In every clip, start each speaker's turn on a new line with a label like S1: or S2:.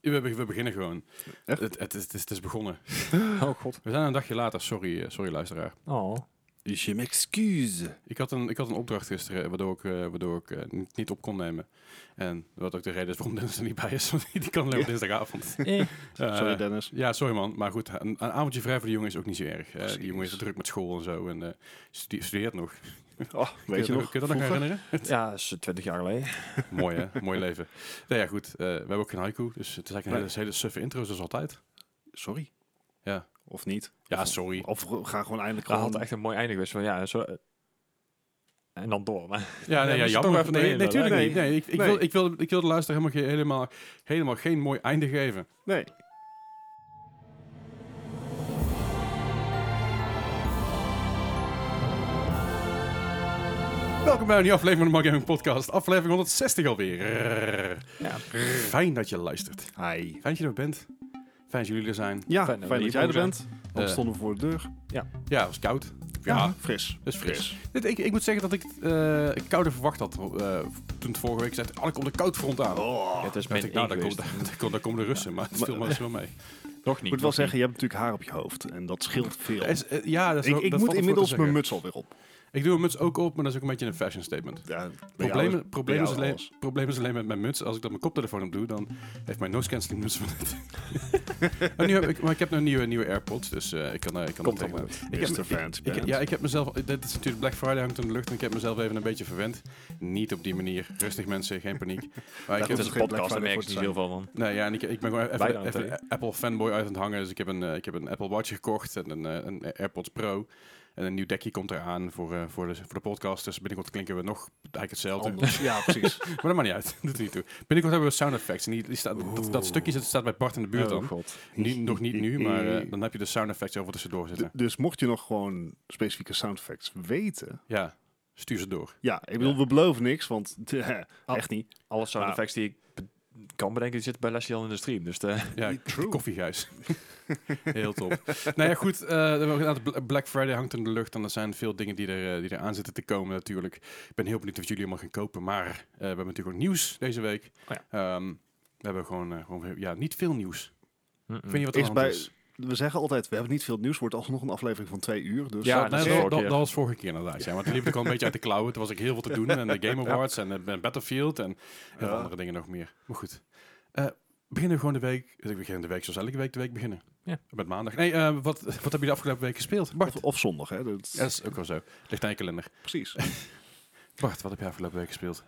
S1: We, be- we beginnen gewoon.
S2: Echt?
S1: Het, het, is- het is, het is begonnen.
S3: Oh god.
S1: We zijn een dagje later, sorry, eh, sorry luisteraar.
S3: Oh.
S2: Je m'excuse.
S1: Ik had een, ik had een opdracht gisteren waardoor ik, eh, waardoor ik eh, niet, niet op kon nemen. En wat ook de reden is waarom Dennis er niet bij is, want die kan alleen op dinsdagavond.
S3: Eh.
S1: Eh,
S2: Sorry Dennis.
S1: Ja, sorry man. Maar goed, een, een avondje vrij voor de jongen is ook niet zo erg. Eh,
S2: Precies.
S1: die jongen is druk met school en zo en eh, stude- studeert nog. Kun
S2: Oh, weet je nog?
S1: Kun je dat nog
S2: vroeger?
S1: herinneren?
S3: Ja, dat is twintig jaar geleden.
S1: Mooi hè? Mooi leven. Nou ja, goed. eh, we hebben ook geen haiku, dus het is eigenlijk een hele, hele suffe intro zoals altijd.
S2: Sorry.
S1: Ja.
S2: Of niet?
S1: Ja, sorry.
S2: Of we gaan gewoon eindelijk
S3: Dat
S2: gewoon...
S3: had echt een mooi einde geweest. Van, ja, zo, eh, en dan door. Maar.
S1: Ja, nee, ja,
S3: Ja, moest je
S1: jammer.
S3: toch even
S1: nee,
S3: erin
S1: nee, tuurlijk
S2: willen,
S1: niet.
S2: hè?
S1: Nee, ik, ik,
S2: Nee.
S1: Wil, ik, wil, ik wil de luisteraar helemaal, geen- helemaal, helemaal geen mooi einde geven.
S2: Nee.
S1: Welkom bij een nieuwe aflevering van de Mark Gaming Podcast. Aflevering 160 alweer.
S3: Ja.
S1: Fijn dat je luistert.
S2: Hi.
S1: Fijn dat je er bent. Fijn dat jullie er zijn.
S2: Ja,
S3: Fijn
S2: fijn,
S3: dat we
S2: dat
S3: hier
S2: jij er
S3: mogen
S2: bent. Dan
S1: Eh.
S2: stonden we voor de deur.
S1: Ja, het was koud. Ja,
S2: Fris.
S1: het is fris. Dit, ik, ik moet zeggen dat ik eh, ik kouder verwacht had. eh, toen het vorige week zei, oh, er komt een koud front aan.
S2: Oh.
S3: het is
S1: Dacht ik,
S3: min
S1: nou,
S3: één
S1: daar komt,
S3: geweest.
S1: daar, komt- daar komen de Russen, maar het viel me wel mee.
S3: Nog niet.
S2: Ik moet wel
S3: nog niet.
S2: zeggen, je hebt natuurlijk haar op je hoofd. En dat scheelt veel.
S1: Er is, eh, ja, dat is
S2: ik
S1: wel-
S2: ik
S1: dat valt
S2: moet
S1: wel
S2: inmiddels
S1: te zeggen.
S2: mijn muts alweer op.
S1: Ik doe mijn muts ook op, maar dat is ook een beetje een fashion statement.
S2: Ja,
S1: Probleem, probleem, is alleen,
S2: leeg.
S1: probleem is alleen met mijn muts. Als ik dan mijn koptelefoon op doe, dan heeft mijn noise cancelling muts van het. maar, nu heb ik, maar ik heb nu nieuwe, nieuwe AirPods, dus eh, ik kan, eh, ik kan
S3: Komt
S1: dat
S3: allemaal
S1: tegen- Ik heb,
S2: Mr. Fancy
S1: ik,
S2: Pants.
S1: ja, ik heb mezelf. Dit is natuurlijk Black Friday hangt in de lucht en ik heb mezelf even een beetje verwend. Niet op die manier. Rustig mensen, geen paniek. Maar ik heb,
S2: Dat
S3: Het is
S2: hoeft
S3: een
S2: geen Black
S3: podcast, daar
S2: Friday
S3: merk
S2: voor
S3: ik
S2: te zijn.
S3: niet heel veel van.
S1: nou ja, en ik, ik ben gewoon
S3: Wij
S1: even,
S3: dan,
S1: even
S3: hè?
S1: een Apple fanboy uit aan het hangen. Dus ik heb een, eh, ik heb een Apple Watch gekocht en een, eh, een AirPods Pro. En een nieuw dekje komt eraan voor, eh, voor, de, voor de podcast. Dus binnenkort klinken we nog eigenlijk hetzelfde.
S2: Anders. Ja, precies.
S1: Maar dat maakt niet uit. Doet er niet toe. Binnenkort hebben we sound effects. En die, die staat, dat, dat stukje zit- staat bij Bart in de
S2: Oh,
S1: buurt
S2: Ehm,
S1: dan.
S3: god.
S1: Nu, nog niet nu, maar eh, dan heb je de sound effects over tussendoor
S2: D-
S1: zitten.
S2: Dus mocht je nog gewoon specifieke sound effects weten...
S1: Ja, stuur ze door.
S2: Ja, ik bedoel, we beloven niks, want
S1: Ah,
S2: echt niet.
S3: Alle sound
S2: Nou.
S3: effects die ik be- kan bedenken, die zitten bij Leslie al in de stream. Dus de,
S1: Ja,
S2: True.
S1: koffiehuis. Heel top. nou ja, goed. eh, we hebben inderdaad Bla- Black Friday hangt in de lucht. En er zijn veel dingen die er, eh, die er aan zitten te komen natuurlijk. Ik ben heel benieuwd wat jullie allemaal gaan kopen. Maar eh, we hebben natuurlijk ook nieuws deze week.
S3: Oh
S1: Ehm, we hebben gewoon, eh, gewoon ja, niet veel nieuws. Ik weet niet wat er
S2: Is
S1: aan de hand
S2: bij,
S1: is.
S2: we zeggen altijd, we hebben niet veel nieuws. Wordt alsnog een aflevering van twee uur. Dus
S3: Ja,
S1: dat,
S3: dat
S1: nee,
S3: is
S1: dat,
S3: vorige
S1: dat-
S3: keer.
S1: dat was vorige keer inderdaad. Ja, want toen liep ik al een beetje uit de klauwen. Toen was ik heel veel te doen. En de Game Awards en eh, en Battlefield en heel veel
S2: Ja.
S1: andere dingen nog meer. Maar goed. Eh, beginnen we gewoon de week. Ik begin de week zoals elke week de week beginnen.
S3: Ja.
S1: Met maandag. Nee, eh, wat, wat hebben jullie de afgelopen week gespeeld? Bart.
S2: of, of zondag, hè? Dat,
S1: Ja, dat is ook wel zo. Ligt aan je kalender.
S2: Precies.
S1: Bart, wat heb jij afgelopen week gespeeld?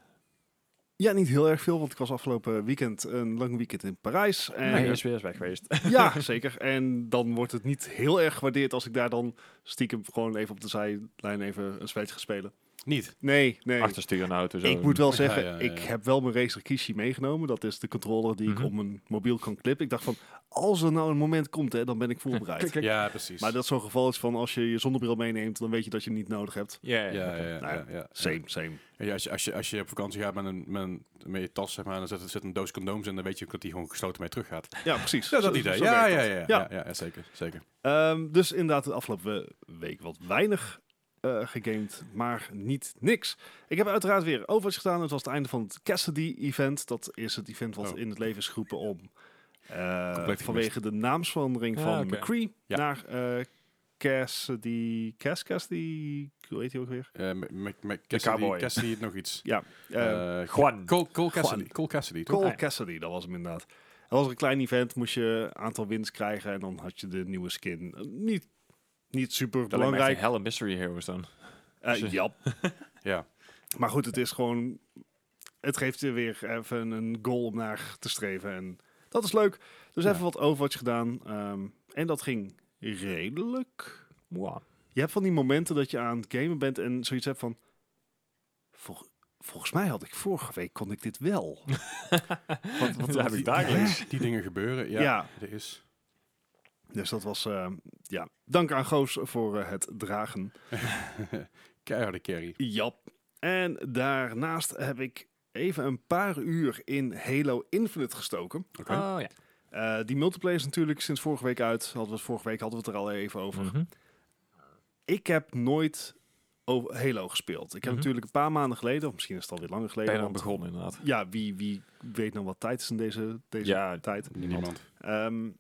S2: Ja, niet heel erg veel, want ik was afgelopen weekend een lang weekend in Parijs. En
S3: Nee, is weer eens weg geweest.
S2: Ja, zeker. En dan wordt het niet heel erg gewaardeerd als ik daar dan stiekem gewoon even op de zijlijn even een spelletje ga spelen.
S1: Niet.
S2: Nee, nee.
S3: Achterstuur nou, en auto. Zo.
S2: Ik moet wel
S1: Ja,
S2: zeggen,
S1: ja, ja.
S2: ik heb wel mijn Razer Kishi meegenomen. Dat is de controller die
S3: Mhm.
S2: ik om mijn mobiel kan clippen. Ik dacht van, als er nou een moment komt, hè, dan ben ik voorbereid.
S3: Klik.
S1: Ja, precies.
S2: Maar dat is zo'n geval is van als je je zonnebril meeneemt, dan weet je dat je hem niet nodig hebt.
S3: Ja,
S1: ja,
S3: ja,
S1: ja, ja,
S2: Nou ja,
S1: ja, ja.
S2: Same, same.
S1: Ja, ja, als, je, als, je, als je op vakantie gaat met, een, met, een- met je tas, zeg maar, en er zit, er zit een doos condooms in, dan weet je ook dat die gewoon gesloten mee terug gaat.
S2: Ja, precies.
S1: Ja, dat
S2: Zo-
S1: idee.
S2: zo
S1: Ja,
S2: werkt
S1: ja,
S2: dat.
S1: ja, ja, ja, ja, zeker. zeker.
S2: Ehm, dus inderdaad, de afgelopen week wat weinig eh, gegamed, maar niet niks. Ik heb uiteraard weer Overwatch gedaan. Het was het einde van het Cassidy-event. Dat is het event wat
S1: Oh.
S2: in het leven is geroepen om eh,
S1: gemist.
S2: vanwege de naamsverandering
S3: Ah,
S2: van
S3: oké.
S2: McCree
S1: Ja.
S2: naar eh Cassidy... Cass Cassidy? Hoe heet hij ook weer?
S1: Eh, Mc- Mc- Mc- Cassidy,
S3: cowboy.
S1: Cassidy nog iets.
S2: Eh,
S1: Eh, Cole,
S3: Juan.
S1: Cole
S2: Juan.
S1: Cassidy. Cole Cassidy, toch?
S2: Cole
S3: Ah, ja.
S2: Cassidy, dat was hem inderdaad. Het was een klein event, moest je een aantal wins krijgen en dan had je de nieuwe skin. Eh, Niet, niet super
S3: Dat lijkt me echt
S2: belangrijk.
S3: een helle mystery heroes dan.
S2: Eh,
S3: Dus, eh,
S2: ja,
S1: Ja.
S2: Maar goed, het is gewoon. Het geeft je weer even een goal om naar te streven. En dat is leuk. Dus
S1: Ja.
S2: even wat Overwatch gedaan. ehm, en dat ging redelijk.
S3: Wow.
S2: Je hebt van die momenten dat je aan het gamen bent en zoiets hebt van. "Vol- volgens mij had ik vorige week kon ik dit wel.
S3: Wat,
S2: wat-
S3: heb ik dagelijks?
S1: Die dingen gebeuren, ja.
S2: Ja.
S1: Er is.
S2: Dus dat was. ehm, ja. Dank aan Goos voor eh, het dragen.
S1: Keiharde carry.
S2: Ja. En daarnaast heb ik even een paar uur in Halo Infinite gestoken.
S1: Oké.
S3: Oh ja.
S2: Eh, die multiplayer is natuurlijk sinds vorige week uit. Hadden we het vorige week hadden we het er al even over.
S3: Mhm.
S2: Ik heb nooit o- Halo gespeeld. Ik heb
S3: Mhm.
S2: natuurlijk een paar maanden geleden, of misschien is het alweer langer geleden.
S3: Ben je aan
S2: want-
S3: begonnen inderdaad.
S2: ja, wie, wie weet nou wat tijd is in deze, deze
S3: Ja,
S2: tijd.
S1: Niemand.
S2: Ehm,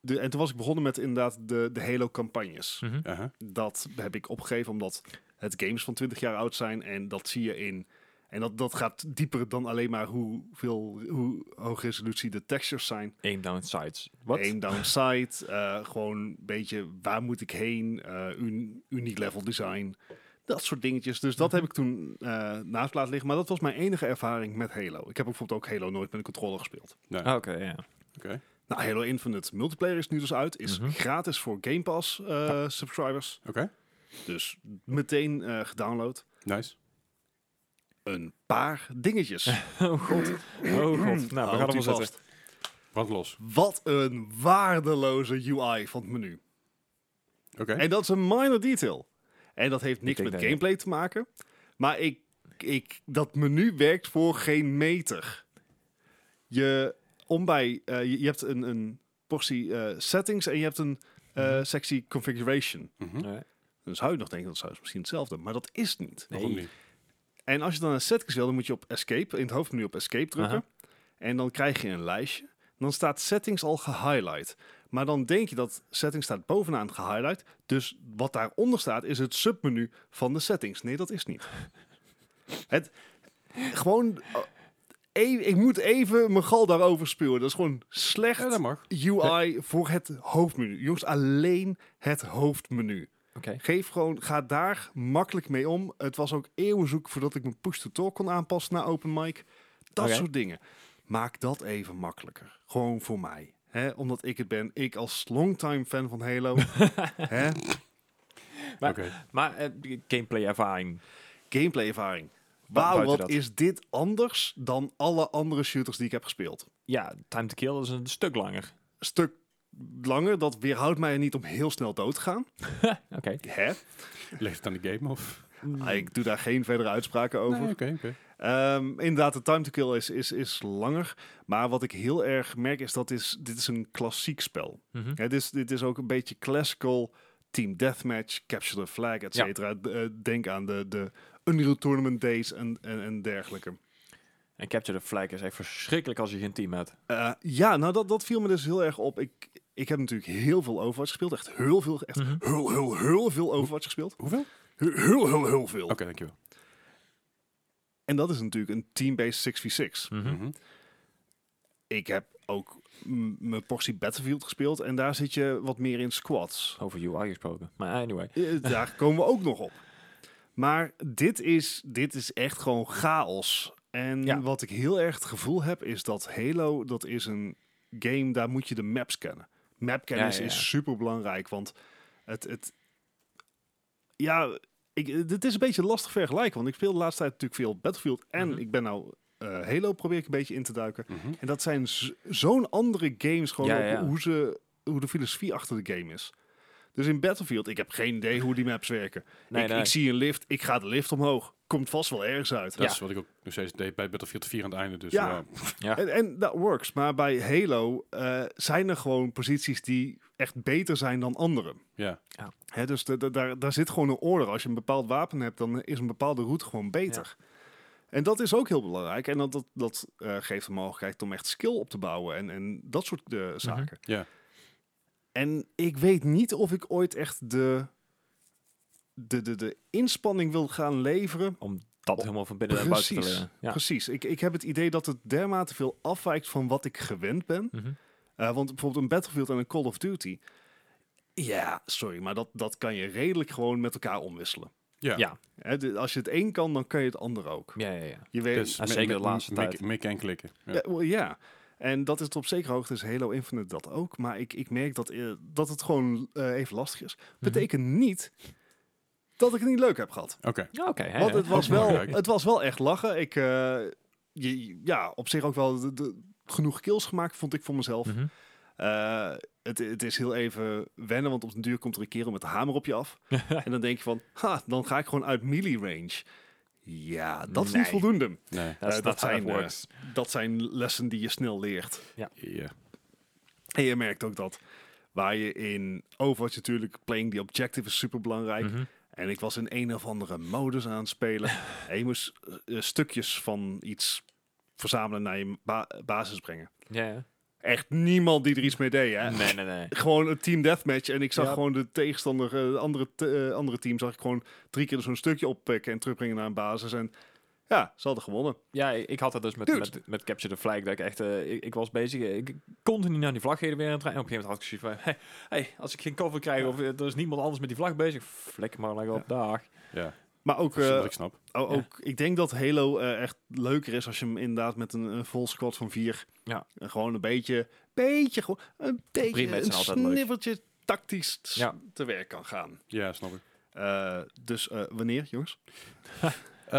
S2: de, en toen was ik begonnen met inderdaad de, de Halo-campagnes.
S3: Mhm.
S1: Aha.
S2: Dat heb ik opgegeven omdat het games van 20 jaar oud zijn en dat zie je in. En dat, dat gaat dieper dan alleen maar hoeveel, hoe hoog resolutie de textures zijn.
S3: Aim down sights. Wat?
S2: Aim down sight, eh, gewoon een beetje waar moet ik heen, eh un- uniek level design, dat soort dingetjes. Dus dat heb ik toen eh, naast laten liggen, maar dat was mijn enige ervaring met Halo. Ik heb bijvoorbeeld ook Halo nooit met een controller gespeeld.
S3: Ah, Oké, ja.
S1: Oké.
S2: Nou, Halo Infinite multiplayer is nu dus uit, is
S3: Mhm.
S2: gratis voor Game Pass eh, subscribers,
S1: Oké.
S2: dus meteen eh, gedownload.
S1: Nice.
S2: Een paar dingetjes.
S3: Oh god. Oh god. Nou, we
S2: Houdt
S3: gaan
S2: u
S3: hem zetten.
S2: vast.
S1: Brand los.
S2: Wat een waardeloze UI van het menu.
S1: Oké.
S2: En dat is een minor detail. En dat heeft niks
S3: denk
S2: met
S3: dat-
S2: gameplay te maken. Maar ik, ik, dat menu werkt voor geen meter. Je, om bij, eh, je, je hebt een, een portie eh, settings en je hebt een eh,
S3: Mhm.
S2: sectie configuration.
S1: Mhm.
S3: Nee.
S2: Dan zou je nog denken, dat zou is misschien hetzelfde. Maar dat is het niet.
S1: Waarom niet?
S2: En als je dan naar settings wil, dan moet je op escape, in het hoofdmenu op escape drukken. En dan krijg je een lijstje. Dan staat settings al gehighlight. Maar dan denk je dat settings staat bovenaan gehighlight. Dus wat daaronder staat is het submenu van de settings. Nee, dat is niet. het, gewoon, eh, e- ik moet even mijn gal daarover spuwen. Dat is gewoon slecht
S1: Ja, dat mag.
S2: UI voor het hoofdmenu. Jongens, alleen het hoofdmenu.
S3: Oké.
S2: Geef gewoon, ga daar makkelijk mee om. Het was ook eeuwen zoek voordat ik mijn push-to-talk kon aanpassen naar open mic. Dat
S3: Oké.
S2: soort dingen. Maak dat even makkelijker. Gewoon voor mij. hè? omdat ik het ben. Ik als longtime fan van Halo. hè?
S3: Maar-
S1: Oké.
S3: Maar eh, gameplay ervaring.
S2: Gameplay ervaring.
S3: Bu-
S2: Wauw,
S3: buiten
S2: wat
S3: dat.
S2: is dit anders dan alle andere shooters die ik heb gespeeld.
S3: Ja, time to kill is een stuk langer.
S2: Stuk langer, dat weerhoudt mij er niet om heel snel dood te gaan.
S3: Oké.
S2: Hè?
S1: Ligt het aan de game of?
S2: Ah, Ik doe daar geen verdere uitspraken over.
S1: Nee, Oké, oké.
S2: Ehm, inderdaad, de time to kill is, is, is langer. Maar wat ik heel erg merk is dat is, dit is een klassiek spel is.
S3: Mhm.
S2: Dit, is, dit is ook een beetje classical team deathmatch, capture the flag, et
S3: Ja.
S2: cetera. D- eh, denk aan de, de Unreal Tournament days en, en, en dergelijke.
S3: En capture the flag is echt verschrikkelijk als je geen team hebt.
S2: Eh, ja, nou dat, dat viel me dus heel erg op. Ik, ik heb natuurlijk heel veel Overwatch gespeeld. Echt heel veel, echt
S3: Mhm.
S2: heel, heel, heel veel Overwatch gespeeld.
S1: Hoeveel? Oké,
S2: Heel, heel, heel, heel veel.
S1: dankjewel.
S2: En dat is natuurlijk een team-based 6v6.
S1: Mhm.
S2: ik heb ook m- mijn portie Battlefield gespeeld en daar zit je wat meer in squads.
S3: Over UI gesproken. Maar anyway.
S2: Eh, Daar komen we ook nog op. Maar dit is, dit is echt gewoon chaos. En
S3: Ja.
S2: wat ik heel erg het gevoel heb, is dat Halo, dat is een game, daar moet je de maps kennen. Mapkennis
S3: Ja, ja, ja.
S2: is super belangrijk, want het, het ja, ik, dit is een beetje lastig vergelijken, want ik speel de laatste tijd natuurlijk veel Battlefield en
S3: Mhm.
S2: ik ben nou eh, Halo probeer ik een beetje in te duiken.
S1: Mhm.
S2: En dat zijn z- zo'n andere games, gewoon
S3: Ja,
S2: ook
S3: ja.
S2: Hoe, ze, hoe de filosofie achter de game is. Dus in Battlefield, ik heb geen idee hoe die maps werken.
S3: Nee,
S2: ik,
S3: nee.
S2: ik zie een lift, ik ga de lift omhoog. Komt vast wel ergens uit.
S1: Dat is wat ik ook nog steeds deed bij Battlefield 4 aan het einde. Dus
S2: Ja.
S1: ja.
S2: En en dat works. Maar bij Halo eh, zijn er gewoon posities die echt beter zijn dan anderen.
S1: ja.
S2: Hè, dus de- de- daar, daar zit gewoon een orde. Als je een bepaald wapen hebt, dan is een bepaalde route gewoon beter. En dat is ook heel belangrijk. En dat, dat, dat eh, geeft de mogelijkheid om echt skill op te bouwen en, en dat soort eh, zaken.
S1: Ja.
S2: En ik weet niet of ik ooit echt de, de, de, de inspanning wil gaan leveren.
S3: Om dat helemaal van binnen naar buiten te
S2: Precies.
S3: leren. Ja.
S2: Precies. Ik, ik heb het idee dat het dermate veel afwijkt van wat ik gewend ben.
S3: Mhm.
S2: Eh, want bijvoorbeeld een Battlefield en een Call of Duty. Ja, sorry, maar dat, dat kan je redelijk gewoon met elkaar omwisselen.
S1: Ja.
S3: Ja.
S2: Hè, de- als je het een kan, dan kan je het ander ook.
S3: Ja, ja, ja.
S2: Je weet,
S1: Dus
S3: Ja,
S1: me-
S3: zeker
S1: me-
S3: de laatste
S1: me-
S3: tijd.
S1: Mikken en klikken. Ja.
S2: ja, wel, ja. en dat is het op zekere hoogte, is Halo Infinite dat ook. Maar ik, ik merk dat, eh, dat het gewoon eh, even lastig
S3: Mhm.
S2: is. Betekent niet dat ik het niet leuk heb gehad.
S1: Oké.
S3: Ja, Oké. hè,
S2: Want
S3: hè.
S2: het was,
S1: Ook
S2: wel,
S1: belangrijk.
S2: het was wel echt lachen. Ik, eh, je- ja, op zich ook wel de- de- genoeg kills gemaakt, vond ik voor mezelf.
S3: Mhm.
S2: Eh, het, het is heel even wennen, want op den duur komt er een kerel met de hamer op je af. en dan denk je van, ha, dan ga ik gewoon uit melee range. Ja, dat is niet
S3: Nee.
S2: voldoende.
S1: Nee.
S3: That's
S2: Eh, dat,
S3: not how it
S2: zijn, eh,
S3: works.
S2: dat zijn lessen die je snel leert.
S1: Ja.
S2: En je merkt ook dat waar je in Overwatch natuurlijk, playing the objective is super belangrijk.
S3: Mhm.
S2: En ik was in een of andere modus aan het spelen. en je moest eh, stukjes van iets verzamelen naar je ba- basis brengen.
S3: Ja, ja.
S2: Echt niemand die er iets mee deed, hè?
S3: Nee, nee, nee.
S2: Gewoon een team deathmatch. En ik zag
S3: Ja.
S2: gewoon de tegenstander, eh, de andere, te- eh, andere team, zag ik gewoon drie keer zo'n stukje oppikken en terugbrengen naar een basis. En ja, ze hadden gewonnen.
S3: Ja, ik ik had dat dus met,
S2: Dude.
S3: met, met Capture the Flag. Dat ik echt, eh, ik, ik was bezig. eh, Ik ik continu naar die vlag heen en weer aan het rijden. En op een gegeven moment had ik zoiets van, hey, hey, als ik geen cover krijg of eh, er is niemand anders met die vlag bezig, flikker maar lekker op, dag.
S1: Ja,
S2: Maar ook,
S1: dat is
S2: eh,
S1: wat ik snap.
S2: o-
S3: ja.
S2: ook ik denk dat Halo eh, echt leuker is als je hem inderdaad met een, een vol squad van vier.
S3: Ja.
S2: eh, gewoon een beetje, beetje, gewoon een beetje,
S3: Rematch
S2: een
S3: zijn altijd leuk.
S2: snippertje tactisch s-
S3: Ja.
S2: te werk kan gaan.
S1: Ja, snap ik.
S2: Eh, dus eh, wanneer, jongens?
S1: Eh,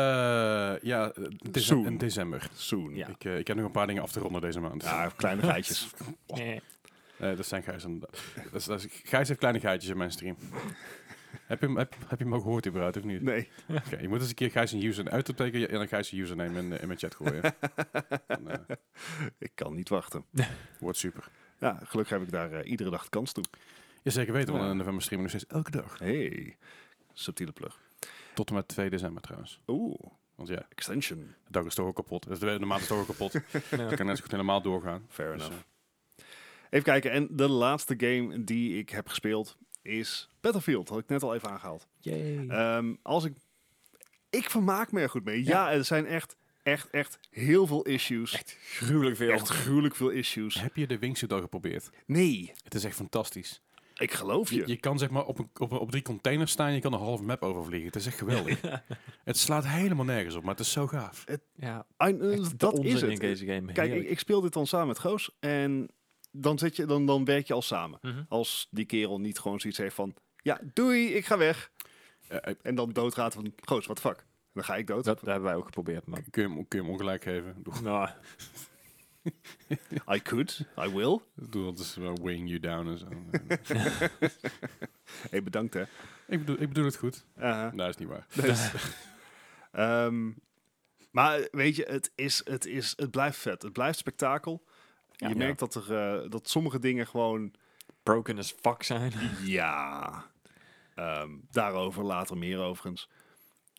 S1: ja, eh, dece-
S2: Soon.
S1: in december.
S2: Soon.
S3: Ja.
S1: Ik, eh, ik heb nog een paar dingen af te ronden deze maand.
S2: Ja, kleine geitjes.
S3: Nee.
S1: Eh, dat zijn Gijs. en- Dat is, dat is- Gijs heeft kleine geitjes in mijn stream. heb, je hem, heb, heb je hem al gehoord überhaupt, of niet?
S2: Nee.
S1: Oké, je moet eens een keer Gijs een user uit en dan Gijs een username in, eh, in mijn chat gooien. dan, eh,
S2: ik kan niet wachten.
S1: wordt super.
S2: Ja, gelukkig heb ik daar eh, iedere dag de kans toe.
S1: Ja, zeker weten, want
S2: Ja.
S1: in november streamen we nog steeds elke dag.
S2: Hey, subtiele plug.
S1: Tot en met 2 december trouwens.
S2: Oeh,
S1: Want ja,
S2: extension.
S1: de dag is toch ook kapot. Dus de, de maand is toch ook kapot. Ik
S3: Ja.
S1: kan net zo goed helemaal doorgaan.
S2: Fair
S1: Dus,
S2: enough.
S3: eh,
S2: Even kijken, en de laatste game die ik heb gespeeld is Battlefield. Had ik net al even aangehaald. Ehm, als ik, ik vermaak me er goed mee. Ja, er zijn echt, echt, echt heel veel issues. Echt,
S3: Gruwelijk veel.
S2: gruwelijk veel
S1: eh,
S2: issues.
S1: heb je de wingsuit al geprobeerd?
S2: Nee,
S1: Het is echt fantastisch.
S2: ik geloof
S1: Je,
S2: je.
S1: je kan zeg maar op, een, op, een- op drie containers staan en je kan een halve map overvliegen. Het is echt geweldig. Het slaat helemaal nergens op, maar het is zo gaaf.
S3: Ja,
S2: I- eh,
S3: echt de
S2: dat
S3: onzin
S2: is
S3: in
S2: het.
S3: deze game.
S2: Kijk, ik,
S3: Heerlijk.
S2: ik speel dit dan samen met Goos en dan, zit je, dan, dan werk je al samen.
S3: Mhm.
S2: Als die kerel niet gewoon zoiets heeft van, ja, doei, ik ga weg.
S1: Eh, eh,
S2: En dan doodraad van, Goos, wat fuck. Dan ga ik dood.
S3: Dat, dat hebben wij ook geprobeerd, maar...
S1: kun, je hem, kun je hem ongelijk geven? Doe,
S3: Nou,
S2: I could, I will.
S1: doe dat is wel weighing you down en zo.
S2: hey, bedankt hè.
S1: ik, bedoel, ik bedoel het goed.
S2: Uh-huh.
S1: Nou, dat is niet waar.
S2: Dus, ehm, maar weet je, het, is, het, is, het blijft vet. Het blijft spektakel.
S3: Ja.
S2: je
S3: Ja.
S2: merkt dat, er, eh, dat sommige dingen gewoon...
S3: broken as fuck zijn.
S2: ja, ehm, daarover later meer overigens.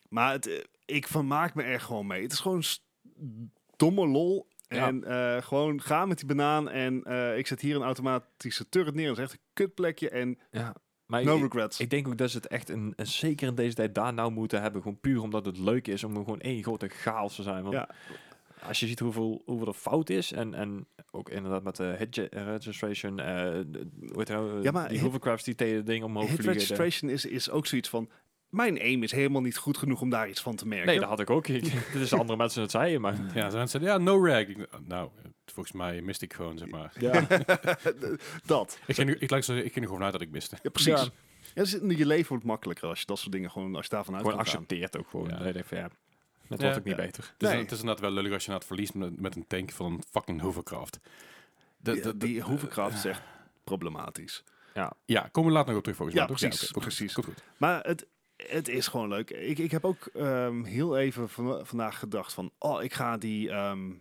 S2: Maar het, eh, ik vermaak me er gewoon mee. Het is gewoon s- domme lol.
S3: Ja.
S2: En eh, gewoon ga met die banaan. En eh, ik zet hier een automatische turret neer. Dat is echt een kutplekje. En
S3: Ja. Maar
S2: no
S3: ik-
S2: regrets.
S3: Ik denk ook dat ze het echt, een, een- zeker in deze tijd, daar nou moeten hebben. Gewoon puur omdat het leuk is om gewoon één grote chaos te zijn. Want
S2: Ja.
S3: als je ziet hoeveel, hoeveel er fout is, en, en ook inderdaad met de hit ge- eh, registration, eh, de- hoe heet het nou,
S2: Ja, maar
S3: die
S2: hit-
S3: hovercrafts die tegen het ding omhoog
S2: Hit
S3: vliegen. de-
S2: registration is, is ook zoiets van... Mijn aim is helemaal niet goed genoeg om daar iets van te merken.
S3: Nee, dat had ik ook. Ik, dit is andere mensen het zeiden, maar...
S1: Ja, ze zeiden, ja, no rag. Ik- nou, eh, volgens mij miste ik gewoon, zeg maar.
S3: Ja,
S2: dat.
S1: Ik ging, nu- ik, laat ik zo zeggen, ik ging er gewoon uit dat ik miste.
S2: Ja, precies.
S3: Ja.
S2: Ja, dus je leven wordt makkelijker als je dat soort dingen gewoon, als je daarvan uit
S3: gewoon
S2: kan gaan.
S3: accepteert ook gewoon.
S1: Ja.
S3: Dat je denkt van, ja, dat
S1: Ja.
S3: wordt ook niet
S2: Ja.
S3: beter.
S1: Het is,
S2: Nee.
S1: het is inderdaad wel lullig als je na het verliest met, met een tank van een fucking hovercraft. De,
S2: Die,
S1: de- de-
S2: die hoevenkracht is echt problematisch.
S1: ja, komen we later nog op terug volgens
S2: Ja,
S1: mij. toch?
S2: precies,
S1: oké, komt goed,
S2: precies.
S1: komt goed.
S2: Maar het, het is gewoon leuk. Ik, ik heb ook ehm, heel even van- vandaag gedacht van, oh, ik ga die ehm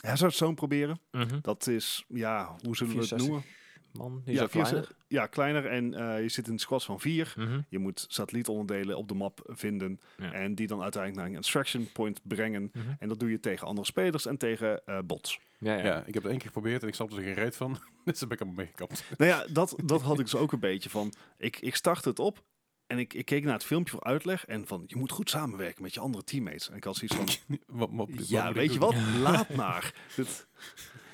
S2: Hazard Zone proberen.
S3: Mhm.
S2: Dat is, ja, hoe zullen we het
S3: 64.
S2: noemen?
S3: Man, die
S2: ja,
S3: is ook kleiner.
S2: 64 ja, kleiner. En eh, je zit in squads van vier.
S3: Mhm.
S2: Je moet satellietonderdelen op de map vinden.
S3: Ja.
S2: En die dan uiteindelijk naar een extraction point brengen.
S3: Mhm.
S2: En dat doe je tegen andere spelers en tegen eh, bots.
S3: Ja, ja.
S1: Ja. ik heb het één keer geprobeerd en ik snapte er geen reet van. dus daar ben ik allemaal meegekapt.
S2: Nou ja, dat, dat had ik dus ook een beetje van. Ik, ik startte het op en ik, ik keek naar het filmpje voor uitleg. En van, je moet goed samenwerken met je andere teammates. En ik had zoiets van,
S1: Wat- wat- wat moet
S2: ja,
S1: ik
S2: weet je
S1: doen?
S2: wat? Laat maar. Dit,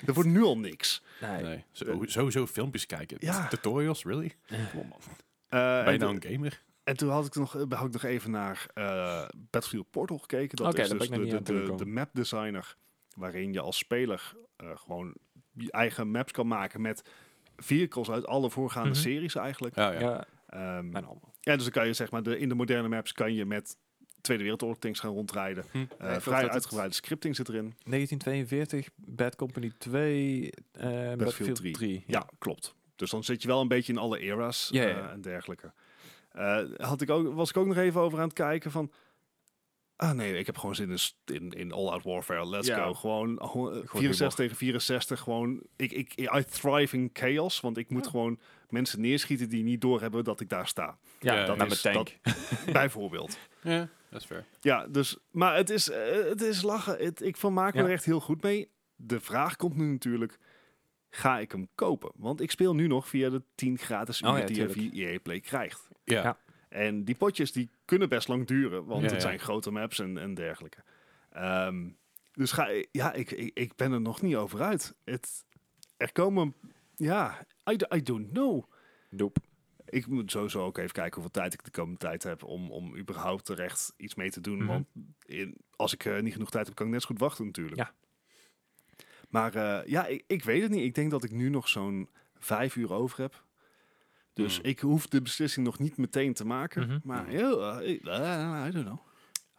S2: er wordt nu al niks.
S3: Nee.
S1: Nee, zo- sowieso filmpjes kijken.
S2: Ja.
S1: Tutorials, really? Kom op, man.
S2: Eh,
S1: Ben je
S2: en,
S1: nou een gamer?
S2: en toen had ik nog, had ik nog even naar eh, Battlefield Portal gekeken. Dat
S3: Oké,
S2: is
S3: daar
S2: dus
S3: ben ik nog niet
S2: de,
S3: aan
S2: de, de,
S3: toegekomen.
S2: de map designer. Waarin je als speler eh, gewoon je eigen maps kan maken met vehicles uit alle voorgaande
S3: Mhm.
S2: series eigenlijk.
S1: Ja, ja.
S3: Ja,
S2: Ehm,
S3: mijn allemaal.
S2: Ja, dus dan kan je zeg maar de, in de moderne maps kan je met Tweede Wereldoorlog tanks gaan rondrijden.
S1: Hm.
S2: Eh,
S3: geloof dat
S2: vrij
S3: het-
S2: uitgebreide scripting zit erin.
S3: 1942, Bad Company 2, eh Battlefield,
S2: 3.
S3: 3.
S2: Ja, klopt. Dus dan zit je wel een beetje in alle era's
S3: Ja, ja,
S2: eh,
S3: ja.
S2: en dergelijke. Eh, had ik ook, was ik ook nog even over aan het kijken van... Ah nee, ik heb gewoon zin in, s- in, in All-Out Warfare. Let's
S3: Ja.
S2: go. Gewoon, eh, gewoon, eh, 64 tegen 64. Gewoon, ik, ik, I thrive in chaos. Want ik moet gewoon mensen neerschieten die niet doorhebben dat ik daar sta.
S3: Ja,
S1: Ja,
S3: dat
S1: dat
S3: Nou, met
S2: is-
S3: tank.
S2: Bijvoorbeeld.
S1: Ja, dat is fair.
S2: Ja, dus, maar het is, eh, het is lachen. Het, ik vermaak me
S3: Ja.
S2: er echt heel goed mee. De vraag komt nu natuurlijk, ga ik hem kopen? Want ik speel nu nog via de 10 gratis
S3: Oh
S2: uur
S3: ja,
S2: die je
S3: tuurlijk.
S2: via EA Play krijgt.
S1: Ja.
S3: Ja.
S2: En die potjes die kunnen best lang duren, want
S1: Ja,
S2: het
S1: ja.
S2: zijn grote maps en, en dergelijke. Ehm, dus ga, ja, ik, ik, ik ben er nog niet over uit. Het, er komen, ja, I, do- I don't know.
S3: Doep.
S2: Ik moet sowieso ook even kijken hoeveel tijd ik de komende tijd heb om, om überhaupt terecht iets mee te doen.
S3: Mhm.
S2: Want in- als ik eh, niet genoeg tijd heb, kan ik net zo goed wachten natuurlijk.
S3: Ja.
S2: Maar eh, ja, ik, ik weet het niet. Ik denk dat ik nu nog zo'n vijf uur over heb. Dus
S1: Mm.
S2: ik hoef de beslissing nog niet meteen te maken.
S3: Mhm.
S2: Maar heel, eh, eh, I don't know.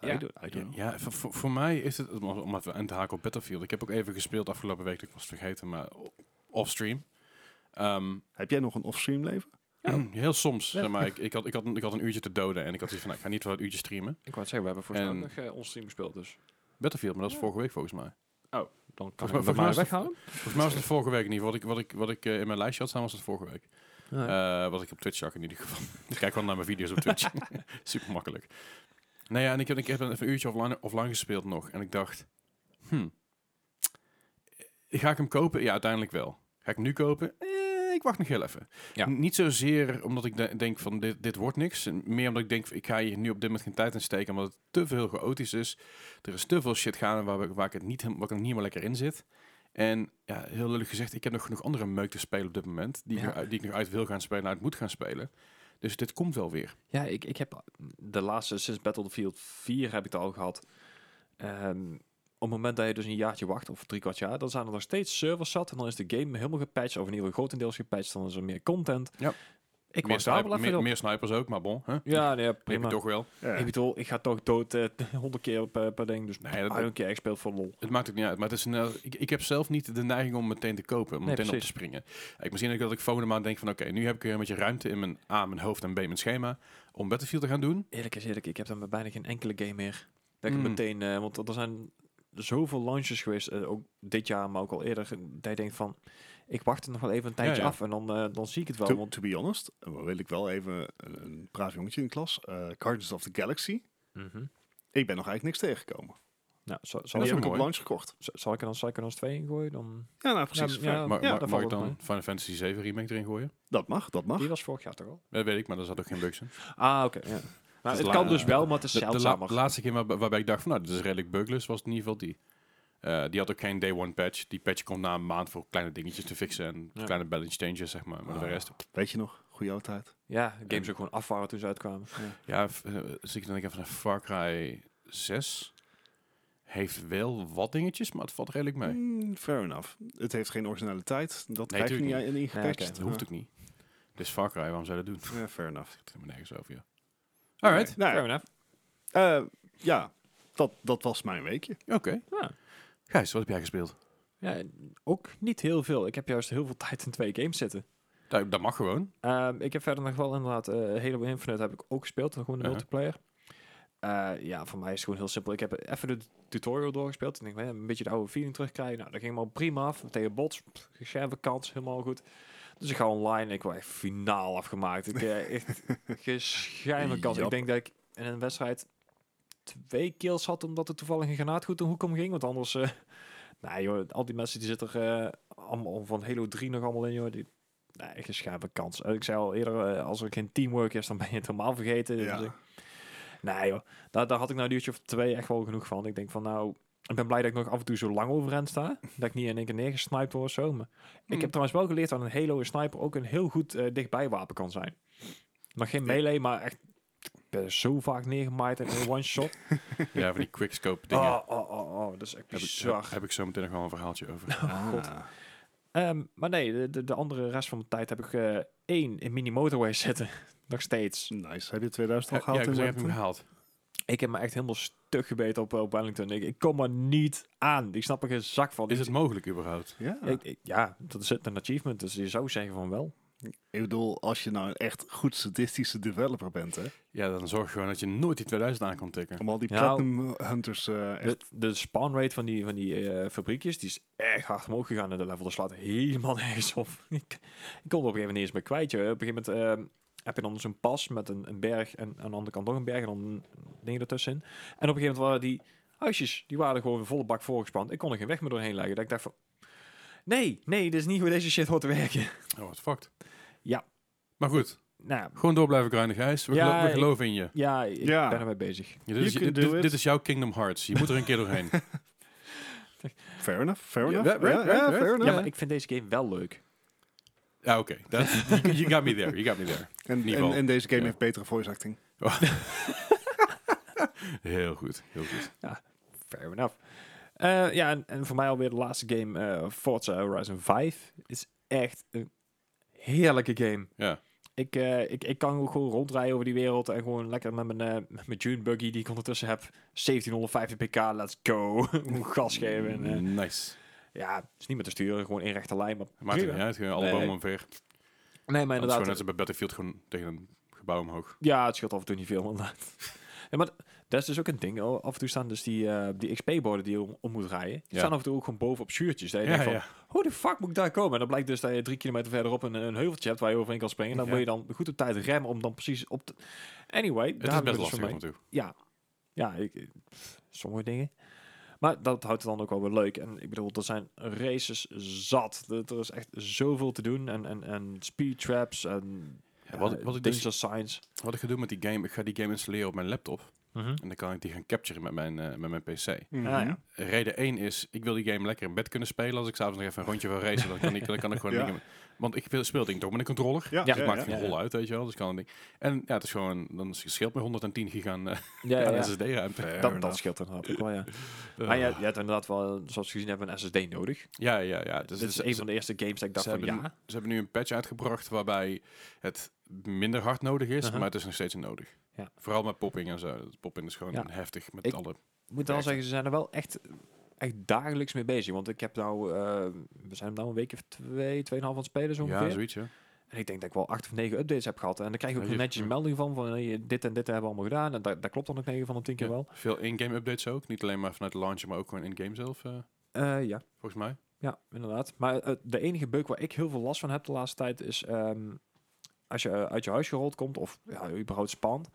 S3: Ja.
S2: I don't, I don't know.
S1: Ja, voor- voor, voor mij is het, om om even aan te haken op Battlefield. Ik heb ook even gespeeld afgelopen week, ik was het vergeten, maar o- offstream. Ehm, hmm,
S2: Heb jij nog een offstream leven?
S1: heel soms, zeg maar. Ik, ik, had, ik, had, een- ik had een uurtje te doden en ik had zoiets van, nou, ik ga niet wel het uurtje streamen.
S3: Ik wou het zeggen, we hebben volgens mij
S1: En-
S3: ook nog eh, ons team gespeeld, dus
S1: Battlefield, maar dat is vorige week volgens mij.
S3: dan kan
S1: Volgens
S3: ik
S1: mij-
S3: hem er
S1: volgens mij
S3: maar
S1: is het-
S3: weghalen.
S1: Volgens mij was het vorige week niet. Wat ik, wat ik, wat ik eh, in mijn lijstje had staan, was het vorige week. Eh, wat ik op Twitch zag in ieder geval. ik kijk wel naar mijn video's op Twitch. Super makkelijk. Nou ja, en ik heb, ik heb even een uurtje offline, offline gespeeld nog. En ik dacht, hmm, ga ik hem kopen? Ja, uiteindelijk wel. Ga ik hem nu kopen? Eh, ik wacht nog heel even.
S3: Ja.
S1: N- Niet zozeer omdat ik de- denk van dit, dit wordt niks. En Meer omdat ik denk, ik ga hier nu op dit moment geen tijd in steken. Omdat het te veel chaotisch is. Er is te veel shit gaande waar, we- waar ik het niet, hem- waar ik er niet helemaal lekker in zit. En ja, heel lullig gezegd, ik heb nog genoeg andere meuk te spelen op dit moment. Die, ik,
S3: Ja.
S1: nog uit, die ik nog uit wil gaan spelen, uit moet gaan spelen. Dus dit komt wel weer.
S3: Ja, ik, ik heb de laatste, sinds Battlefield 4 heb ik het al gehad. Ehm, op het moment dat je dus een jaartje wacht, of drie kwart jaar, dan zijn er nog steeds servers zat. En dan is de game helemaal gepatcht, of in ieder geval grotendeels gepatcht. Dan is er meer content.
S1: Ja.
S3: Ik
S1: meer,
S3: was daar wel
S1: sniper-
S3: even
S1: meer,
S3: op.
S1: meer snipers ook, maar bon. Hè?
S3: Ja, nee,
S1: Heb je
S3: prima.
S1: toch wel.
S2: Ja.
S3: Ik bedoel, ik ga toch dood eh, honderd 100 keer per, per ding. Dus
S1: Nee,
S3: nee,
S1: dat-
S3: dat, I don't care, ik speel voor lol.
S1: Het maakt ook niet uit. Maar het is een, eh, ik, ik heb zelf niet de neiging om meteen te kopen. Om
S3: Nee,
S1: meteen op te
S3: precies.
S1: springen. Ik, misschien ook dat ik volgende maand denk van... Oké, nu heb ik weer een beetje ruimte in mijn A, mijn hoofd en B, mijn schema. Om Battlefield te gaan doen.
S3: Eerlijk is eerlijk, ik heb dan bijna geen enkele game meer. Dat ik
S1: Mm.
S3: meteen, eh, want er zijn zoveel launches geweest, eh, ook dit jaar, maar ook al eerder, dat je denkt van, ik wacht het nog wel even een tijdje
S1: ja.
S3: af en dan, eh, dan zie ik het wel.
S2: To,
S3: want,
S2: to be honest, eh, wil ik wel even een, een braaf jongetje in de klas. eh Guardians of the Galaxy.
S3: Mhm.
S2: Ik ben nog eigenlijk niks tegengekomen.
S3: Nou, zal, zal,
S2: En die
S3: ik,
S1: ook
S2: heb ik op
S1: mooi.
S2: launch gekocht.
S3: z- zal ik er dan Psychonauts 2 in gooien? Dan,
S2: Ja, nou precies.
S3: Ja, Oh, ja.
S1: Maar mag,
S3: dat
S1: mag
S3: valt
S1: ik
S3: wel
S1: dan
S3: mee.
S1: Final Fantasy 7 remake erin gooien?
S2: Dat mag, dat mag.
S3: Die was vorig jaar toch al?
S1: Dat weet ik, maar daar zat ook geen bugs in.
S3: Ah, oké. ja. Nou,
S1: de
S3: het kan
S1: la-
S3: dus wel, maar het is
S1: De, de la-
S3: zeldzamer.
S1: laatste keer waar- waarbij ik dacht van... Nou, dit is redelijk bugless, was het in ieder geval die. Eh, die had ook geen day one patch. Die patch komt na een maand voor kleine dingetjes te fixen. En
S3: Ja.
S1: kleine balance changes, zeg maar. Maar de
S2: Ah.
S1: rest...
S2: Weet je nog, goede oude tijd.
S3: ja, games ook gewoon af waren toen ze uitkwamen.
S1: Ja, v- eh, dus ik denk even naar Far Cry 6. Heeft wel wat dingetjes, maar het valt redelijk mee.
S2: Mm, fair enough. Het heeft geen originaliteit. Dat
S1: Nee,
S2: krijg je niet
S1: tuurlijk
S2: in ingepatcht.
S3: Nee, oké,
S1: Dat hoeft ook niet. Dus Far Cry, waarom zou je dat doen?
S2: Ja, fair enough.
S1: Het gaat me nergens over, ja. Alright,
S2: Nee,
S3: Fair
S2: nou,
S3: enough.
S2: eh, ja, dat, dat was mijn weekje.
S1: oké.
S3: Ja.
S1: Gijs, wat heb jij gespeeld?
S3: Ja, ook niet heel veel. Ik heb juist heel veel tijd in twee games zitten.
S1: Dat, dat mag gewoon.
S3: Ehm, ik heb verder nog wel inderdaad eh Halo Infinite heb ik ook gespeeld, gewoon de
S1: Uh-huh.
S3: multiplayer. Eh, ja, voor mij is het gewoon heel simpel. Ik heb even de tutorial doorgespeeld. En ik denk, hè, een beetje de oude feeling terugkrijgen. Nou, dat ging allemaal prima af. Tegen bots, pff, gescherven kans, helemaal goed. Dus ik ga online. Ik word echt finaal afgemaakt. Ik eh, echt gescherven kans. Ik
S2: Jap.
S3: denk dat ik in een wedstrijd twee kills had, omdat er toevallig een granaat goed de hoek om ging. Want anders... eh nee joh, al die mensen die zitten er eh, allemaal van Halo 3 nog allemaal in, joh. Die, nee, gescherven kans. Eh, ik zei al eerder, eh, als er geen teamwork is, dan ben je het helemaal vergeten. Dus ik- nee joh, daar, daar had ik nou een uurtje of twee echt wel genoeg van. Ik denk van nou, ik ben blij dat ik nog af en toe zo lang overeind sta. Dat ik niet in één keer neergesniped word of zo. Maar ik
S1: Hmm.
S3: heb trouwens wel geleerd dat een Halo sniper ook een heel goed eh, dichtbij wapen kan zijn. Nog geen melee, maar echt... Ik ben zo vaak neergemaaid en in one shot.
S1: Ja, van die quickscope dingen.
S3: Oh, oh, oh, oh, dat is echt
S1: heb, ik,
S3: bizar.
S1: heb ik zo meteen nog wel een verhaaltje over. Eh,
S3: Oh,
S2: Ah.
S3: Ehm, maar nee, de, de, de andere rest van mijn tijd heb ik eh één in mini motorway zitten. Nog steeds.
S2: Nice. Heb je 2000 al
S1: ja, ik
S2: gehaald? in
S1: wil zeggen, heb je hem gehaald.
S2: Wellington?
S3: Ik heb me echt helemaal stug gebeten op, op Wellington. Ik, ik kom er niet aan. Ik snap er geen zak van.
S1: Is
S3: Ik-
S1: het mogelijk überhaupt?
S2: ja.
S3: ik- ik- ja, dat is het, een achievement. Dus je zou zeggen van wel.
S2: Ik bedoel, als je nou een echt goed sadistische developer bent, hè,
S1: Ja, dan zorg gewoon dat je nooit die 2000 aan kan tikken.
S2: om al die
S3: Ja.
S2: platinum hunters eh, echt-
S3: De, de spawn rate van die, van die eh, fabriekjes, die is echt hard omhoog gegaan in de level. Dat slaat helemaal nergens op. ik, ik kon er op een gegeven moment niet eens meer kwijt. Joh. Op een gegeven moment eh, heb je dan zo'n pas met een, een berg en aan de andere kant nog een berg en dan een ding ertussenin. En op een gegeven moment waren die huisjes, die waren gewoon volle bak voorgespand. Ik kon er geen weg meer doorheen leggen. Dat ik dacht van, nee, nee, dit is niet hoe deze shit hoort te werken.
S1: Oh, wat fucked.
S3: Ja.
S1: Maar goed,
S3: nou,
S1: gewoon door blijven grinden, Gijs. We,
S3: Ja,
S1: gelo- we
S3: ik-
S1: geloven in je.
S3: ja, ik
S2: Ja.
S3: ben ermee bezig.
S1: Ja, dit, is,
S2: You can
S1: dit,
S2: do
S1: dit
S2: it.
S1: is jouw Kingdom Hearts. Je moet er een keer doorheen.
S2: Fair enough, fair
S1: Ja,
S2: enough.
S1: right, right,
S2: Ja,
S1: right,
S2: ja,
S1: right.
S2: fair
S3: Ja,
S2: enough.
S3: maar ik vind deze game wel leuk.
S1: Ja, oké. Dat- You, you got me there. You got me there.
S2: En,
S1: Niet
S2: en,
S1: wel.
S2: en deze game
S1: Ja.
S2: heeft betere voice acting.
S1: Heel goed. Heel goed.
S3: Fair enough. Eh, ja, en, en voor mij alweer de laatste game, eh, Forza Horizon 5, is echt een heerlijke game.
S1: Ja.
S3: Ik, eh, ik, ik kan gewoon rondrijden over die wereld en gewoon lekker met mijn, eh, met mijn June buggy die ik ondertussen heb. 1750 pk, let's go. Gewoon Gas geven. En, eh,
S1: Nice.
S3: ja, het is niet meer te sturen, gewoon in rechte lijn. Maar
S1: Maakt het
S3: prima.
S1: niet uit. gewoon Alle
S3: Nee.
S1: bomen omver.
S3: Nee, maar
S1: Dat is
S3: inderdaad.
S1: gewoon net als bij Battlefield gewoon tegen een gebouw omhoog.
S3: Ja, het scheelt af en toe niet veel. maar inderdaad. Ja, maar dat is dus ook een ding. Al- Af en toe staan dus die, eh, die XP-borden die je om, om moet rijden. Die
S1: Ja.
S3: staan af en toe ook gewoon boven op schuurtjes. Dat je
S1: Ja,
S3: denkt van,
S1: ja.
S3: hoe de fuck moet ik daar komen? En dan blijkt dus dat je drie kilometer verderop een, een heuveltje hebt waar je overheen kan springen. Dan
S1: Ja.
S3: moet je dan goed op tijd remmen om dan precies op te... Anyway,
S1: Het is
S3: heb ik
S1: best
S3: dus van
S1: lastig af
S3: mij.
S1: en toe.
S3: Ja, ja ik, ik- pff, sommige dingen. Maar dat houdt het dan ook wel weer leuk. En ik bedoel, er zijn races zat. Er er is echt zoveel te doen. En, en, en speed traps en
S1: Ja, wat,
S3: ja,
S1: wat, ik dus,
S3: danger signs.
S1: wat ik ga doen met die game, ik ga die game installeren op mijn laptop. En dan kan ik die gaan capturen met mijn, eh, met mijn PC.
S2: Mhm.
S3: Ah, ja.
S1: Reden 1 is, ik wil die game lekker in bed kunnen spelen. Als ik s'avonds nog even een rondje wil racen, dan kan ik, dan kan ik gewoon...
S2: Ja.
S1: die game- want ik speel, speel ding toch met een controller.
S2: Ja,
S3: Ja,
S1: Dus het maakt geen
S3: ja.
S1: hol uit, weet je wel. Dus kan een ding. En ja, het is gewoon, dan scheelt me 110 gig aan, eh,
S3: Ja,
S1: aan
S3: ja, ja.
S1: SSD-ruimte.
S3: Dat, dat scheelt inderdaad ook wel, ja.
S1: Eh,
S3: Maar je, je hebt inderdaad wel, zoals we gezien hebben, een SSD nodig.
S1: ja, ja, ja. Dus,
S3: Dit is
S1: dus-
S3: een van de eerste games dat ik dacht
S1: ze,
S3: van,
S1: hebben,
S3: ja.
S1: ze hebben nu een patch uitgebracht waarbij het minder hard nodig is,
S3: Uh-huh.
S1: maar het is nog steeds nodig.
S3: Ja.
S1: Vooral met popping en zo. Popping is gewoon
S3: Ja.
S1: heftig met
S3: Ik-
S1: alle...
S3: Ik moet wel
S1: werkt.
S3: zeggen, ze zijn er wel echt, echt dagelijks mee bezig. Want ik heb nou, eh, we zijn nou een week of twee, tweeënhalf aan het spelen zo ongeveer.
S1: Ja, zoiets, ja.
S3: en ik denk dat ik wel acht of negen updates heb gehad. En dan krijg je ook
S1: Ja, je-
S3: netjes een melding van, van hey, dit en dit hebben we allemaal gedaan. En dat, dat klopt dan ook negen van de tien keer
S1: Ja.
S3: wel.
S1: Veel in-game updates ook. Niet alleen maar vanuit de launcher, maar ook gewoon in-game zelf, eh,
S3: Eh, ja.
S1: volgens mij.
S3: ja, inderdaad. Maar eh, de enige bug waar ik heel veel last van heb de laatste tijd is... ehm, als je eh, uit je huis gerold komt, of ja, überhaupt spant.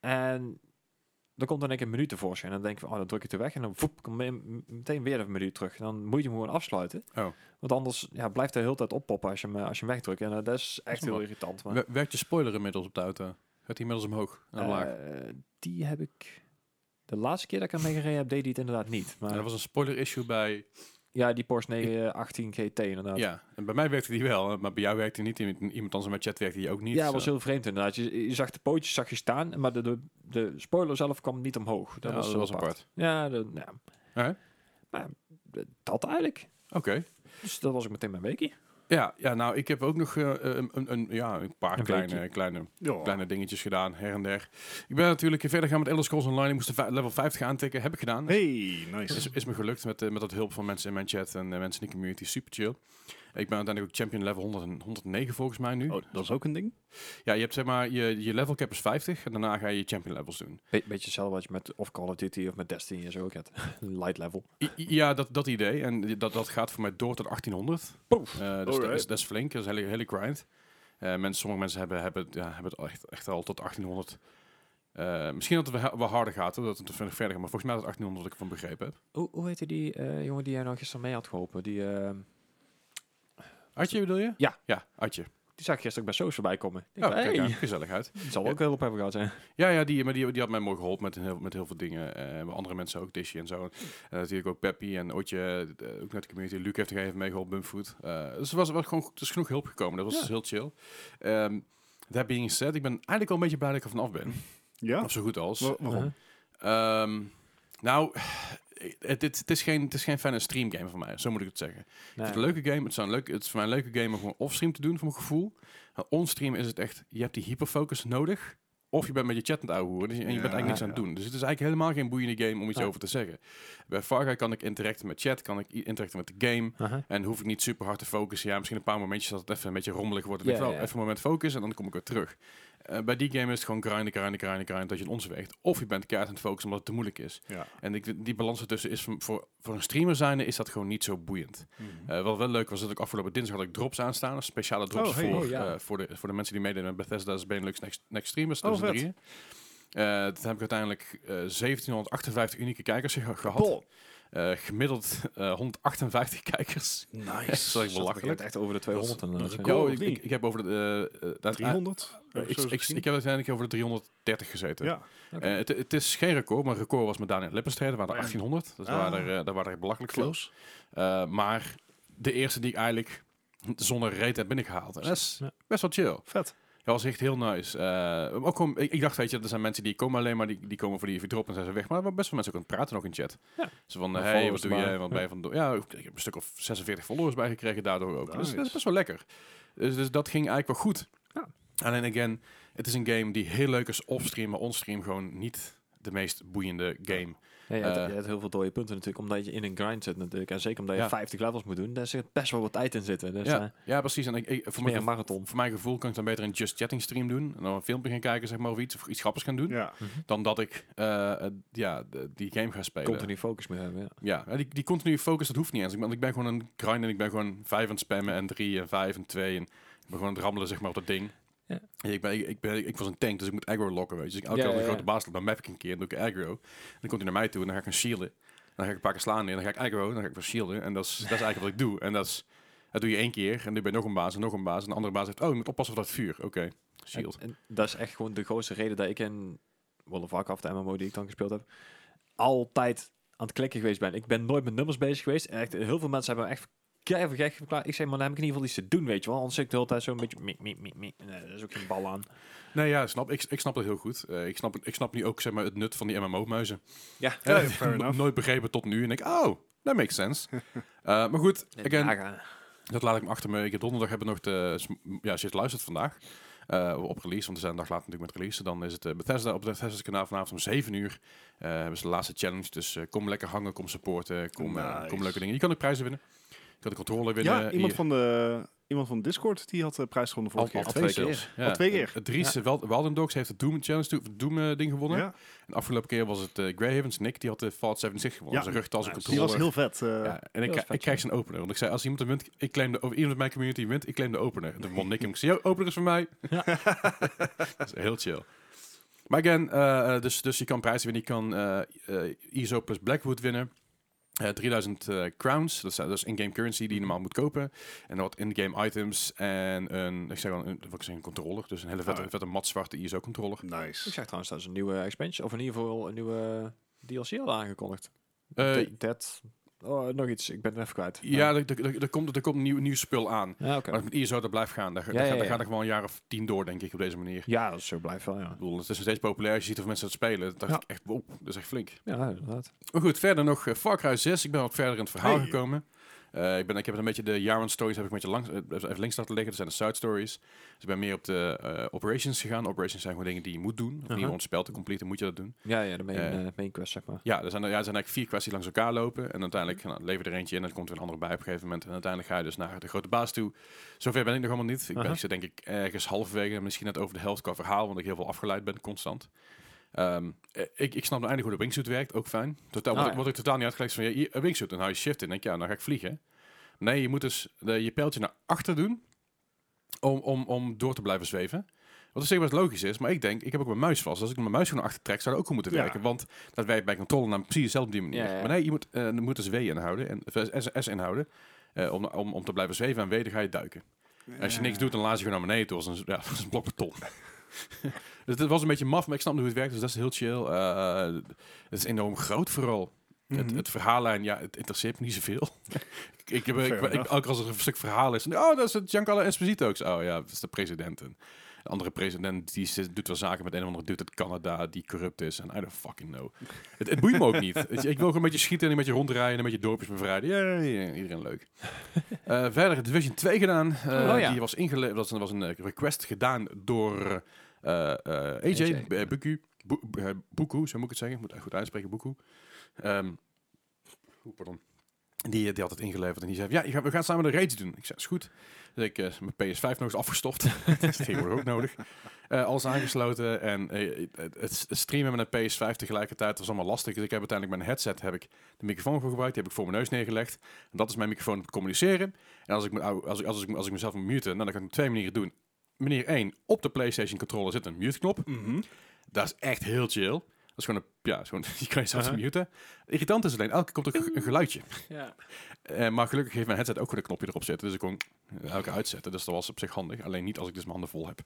S3: En dan komt dan een keer een menu tevoorschijn. En dan denk je, van, oh, dan druk je het er weg. En dan voep, komt me- m- meteen weer een menu terug. En dan moet je hem gewoon afsluiten.
S1: Oh.
S3: Want anders ja, blijft hij de hele tijd oppoppen als je hem, eh, als je hem wegdrukt. En eh, dat is echt
S1: wel-
S3: heel irritant. Maar,
S1: Wer- Werkt je spoiler inmiddels op de auto? Gaat die inmiddels omhoog en omlaag?
S3: eh, die heb ik... De laatste keer dat ik ermee gereden heb, deed die het inderdaad niet.
S1: Ja,
S3: Maar
S1: er was een spoiler-issue bij...
S3: ja, die Porsche eh, 918 GT inderdaad.
S1: Ja, en bij mij werkte die wel, maar bij jou werkte die niet. Iemand- Iemand anders in mijn chat werkte die ook niet.
S3: Ja,
S1: zo.
S3: was heel vreemd inderdaad. Je, je zag de pootjes zag je staan, maar de, de, de spoiler zelf kwam niet omhoog. Dat
S1: Ja,
S3: was,
S1: dat
S3: heel
S1: was apart.
S3: Ja, de, ja.
S1: Hè?
S3: Maar, eh, dat eigenlijk.
S1: Oké.
S3: Dus dat was ook meteen mijn weekie.
S1: Ja, ja, nou, ik heb ook nog eh, een, een, een- ja, een paar
S3: Een
S1: kleine,
S3: weekje.
S1: kleine
S2: Ja.
S1: kleine dingetjes gedaan, her en der. Ik ben natuurlijk verder gaan met Elder Scrolls Online. Ik moest de va- level 50 aantikken. Heb ik gedaan.
S2: Hey, nice.
S1: Is, is me gelukt met, eh, met dat hulp van mensen in mijn chat en eh, mensen in de community. Super chill. Ik ben uiteindelijk ook champion level 100 en 109 volgens mij nu.
S2: Oh, dat is ook een ding.
S1: Ja, je hebt zeg maar, je, je level cap is 50 en daarna ga je je champion levels doen.
S3: Be- beetje hetzelfde wat je met of Call of Duty of met Destiny en zo ook hebt. Light level.
S1: I- i- ja, dat, dat idee. En dat, dat gaat voor mij door tot 1800.
S3: Poef.
S1: Eh, dus dat,
S2: Alright.
S1: is, dat is flink, dat is een hele, hele grind. Eh, mensen, sommige mensen hebben, hebben, het- ja, hebben het al echt, echt al tot 1800. Eh, misschien dat het wel- wel harder gaat, hoor, dat het verder gaat. Maar volgens mij is het 1800 wat ik van begrepen heb.
S3: Hoe, hoe heette die eh, jongen die jij nou gisteren mee had geholpen? Die, eh,
S1: Adje bedoel je?
S3: Ja.
S1: Ja, Adje.
S3: die zag ik gisteren ook bij Soos voorbij komen. Ik
S1: Ja,
S3: dacht,
S1: kijk
S3: Oh, hey,
S1: aan, gezelligheid.
S3: die zal ook heel op hebben gehad zijn.
S1: Ja, ja die, maar die, die had mij mooi geholpen met heel, met heel veel dingen. Eh, maar andere mensen ook, Dishy en zo. En eh, natuurlijk ook Peppy en Otje, eh, ook naar de community. Luc heeft er even mee geholpen, Bumfood. Eh, dus er was, was gewoon goed- er is genoeg hulp gekomen, dat was
S3: Ja.
S1: dus heel chill. Ehm that being said, ik ben eigenlijk al een beetje blij dat ik er vanaf ben.
S2: Ja?
S1: Of zo goed als.
S2: Wa- waarom?
S3: Uh-huh.
S1: Ehm, nou, het, het, het is geen, het is geen fijne streamgame voor mij, zo moet ik het zeggen. Ik vind
S3: Nee.
S1: het een leuke game, het, zijn leuk, het is voor Nou, mij een leuke game om gewoon offstream te doen, voor mijn gevoel. Maar onstream is het echt, je hebt die hyperfocus nodig Of je bent met je chat aan het ouwehoeren dus je- en je bent
S2: Ja,
S1: eigenlijk niks aan het doen. Dus het is eigenlijk helemaal geen boeiende game om iets
S3: Ja.
S1: over te zeggen. Bij Far Cry kan ik interacten met chat, kan ik i- interacten met de game.
S3: Aha.
S1: En hoef ik niet super hard te focussen. Ja, misschien een paar momentjes dat het even een beetje rommelig wordt. Dan denk
S3: Ja,
S1: ik,
S3: ja,
S1: nou,
S3: ja.
S1: even een moment focus en dan kom ik weer terug. Eh, bij die game is het gewoon grinden, grinden, grinden, grinden dat je het ons weegt. Of je bent kaart aan het focussen omdat het te moeilijk is.
S2: Ja.
S1: En ik, die balans ertussen is voor- voor, voor een streamer zijnde is dat gewoon niet zo boeiend. Eh, wat wel leuk was, dat ik afgelopen dinsdag had ik drops aanstaan. Speciale drops
S2: Oh, hey.
S1: voor,
S3: Oh, ja.
S1: eh, voor, de, voor de mensen die meededen met Bethesda's Benelux Next, Next Streamers
S2: Oh, vet.
S1: 2003. Eh, dat heb ik uiteindelijk eh, 1758 unieke kijkers ge- gehad. Eh, gemiddeld eh, 158 kijkers.
S2: Nice.
S1: Dat is wel
S2: Zat er
S1: belachelijk.
S2: echt over de
S3: 200 en eh,
S2: dat is een
S1: Ja,
S2: goal,
S1: oh,
S2: of
S1: ik,
S2: niet?
S1: ik, ik heb over de... eh, eh, dat-
S2: 300?
S1: eh, ik, ik, ik heb uiteindelijk over de 330 gezeten.
S2: ja.
S1: Eh, het, het is geen record, maar record was met Daniel Lippenstrijden. waren er
S2: Oh ja.
S1: 1800. Dus daar
S2: Ah.
S1: waren er, eh, daar waren er belachelijk veel.
S2: Close.
S1: Eh, maar de eerste die ik eigenlijk zonder reet heb binnengehaald. En dat is
S3: Ja.
S1: best wel chill.
S2: Vet.
S1: Dat was echt heel nice. Eh, ook gewoon, ik, ik dacht, weet je, er zijn mensen die komen alleen maar, die, die komen voor die drop en zijn ze weg. Maar er waren best wel mensen ook aan het praten nog in chat.
S3: Ja.
S1: Zo van,
S3: Maar
S1: hey, wat
S3: followers
S1: doe je?
S3: maar.
S1: En Wat ben je van, ja, ik heb een stuk of 46 followers bijgekregen daardoor ook. Dus dat is best wel lekker. Dus, dus dat ging eigenlijk wel goed.
S3: Ja.
S1: Alleen, again, het is een game die heel leuk is offstream, maar onstream gewoon niet de meest boeiende game.
S3: Ja, je, hebt,
S1: Eh.
S3: je hebt heel veel dode punten natuurlijk, omdat je in een grind zit natuurlijk. En zeker omdat je
S1: Ja.
S3: 50 levels moet doen, daar zit best wel wat tijd in zitten. Dus,
S1: ja,
S3: eh,
S1: ja, precies. En ik, ik-
S3: voor
S1: voor,
S3: mij
S1: mijn,
S3: een
S1: gevo-
S3: marathon.
S1: voor mijn gevoel kan ik dan beter een Just Chatting stream doen. En dan een filmpje gaan kijken, zeg maar, of iets, of iets grappigs gaan doen.
S2: Ja.
S3: Mhm.
S1: Dan dat ik eh, eh, ja, de- die game ga spelen.
S3: Continu focus moet hebben, ja.
S1: Ja, ja, die, die continue focus, dat hoeft niet eens. Ik ben, ik ben gewoon een grind en ik ben gewoon vijf aan het spammen en drie en vijf en twee. En ik ben gewoon aan het rammelen, zeg maar, op dat ding.
S3: Ja.
S1: En ik, ben, ik, ik ben, ik was een tank, dus ik moet aggro lokken, weet je. Dus ik elke
S3: Ja,
S1: keer als
S3: ja,
S1: een grote
S3: ja.
S1: baas loop, dan map ik een keer en doe ik aggro. En dan komt hij naar mij toe en dan ga ik hem shielden. En dan ga ik een paar keer slaan neer, dan ga ik aggro, en dan ga ik weer shielden. En dat is, dat is eigenlijk wat ik doe. En dat, is, dat doe je één keer en nu ben je nog een baas en nog een baas. En de andere baas zegt, oh, je moet oppassen voor dat vuur. Oké, shield.
S3: En, en dat is echt gewoon de grootste reden dat ik in World of Warcraft, de MMO die ik dan gespeeld heb, altijd aan het klikken geweest ben. Ik ben nooit met nummers bezig geweest. Echt, heel veel mensen hebben me echt keihard gek verklaard. Ik zeg, maar dan heb ik in ieder geval iets te doen, weet je wel. Anders zit ik de hele tijd zo'n beetje... Mie, mie, mie, mie. Nee, er is ook geen bal aan.
S1: Nee, ja, snap, ik, ik snap dat heel goed. Eh, ik, snap, ik snap nu ook zeg maar, het nut van die MMO-muizen.
S3: Ja,
S2: Ja,
S1: Eh,
S2: fair
S1: no-
S2: enough.
S1: nooit begrepen tot nu. En ik, oh, that makes sense. Eh, maar goed, again,
S3: gaan.
S1: dat laat ik me achter me. Ik heb donderdag hebben we nog de... sm- Ja, als je het luistert vandaag, eh, op release, want we zijn een dag later natuurlijk met release. Dan is het eh, Bethesda op het Bethesda's kanaal vanavond om 7 uur. Eh hebben ze de laatste challenge. Dus eh, kom lekker hangen, kom supporten, kom, eh,
S2: Nice.
S1: kom leuke dingen. Je kan ook prijzen winnen. Je kan de controller winnen.
S2: Ja, iemand van, de, iemand van Discord die had de prijs gewonnen
S1: al,
S2: vorige keer.
S1: al twee,
S3: Al twee
S1: zelfs. Ja.
S2: Al twee keer.
S1: Eh, Dries eh, Wel- Walden Dogs heeft de Doom Challenge, Doom eh, ding gewonnen.
S2: Ja.
S1: En de afgelopen keer was het eh, Greyhavens, Nick, die had de Fallout 76 gewonnen.
S2: Ja.
S1: Zijn rugtas en
S2: Die
S1: controller.
S2: was heel vet. eh,
S1: Ja, en ik,
S3: was
S1: krijg-
S3: vet,
S1: ik krijg zijn opener. Want ik zei, als iemand hem wint, ik claim de, of iemand uit mijn community wint, ik claim de opener. En toen won Nick hem. Ik zei, "Yo, opener is van mij. dat is heel chill. Maar again, eh, eh, dus, dus je kan prijzen winnen. Je kan eh, eh, ISO plus Blackwood winnen. Eh, 3000 eh, crowns, dat zijn dus in-game currency die je normaal moet kopen. En wat in-game items en een, ik zeg wel, een, wat ik zeg, een controller. Dus een hele vette,
S2: Oh, ja.
S1: vette E matzwarte ISO-controller.
S3: Ik
S2: Nice.
S3: zag trouwens dat is een nieuwe expansion, of in ieder geval een nieuwe DLC al aangekondigd.
S1: Eh
S3: Ted- Ted, oh, nog iets, ik ben het even kwijt. Ah.
S1: ja, er, er, er- er komt, er komt nieuw, nieuw spul aan.
S3: ja oké.
S1: Maar met E ISO, dat blijft gaan. Daar, daar
S3: Ja,
S1: gaat-
S3: ja,
S1: daar
S3: ja.
S1: gaat er gewoon een jaar of tien door, denk ik, op deze manier.
S3: Ja, dat is zo blijft wel, ja.
S1: Ik bedoel, het is nog steeds populair. Als je ziet hoeveel mensen dat spelen. Dat dacht
S3: Ja.
S1: ik echt, wow, dat is echt flink.
S3: Ja, inderdaad.
S1: Maar goed, verder nog eh, Far Cry 6. Ik ben wat verder in het verhaal
S2: Hey.
S1: gekomen. Eh, ik, ben, ik heb een beetje de Jaren stories heb ik een beetje langs, eh, even links laten liggen. Dat zijn de side stories. Dus ik ben meer op de eh, operations gegaan. Operations zijn gewoon dingen die je moet doen. Of niet
S3: Aha.
S1: om het spel te completen moet je dat doen.
S3: Ja, ja, de main,
S1: Eh.
S3: eh, main quest, zeg maar.
S1: Ja, er zijn, er- ja, er zijn eigenlijk vier kwesties langs elkaar lopen. En uiteindelijk nou, lever er eentje in en er komt weer een andere bij op een gegeven moment. En uiteindelijk ga je dus naar de grote baas toe. Zover ben ik nog helemaal niet. Ik, ben,
S3: Aha.
S1: ik zit denk ik ergens halverwege, misschien net over de helft qua verhaal, want ik heel veel afgeleid ben constant. Ehm, eh, ik, ik snap nou eindelijk hoe de wingsuit werkt, ook fijn. Totaal,
S3: Ah,
S1: wat, ik,
S3: ja.
S1: wat ik totaal niet uitgelegd is van, ja, hier, een wingsuit, dan hou je shift in. denk ik, ja, dan ga ik vliegen. Nee, je moet dus de, je pijltje naar achter doen om, om, om door te blijven zweven. Wat op zich best logisch is, maar ik denk, ik heb ook mijn muis vast. Als ik mijn muis gewoon naar achter trek, zou dat ook goed moeten
S2: Ja.
S1: werken. Want dat werkt bij controle namelijk precies dezelfde op die manier.
S3: Ja, ja.
S1: Maar nee, je moet, eh, je moet dus W inhouden, en, of S, S inhouden, eh, om, om, om te blijven zweven. En W, dan ga je duiken. En Als je niks doet, dan laat je gewoon naar beneden toe. Als een, ja, als een blok beton. dus het was een beetje maf, maar ik snap nu hoe het werkt. Dus dat is heel chill. Eh, het is enorm groot vooral. Het, het verhaallijn, ja, het interesseert me niet zoveel. ik, ik, heb, ik,
S2: Fair
S1: ik-
S2: enough.
S1: ook als er een stuk verhaal is. Oh, dat is het Giancarlo Esposito. Ik zei, Oh ja, dat is de president. En de andere president, die zit- doet wel zaken met een of andere dude uit Canada die corrupt is. En I don't fucking know. het, het boeit me ook niet. Weet je, Ik wil gewoon een beetje schieten en een beetje rondrijden en een beetje dorpjes bevrijden. Ja, ja, ja, iedereen leuk. Eh, verder Division 2 gedaan. Eh,
S3: Oh, ja.
S1: Die was ingeleverd. Dat was een- was een eh, request gedaan door eh, eh, eh, AJ,
S3: AJ,
S1: eh, Buku, Bu- eh, Buku, zo moet ik het zeggen. Ik moet het echt goed uitspreken, Buku. Ehm, oeh, pardon. Die, eh, die had het ingeleverd en die zei van, ja, je gaat- we gaan samen de raids doen. Ik zei, is goed. Dus ik eh, mijn PS5 nog eens afgestopt. dat is tegenwoordig ook nodig. Eh, alles aangesloten en eh, het- het het streamen met een PS5 tegelijkertijd was allemaal lastig. Dus ik heb uiteindelijk mijn headset, heb ik de microfoon voor gebruikt, die heb ik voor mijn neus neergelegd. En dat is mijn microfoon om te communiceren. En als ik, me- als, ik, als, ik, als, ik, mezelf moet muten, nou, dan kan ik op twee manieren doen. Manier 1, op de PlayStation controller zit een mute-knop.
S2: Mhm.
S1: Dat is echt heel chill. Dat is gewoon een, ja, is gewoon, je kan jezelf
S3: Aha.
S1: muten. Irritant is alleen, elke keer komt er een- een geluidje.
S3: Ja.
S1: Eh, maar gelukkig heeft mijn headset ook gewoon een knopje erop zitten. Dus ik kon elke keer uitzetten. Dus dat was op zich handig. Alleen niet als ik dus mijn handen vol heb.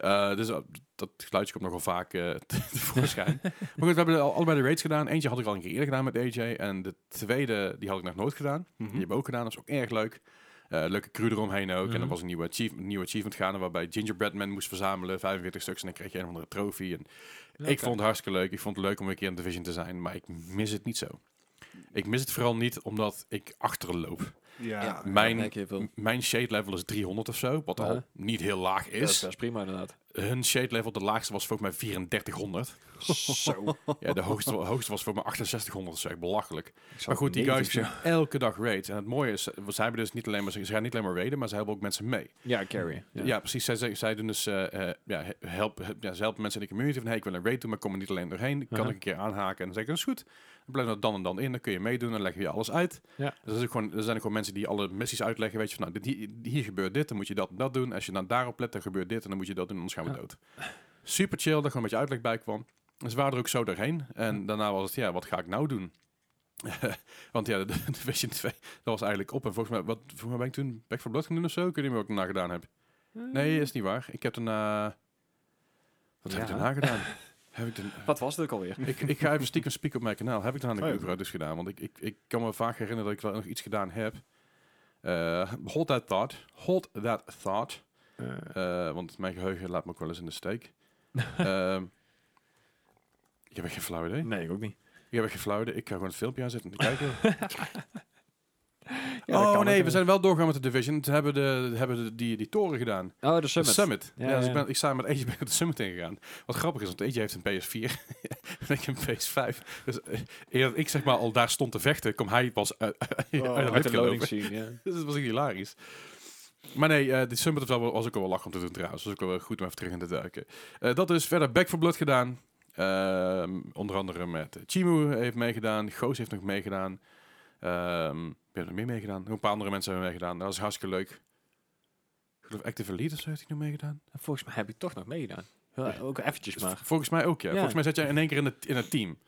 S1: Eh, dus eh, dat geluidje komt nogal vaak eh, te- tevoorschijn. maar goed, we hebben al- allebei de raids gedaan. Eentje had ik al een keer eerder gedaan met AJ. En de tweede, die had ik nog nooit gedaan. Die hebben we ook gedaan. Dat is ook erg leuk. Eh, leuke crew eromheen ook. En
S3: Mhm.
S1: er was een nieuwe achievement, nieuwe achievement gaande waarbij Gingerbread Man moest verzamelen. 45 stuks en dan kreeg je een of andere trofee. En ik vond het hartstikke leuk. Ik vond het leuk om een keer in Division te zijn. Maar ik mis het niet zo. Ik mis het vooral niet omdat ik achterloop.
S2: Ja.
S3: Ja.
S1: Mijn-
S3: dat merk je heel veel.
S1: M- Mijn shade level is 300 of zo, wat al
S3: Ja.
S1: niet heel laag
S3: Ja, dat is
S1: is.
S3: best prima inderdaad.
S1: Hun shade level, de laagste was volgens mij 3400.
S3: Zo.
S1: Ja, de hoogste, hoogste was voor mij 6800, dat is echt belachelijk.
S3: Ik zou
S1: Maar goed, die guys
S3: 90
S1: doen
S3: zeggen.
S1: elke dag raids. En het mooie is, eh, ze, hebben dus niet alleen maar, ze gaan niet alleen maar raiden, maar ze helpen ook mensen mee.
S3: Ja, carry.
S1: Ja, precies. Zij, zij, zij doen dus, eh, eh, ja, he- help, he- ja, ze helpen mensen in de community van, hey, ik wil een raid doen, maar ik kom er niet alleen doorheen. Ik kan
S3: Aha.
S1: ik een keer aanhaken en dan zeg ik, dat is goed. Dan blijf dat dan en dan in, dan kun je meedoen, dan leg je alles uit.
S3: Ja.
S1: Dus dat is ook gewoon, er zijn ook gewoon mensen die alle missies uitleggen, weet je, van, nou, dit, hier, hier gebeurt dit, dan moet je dat en dat doen. Als je dan daarop let, dan gebeurt dit en dan moet je dat doen, anders gaan we
S3: Ja.
S1: dood. Super chill, dat gewoon een beetje uitleg bij kwam. Dus we waren er ook zo doorheen. En
S2: Mhm.
S1: daarna was het, ja, wat ga ik nou doen? Want ja, de, de Division 2, dat was eigenlijk op. En volgens mij, wat, volgens mij ben ik toen Back for Blood gaan doen of zo. Ik weet niet meer wat ik daarna gedaan heb.
S2: Hmm.
S1: Nee, is niet waar. Ik heb daarna... Wat heb ik
S3: Ja.
S1: daarna gedaan? heb ik daarna...
S3: Wat was het ook alweer?
S1: Ik, ik ga even stiekem spieken op mijn kanaal. Heb ik daarna
S2: Oh
S1: de
S2: ja.
S1: Uber dus gedaan? Want ik, ik, ik kan me vaak herinneren dat ik wel nog iets gedaan heb. Eh, hold that thought. Hold that thought. Eh, want mijn geheugen laat me ook wel eens in de steek. Ehm, ik heb echt geen flauw idee.
S3: Nee, ik ook niet.
S1: Ik heb echt geen flauw idee. Ik ga gewoon het filmpje aanzetten om te kijken.
S3: Ja, dat
S1: oh
S3: kan
S1: nee,
S3: ook,
S1: we
S3: eh.
S1: zijn wel doorgaan met de Division. Ze hebben, de, hebben de, die, die toren gedaan.
S3: Oh, de
S1: De
S3: summit.
S1: Summit. Ja,
S3: Ja,
S1: dus
S3: ja.
S1: Ik, ben, ik sta met eentje ben ik de Summit ingegaan. Wat grappig is, want eentje heeft een PS4 en ik een PS5. Dus eh, eer dat ik zeg maar al daar stond te vechten, kom hij pas uit, uit,
S2: Oh,
S1: uit
S3: Uit de
S1: de loading.
S3: loading scene, ja.
S1: Dus dat was echt hilarisch. Maar nee, eh die Summit of zo was ook wel lach om te doen trouwens. Dus ook wel goed om even terug in te duiken. Eh, dat is verder Back for Blood gedaan. Ehm, onder andere met Chimu heeft meegedaan. Goos heeft nog meegedaan. Ehm wie heeft er meer meegedaan? Nog Een paar andere mensen hebben meegedaan. Dat is hartstikke leuk. Ik geloof Active Elite of zo heeft hij nog meegedaan.
S3: En Volgens mij heb ik toch nog meegedaan. Ja, ook eventjes
S1: Dus
S3: maar.
S1: v- Volgens mij ook, ja.
S3: Ja.
S1: Volgens mij zat jij in één keer in het, in het team.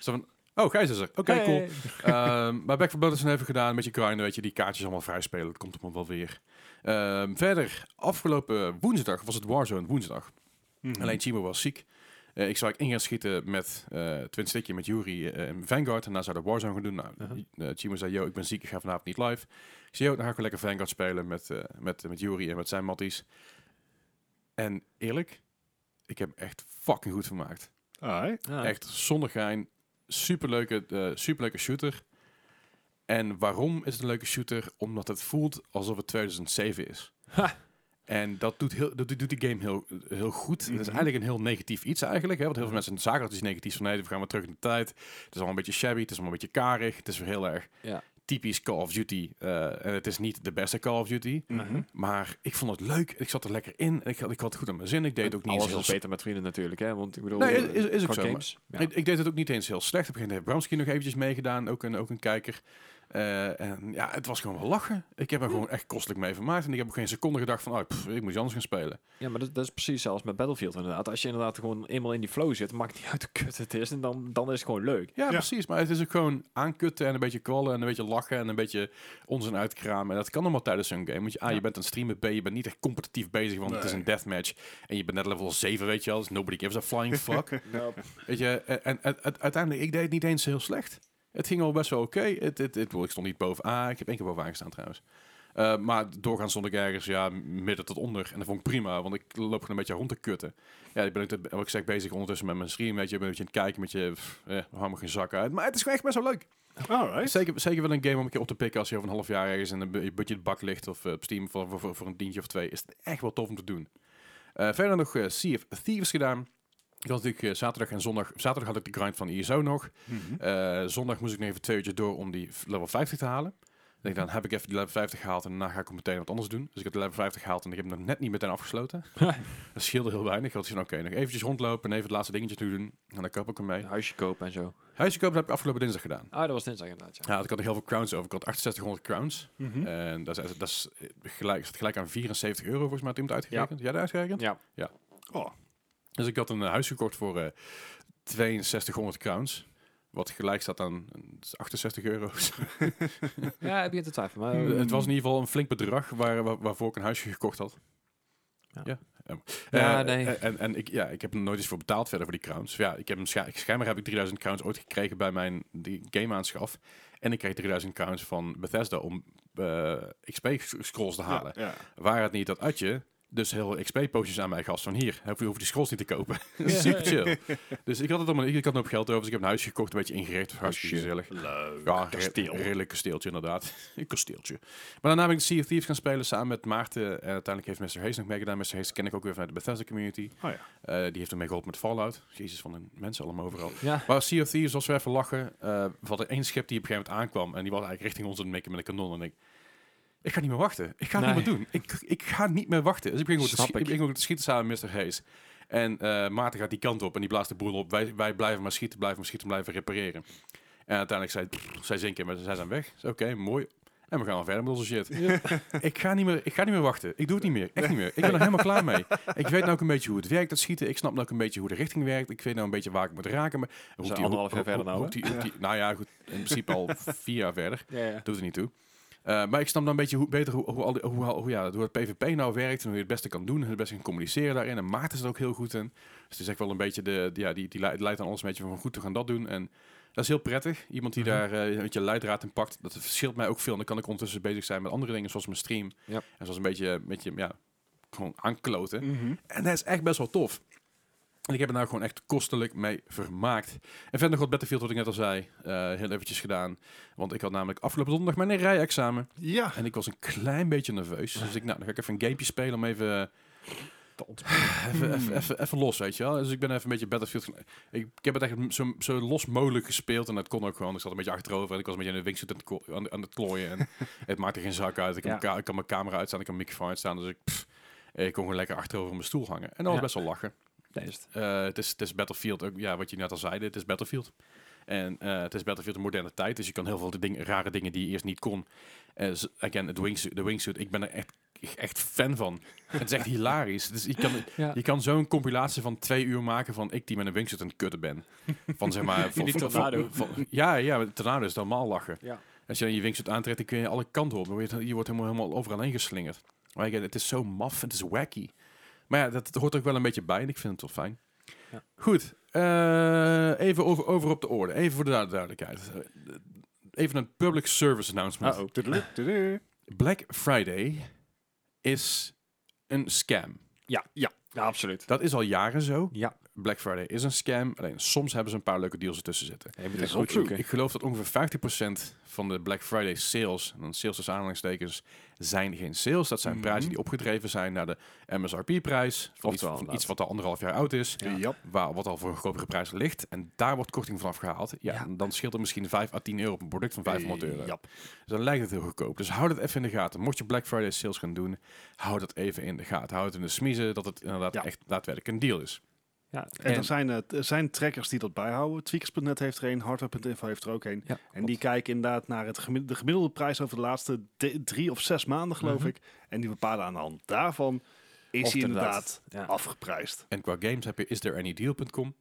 S1: Zo van, oh, Gijs is er. Oké, cool.
S3: Hey.
S1: Ehm, maar Back for Blood is even gedaan. Een beetje grinden, weet je. Die kaartjes allemaal vrij spelen. Dat komt op wel weer. Ehm, verder, afgelopen woensdag was het Warzone woensdag.
S2: Mhm.
S1: Alleen Chimo was ziek. Eh, ik zou eigenlijk in gaan schieten met eh Twin Stickje, met Yuri eh, en Vanguard. En daarna zouden we Warzone gaan doen. Nou,
S3: Uh-huh.
S1: eh, Chimo zei, yo, ik ben ziek, ik ga vanavond niet live. Ik zei, yo, dan ga ik wel lekker Vanguard spelen met, eh met, met Yuri en met zijn matties. En eerlijk, ik heb hem echt fucking goed vermaakt.
S2: Alright.
S3: Ah,
S1: Echt zonder gein. Superleuke, eh, superleuke shooter. En waarom is het een leuke shooter? Omdat het voelt alsof het 2007 is.
S3: Ha.
S1: En dat doet, heel, dat doet die game heel, heel goed. Het is
S2: Mhm.
S1: eigenlijk een heel negatief iets eigenlijk. Hè? Want heel veel mensen zagen dat iets negatiefs van... nee, we gaan weer terug in de tijd. Het is allemaal een beetje shabby. Het is allemaal een beetje karig. Het is weer heel erg
S3: Ja.
S1: typisch Call of Duty. Eh, en het is niet de beste Call of Duty.
S2: Mhm.
S1: Maar ik vond het leuk. Ik zat er lekker in. Ik had, ik had het goed aan mijn zin. Ik deed het ook niet
S3: Alles
S1: eens heel
S3: is beter met vrienden natuurlijk, hè. Want ik bedoel...
S1: Nee, is- is- is ook
S3: qua
S1: zo, maar-
S3: games. Ja.
S1: Ik, ik deed het ook niet eens heel slecht. Op een gegeven moment heeft Bramski nog eventjes meegedaan. Ook een, ook een kijker. Eh, en ja, het was gewoon wel lachen. Ik heb er gewoon echt kostelijk mee vermaakt. En ik heb ook geen seconde gedacht van... Oh, pff, ik moet iets anders gaan spelen.
S3: Ja, maar dat, dat is precies zelfs met Battlefield inderdaad. Als je inderdaad gewoon eenmaal in die flow zit, maakt niet uit hoe kut het is. En dan, dan is het gewoon leuk.
S1: Ja,
S2: Ja.
S1: precies. Maar het is ook gewoon aankutten en een beetje kwallen en een beetje lachen en een beetje onzin uitkramen. En dat kan allemaal tijdens zo'n game. Want je, A,
S3: Ja.
S1: je bent aan het streamen. B, je bent niet echt competitief bezig, want het is
S2: Nee.
S1: een deathmatch. En je bent net level 7, weet je wel. Dus nobody gives a flying fuck. Weet je, en, en, en- en uiteindelijk, ik deed het niet eens heel slecht. Het ging al best wel oké. Het, het, het, ik stond niet bovenaan. Ik heb één keer bovenaan gestaan trouwens. Eh, maar doorgaans stond ik ergens ja, midden tot onder. En dat vond ik prima, want ik loop gewoon een beetje rond te kutten. Ja, ik ben ook, te- wat ik zeg, bezig ondertussen met mijn stream. Weet je, ik ben een beetje aan het kijken met je... Pff, eh, we hangen geen zak uit. Maar het is gewoon echt best wel leuk.
S2: Alright.
S1: Zeker, zeker wel een game om een keer op te pikken als je over een half jaar ergens in een bu- budgetbak ligt. Of eh, op Steam voor, voor, voor- voor een tientje of twee. Is het echt wel tof om te doen. Eh, verder nog eh Sea of Thieves gedaan. Ik had natuurlijk eh, zaterdag en zondag... Zaterdag had ik de grind van ISO nog.
S2: Mhm.
S1: Eh, zondag moest ik nog even twee uurtjes door om die f- level 50 te halen. Ik denk, dan heb ik even die level 50 gehaald en daarna ga ik ook meteen wat anders doen. Dus ik heb de level 50 gehaald en ik heb hem nog net niet meteen afgesloten. dat scheelde heel weinig. Ik had zoiets van, oké, nog eventjes rondlopen en even de laatste dingetjes nu doen. En dan kap ik hem mee.
S3: Een huisje kopen en zo.
S1: Huisje kopen heb ik afgelopen dinsdag gedaan.
S3: Ah, dat was dinsdag inderdaad, ja.
S1: Ja, ik had nog heel veel crowns over. Ik had 6800 crowns.
S3: Hm?
S1: En dat is, dat is gelijk, zat gelijk aan 74 euro volgens mij had iemand uitgerekend. Jij dat uitgerekend?
S3: Ja,
S2: Oh,
S1: Dus ik had een eh, huis gekocht voor eh 6200 crowns. Wat gelijk staat aan eh, 68 euro.
S3: ja ik begin te twijfelen. Maar, ehm,
S1: Het was in ieder geval een flink bedrag waar, waar- waarvoor ik een huisje gekocht had.
S3: Ja.
S1: ehm,
S3: Ja,
S1: eh,
S3: nee.
S1: eh, En, en ik, ja, ik heb er nooit iets voor betaald verder voor die crowns. Ja, ik heb hem scha- ik- schijnbaar heb ik 3000 crowns ooit gekregen bij mijn die game aanschaf. En ik kreeg 3000 crowns van Bethesda om eh, XP scrolls te Eh, halen.
S2: Ja, ja.
S1: Waar het niet dat Adje dus heel XP-postjes aan mij gast van hier, heb je hoef je die scrolls niet te kopen. Super chill. dus ik had het allemaal, ik had nog geld over, dus ik heb een huisje gekocht, een beetje ingericht, hartstikke gezellig.
S2: Leuk.
S1: Ja, kasteel. redelijk kasteeltje inderdaad. een kasteeltje. Maar daarna ben ik Sea of Thieves gaan spelen samen met Maarten. En uiteindelijk heeft Mr. Hayes nog meegedaan. Mr. Hayes ken ik ook weer vanuit de Bethesda community.
S2: Oh ja.
S1: Eh, die heeft hem mee geholpen met Fallout. Jezus, van de mensen allemaal overal.
S3: ja.
S1: Maar Sea of Thieves, als we even lachen, eh we hadden één schip die op een gegeven moment aankwam. En die was eigenlijk richting ons aan het mikken met een kanon. En ik, ik ga niet meer wachten. Ik ga het
S3: Nee.
S1: niet meer doen. Ik, ik ga niet meer wachten. Dus ik begin ook te,
S3: Snap
S1: schi-
S3: ik.
S1: ik begin ook te schieten samen met Mr. Hayes. En eh, Maarten gaat die kant op en die blaast de boel op. Wij, wij blijven maar schieten, blijven maar schieten, blijven repareren. En uiteindelijk zei pff, zij zinken, maar zij zijn weg. Dus Oké, mooi. En we gaan al verder met onze shit. ik, ga niet meer, ik ga niet meer wachten. Ik doe het niet meer. Echt niet meer. Ik ben er helemaal klaar mee. Ik weet nou ook een beetje hoe het werkt, dat schieten. Ik snap nou ook een beetje hoe de richting werkt. Ik weet nou een beetje waar ik moet raken. Maar roept
S3: zijn
S1: die-
S3: anderhalf jaar verder nou,
S1: roept die- roept die- Nou ja, goed. In principe al vier jaar verder.
S3: Ja, ja.
S1: Doet er niet toe. Eh, maar ik snap dan een beetje hoe, beter hoe, hoe, al die- hoe, al- hoe, ja, hoe het PvP nou werkt en hoe je het beste kan doen en het beste kan communiceren daarin. En Maarten is er ook heel goed in. Dus het is echt wel een beetje de, de- ja, die, die leidt, leidt aan alles een beetje van goed, we gaan dat doen. En dat is heel prettig. Iemand die
S3: Mhm.
S1: daar eh, een beetje leidraad in pakt, dat verschilt mij ook veel. En dan kan ik ondertussen bezig zijn met andere dingen, zoals mijn stream.
S3: Ja.
S1: En zoals een beetje, met je, ja, gewoon aankloten.
S3: Mhm.
S1: En dat is echt best wel tof. En ik heb er nou gewoon echt kostelijk mee vermaakt. En verder nog wat Battlefield, wat ik net al zei, eh, heel eventjes gedaan. Want ik had namelijk afgelopen donderdag mijn rijexamen.
S2: Ja.
S1: En ik was een klein beetje nerveus. Dus ik, nou, dan ga ik even een gamepje spelen om even... Even,
S3: Hmm.
S1: even, even, even los, weet je wel. Dus ik ben even een beetje Battlefield... gaan- Ik, ik heb het echt zo, zo los mogelijk gespeeld. En dat kon ook gewoon. Ik zat een beetje achterover. En ik was een beetje in de wingsuit aan het ko- aan, aan het klooien. En het maakte geen zak uit. Ik, kan
S3: Ja.
S1: mijn ka- ik kan mijn camera uitstaan. Ik kan mijn microfoon uitstaan. Dus ik, pff, ik kon gewoon lekker achterover op mijn stoel hangen. En dat was
S3: Ja.
S1: best wel lachen.
S3: Nee, is het.
S1: Eh, het, is, het is Battlefield, ook, ja, wat je net al zei, het is Battlefield. En eh, het is Battlefield in moderne tijd, dus je kan heel veel de dingen, rare dingen die je eerst niet kon. Eh, z- again, het wingsuit, de wingsuit, ik ben er echt, echt fan van. het is echt hilarisch. Dus je kan,
S3: Ja.
S1: je kan zo'n compilatie van twee uur maken van ik die met een wingsuit aan het kutten ben. Van zeg maar... Van,
S3: die
S1: van-
S3: tornado.
S1: van- van- ja, ja, met de tornado is normaal lachen.
S3: Ja.
S1: Als je dan je wingsuit aantrekt, dan kun je alle kanten op. Dan word Je, je wordt helemaal, helemaal overal heen geslingerd. Maar again, het is zo maf, het is wacky. Maar ja, dat hoort er ook wel een beetje bij en ik vind het wel fijn.
S3: Ja.
S1: Goed, eh, even over, over op de orde. Even voor de duid- duidelijkheid. Eh, Even een public service
S2: Oh,
S1: announcement.
S3: Uh-oh.
S2: Tudu, tudu.
S1: Black Friday is een scam.
S3: Ja, absoluut.
S1: Dat is al jaren zo.
S3: Ja.
S1: Black Friday is een scam. Alleen soms hebben ze een paar leuke deals ertussen zitten.
S3: Je moet
S2: Dus
S3: echt
S2: ook
S3: opzoeken.
S1: Ik geloof dat ongeveer 50% van de Black Friday sales, en dan sales tussen aanhalingstekens, zijn geen sales. Dat zijn
S2: Mhm.
S1: prijzen die opgedreven zijn naar de MSRP-prijs. Van iets,
S3: Oftewel,
S1: van
S3: inderdaad.
S1: iets wat al anderhalf jaar oud is.
S2: Ja.
S1: Waar, wat al voor een goedkopere prijs ligt. En daar wordt korting vanaf gehaald. Ja,
S3: Ja.
S1: Dan scheelt er misschien 5 à 10 euro op een product van 500 euro.
S2: Ja.
S1: Dus dan lijkt het heel goedkoop. Dus hou dat even in de gaten. Mocht je Black Friday sales gaan doen, hou dat even in de gaten. Hou het in de smiezen dat het inderdaad
S2: Ja.
S1: echt daadwerkelijk een deal is.
S3: Ja,
S2: En, er, zijn, eh, t- er zijn trackers die dat bijhouden. Tweakers.net heeft er een, hardware.info heeft er ook een.
S3: Ja,
S2: en die kijken inderdaad naar het gemi- de gemiddelde prijs over de laatste de- drie of zes maanden, geloof
S1: Mhm.
S2: ik. En die bepalen aan de hand daarvan, is
S3: Of
S2: hij
S3: het
S2: inderdaad
S3: ja.
S2: afgeprijsd.
S1: En qua games heb je istthereanydeal.com.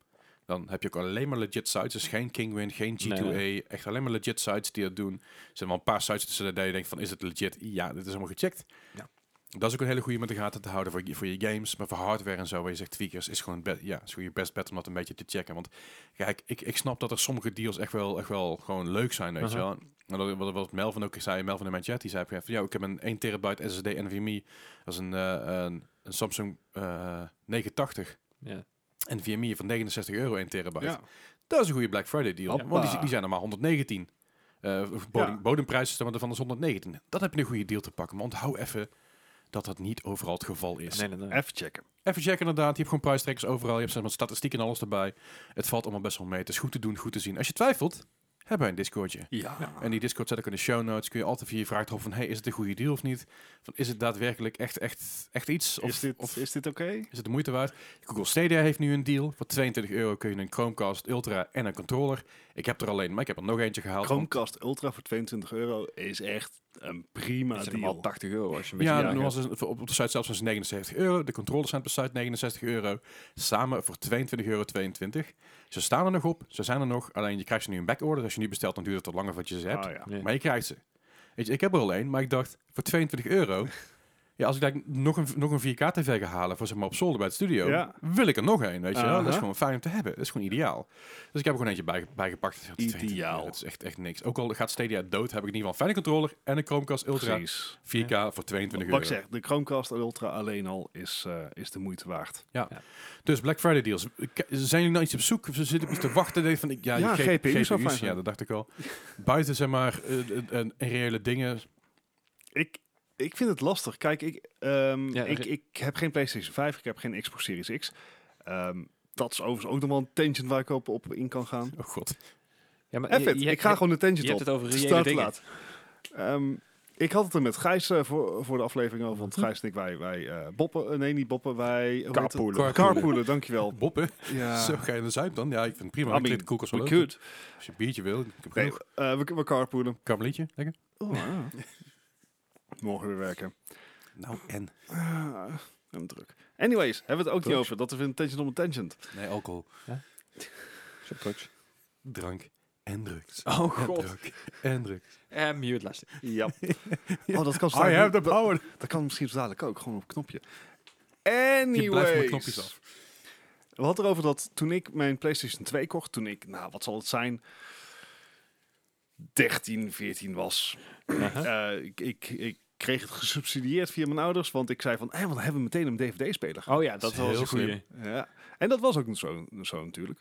S1: Dan heb je ook alleen maar legit sites. Dus geen Kingwin, geen G2A.
S3: Nee,
S1: Echt alleen maar legit sites die dat doen. Er zijn wel een paar sites tussen dat je denkt van is het legit? Ja, dit is helemaal gecheckt.
S3: Ja.
S1: Dat is ook een hele goede om in de gaten te houden voor, je- voor je games. Maar voor hardware en zo, waar je zegt tweakers, is gewoon, het be- ja, is gewoon je best bet om dat een beetje te checken. Want kijk, ik, ik snap dat er sommige deals echt wel, echt wel gewoon leuk zijn, weet je
S2: Uh-huh.
S3: Aha.
S1: wel. En dat, wat, wat Melvin ook zei, Melvin in mijn chat, die zei van ja, ik heb een 1 terabyte SSD NVMe. Dat is een, eh, een, een Samsung eh 980.
S3: ja.
S1: En VMI van 69 euro 1 terabyte.
S2: Ja.
S1: Dat is een goede Black Friday deal.
S2: Hoppa.
S1: Want die, die zijn er maar 119. Eh bodem,
S2: Ja.
S1: Bodemprijs is er maar van de 119. Dat heb je een goede deal te pakken. Maar onthoud even dat dat niet overal het geval is.
S3: Nee, nee, nee.
S2: Even checken.
S1: Even checken inderdaad. Je hebt gewoon prijstrekkers overal. Je hebt zelfs wat statistieken en alles erbij. Het valt allemaal best wel mee. Het is goed te doen, goed te zien. Als je twijfelt, hebben wij een Discordje.
S2: Ja.
S1: En die Discord zet ik in de show notes. Kun je altijd via je vraag erop van... Hey, is het een goede deal of niet? Van, is het daadwerkelijk echt, echt, echt iets? Of
S2: is dit,
S1: of
S2: is dit oké?
S1: is het de moeite waard? Google Stadia heeft nu een deal. Voor 22 euro kun je een Chromecast Ultra en een controller. Ik heb er alleen, maar ik heb er nog eentje gehaald. want-
S2: Chromecast Ultra voor 22 euro is echt een prima
S3: Het is
S2: deal.
S3: normaal 80 euro als je een
S1: Ja,
S3: beetje
S1: nu
S3: jaagt.
S1: was het voor- op de site zelfs was het 79 euro. De controllers zijn op de site 69 euro. Samen voor 22,22 euro. Ze staan er nog op. Ze zijn er nog. Alleen je krijgt ze nu in backorder. Als je nu bestelt, dan duurt het wat langer wat je ze hebt.
S2: Ah, ja.
S3: Ja.
S1: Maar je krijgt ze. Weet je, ik heb er alleen, maar ik dacht, voor 22 euro... Ja, als ik daar nog een, nog een 4K-tv ga halen voor zeg maar op zolder bij het studio,
S2: Ja.
S1: wil ik er nog een, weet je wel. Dat is
S2: Aha.
S1: gewoon fijn om te hebben. Dat is gewoon ideaal. Dus ik heb er gewoon eentje bij, bijgepakt. Dat is 22 euro.
S2: Ideaal.
S1: Dat is echt, echt niks. Ook al gaat Stadia dood, heb ik in ieder geval een fijne controller en een Chromecast Ultra
S2: Precies.
S1: 4K voor 22
S2: Wat ik
S1: euro.
S2: zeg, de Chromecast Ultra alleen al is, eh, is de moeite waard.
S1: Dus Black Friday deals. K- Zijn jullie nou iets op zoek? Ze zitten op iets te wachten. Denk van, ik- ja,
S2: Ja,
S1: die G-
S2: GPU zou fijn
S1: GPU's,
S2: zijn.
S1: ja, dat dacht ik al. Buiten zeg maar eh, eh, eh, reële dingen.
S2: Ik, ik vind het lastig. Kijk, ik, ehm,
S3: Ja,
S2: ik,
S3: re-
S2: ik heb geen PlayStation 5, ik heb geen Xbox Series X. Ehm, dat is overigens ook nog wel een tangent waar ik op, op in kan gaan.
S1: Oh god.
S3: Ja, maar
S2: F it, ik ga gewoon de
S3: je
S2: tangent
S3: hebt
S2: op.
S3: het over
S2: Het is
S3: reële
S2: te
S3: dingen.
S2: laat. Ehm, ik had het er met Gijs eh, voor, voor de aflevering over. Want
S3: Mhm.
S2: Gijs en ik, wij, wij eh, boppen. eh, nee, niet boppen. Wij hoe heet het?
S3: Carpoolen.
S1: Carpoolen.
S2: Carpoolen, dankjewel.
S1: Boppen.
S2: Ja.
S1: Zo ga je naar Zuid dan? Ja, ik vind het prima.
S2: I
S1: Ik
S2: mean,
S1: vind de koelkast wel
S2: we
S1: leuk.
S2: could.
S1: Als je een biertje wil, ik heb
S2: Nee,
S1: genoeg.
S2: eh, we, we carpoolen.
S1: Karmelietje, lekker.
S3: Oh,
S2: Morgen weer werken.
S1: Nou, en?
S2: Ah, en druk. Anyways, hebben we het ook niet
S3: Drugs.
S2: over. Dat is weer een tangent om een tangent.
S1: Nee, alcohol,
S3: Zo drugs.
S1: drank en drugs.
S3: Oh
S1: En
S3: god.
S1: druk. En drugs.
S3: En Eh, mute last.
S2: Ja. Oh, dat kan zo
S1: I have the
S2: dadelijk, dat,
S1: power.
S2: dat kan misschien zo dadelijk ook. Gewoon op een knopje.
S1: Je blijft van de
S2: Anyways.
S1: knopjes af.
S2: We hadden erover dat toen ik mijn PlayStation 2 kocht, toen ik, nou wat zal het zijn, 13, 14 was.
S3: Uh-huh.
S2: Eh, ik, ik, ik kreeg het gesubsidieerd via mijn ouders, want ik zei van, hé, want dan hebben we meteen een DVD-speler. Dus
S3: Oh ja, dat
S1: Heel
S3: was een
S1: slim.
S3: goede.
S2: Ja. En dat was ook zo, zo natuurlijk.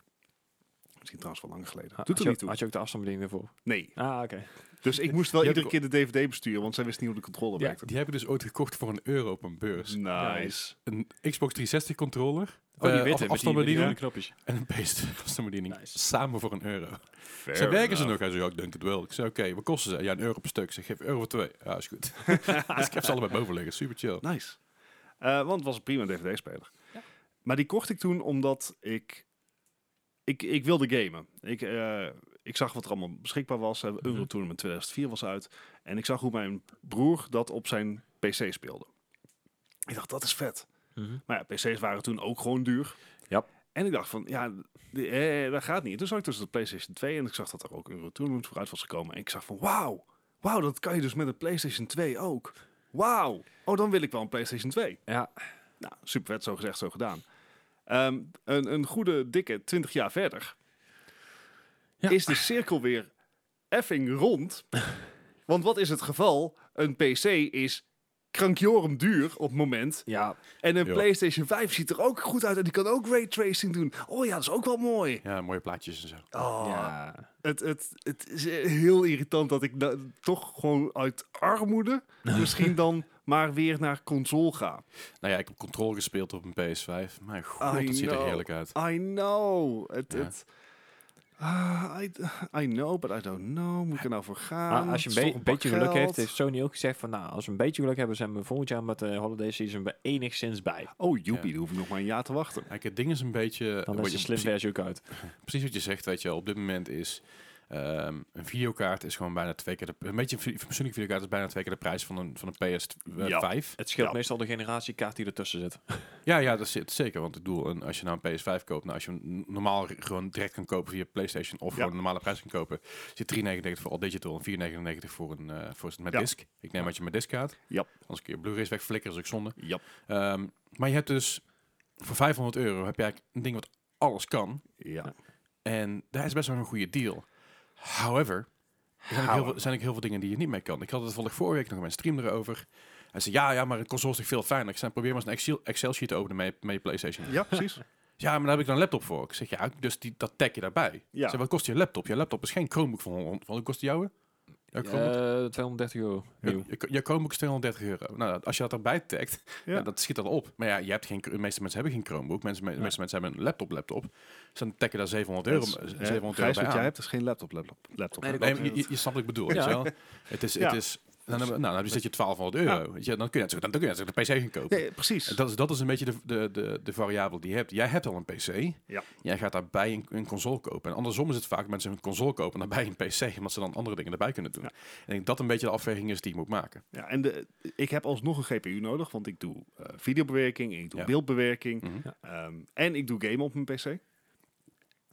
S2: Misschien trouwens wel lang geleden. Doet er niet toe.
S3: Ah, Had je ook de afstandsbediening ervoor?
S2: Nee.
S3: Ah, oké.
S2: Dus ik moest wel
S1: Je hebt
S2: iedere keer de DVD besturen, want zij wist niet hoe de controle
S3: Ja.
S2: werkte.
S1: Die heb ik dus ooit gekocht voor een euro op een beurs.
S2: Nice.
S1: Een Xbox 360 controller.
S3: Oh, die
S1: eh,
S3: witte
S1: af-
S3: met die, met die
S1: afstandsbediening.
S3: groene knopjes.
S1: En een beest afstandsbediening.
S3: Nice.
S1: Samen voor een euro. Ze werken ze nog? Hij zei, ja, ik denk het wel. Ik zei, oké, wat kosten ze? Ja, een euro per stuk. Ik zeg, geef een euro voor twee. Ja, is goed. dus ik heb ze allebei boven liggen. Super chill.
S2: Nice. Eh, want het was een prima DVD-speler.
S3: Ja.
S2: Maar die kocht ik toen omdat ik... Ik, ik wilde gamen. Ik, eh, ik zag wat er allemaal beschikbaar was. Eh, Euro Tournament 2004 was uit. En ik zag hoe mijn broer dat op zijn PC speelde. Ik dacht, dat is vet.
S3: Mhm.
S2: Maar ja, PC's waren toen ook gewoon duur.
S3: Ja.
S2: En ik dacht van, ja, die- eh, dat gaat niet. Toen zag ik dus de PlayStation 2 en ik zag dat er ook Euro Tournament vooruit was gekomen. En ik zag van, wauw, wauw, dat kan je dus met een PlayStation 2 ook. Wauw, oh, dan wil ik wel een PlayStation 2.
S3: Ja.
S2: Nou, super vet, zo gezegd, zo gedaan. Ehm, een, een goede, dikke 20 jaar verder
S3: Ja.
S2: is de cirkel weer effing rond. Want wat is het geval? Een PC is krankjorum duur op het moment
S3: Ja.
S2: en een
S1: Ja.
S2: PlayStation 5 ziet er ook goed uit en die kan ook ray tracing doen. Oh ja, dat is ook wel mooi.
S1: Ja, mooie plaatjes en zo.
S3: Ah.
S2: Oh,
S3: ja.
S2: het, het, het is heel irritant dat ik da- toch gewoon uit armoede misschien dan maar weer naar console ga.
S1: Nou ja, ik heb Control gespeeld op een PS5. Mijn god,
S2: I
S1: dat ziet er
S2: know.
S1: heerlijk uit.
S2: I know. Het,
S1: Ja.
S2: het, Ah, I, I know, but I don't know. Moet ik er nou voor gaan?
S3: Maar Ah, als je
S2: Het is
S3: een
S2: toch
S3: be-
S2: pak
S3: beetje geluk
S2: geld?
S3: heeft, heeft Sony ook gezegd van nou, als we een beetje geluk hebben, zijn we volgend jaar met de holiday season we enigszins bij.
S2: Oh, joepie, dan hoef ik nog maar een jaar te wachten.
S1: Kijk, het ding is een beetje...
S3: Dan
S1: wat
S3: is
S1: je-
S3: de slim
S1: precies,
S3: versie ook uit.
S1: precies wat je zegt, weet je wel. Op dit moment is... ehm, een videokaart is gewoon bijna twee keer de... Een beetje een vi- persoonlijke videokaart is bijna twee keer de prijs van een, van een PS5.
S2: Ja.
S3: Het scheelt
S2: Ja.
S3: meestal de generatiekaart die ertussen zit.
S1: Ja, ja, dat zit zeker. Want ik bedoel, een- als je nou een PS5 koopt, nou, als je hem n- normaal r- gewoon direct kan kopen via PlayStation of
S2: Ja.
S1: gewoon een normale prijs kan kopen, zit 3,99 voor all digital en 4,99 voor een eh, voor het met
S2: Ja.
S1: disc. Ik neem dat je met disc gaat.
S2: Ja.
S1: Als ik je Blu-rays wegflikker, is ook zonde.
S2: Ja.
S1: Ehm, maar je hebt dus voor 500 euro heb je eigenlijk een ding wat alles kan.
S2: Ja.
S1: En daar is best wel een goede deal. However, er zijn, ook heel veel, er zijn ook heel veel dingen die je niet mee kan. Ik had het volgens vorige week nog in mijn stream erover. Hij zei, ja, ja, maar een console is toch veel fijner. Ik zei, probeer maar eens een Excel- Excel-sheet te openen met met je PlayStation.
S2: ja, precies.
S1: Ja, maar daar heb ik dan een laptop voor. Ik zeg, ja, dus die, dat tag je daarbij.
S2: Ja.
S1: Ik Zeg, wat kost je laptop? Je laptop is geen Chromebook van 100. Wat kost die jouwe? Ja,
S3: Eh, 230 euro. Nieuw.
S1: Je, je Chromebook is 230 euro. Nou, als je dat erbij tagt,
S2: Ja.
S1: nou, dat schiet dat op. Maar ja, je hebt geen, de meeste mensen hebben geen Chromebook. Mensen, me- de meeste mensen hebben een laptop, laptop. Dus dan tag je daar 700 euro,
S2: Dat is- eh,
S1: 700 euro
S2: Gijs,
S1: bij
S2: wat jij
S1: aan.
S2: hebt is geen laptop. laptop, laptop
S3: Nee, dat
S1: Nee,
S3: klopt.
S1: maar je, je, je snapt wat ik bedoel.
S3: Ja.
S1: weet je wel? Het is, het
S2: Ja.
S1: is, dan, hebben, nou, dan zit je 1200 euro. weet je, dan kun je natuurlijk, dan kun je natuurlijk de PC gaan kopen.
S2: Nee, precies.
S1: En Dat is, dat is een beetje de, de, de, de variabel die je hebt. Jij hebt al een PC.
S2: Ja.
S1: Jij gaat daarbij een, een console kopen. En andersom is het vaak mensen een console kopen en daarbij een PC. Omdat ze dan andere dingen erbij kunnen doen.
S2: Ja.
S1: En ik denk dat een beetje de afweging is die je moet maken.
S2: Ja, en de, ik heb alsnog een GPU nodig, want ik doe eh, videobewerking, ik doe
S1: Ja.
S2: beeldbewerking
S1: Mhm.
S3: Ja.
S2: ehm, en ik doe gamen op mijn PC.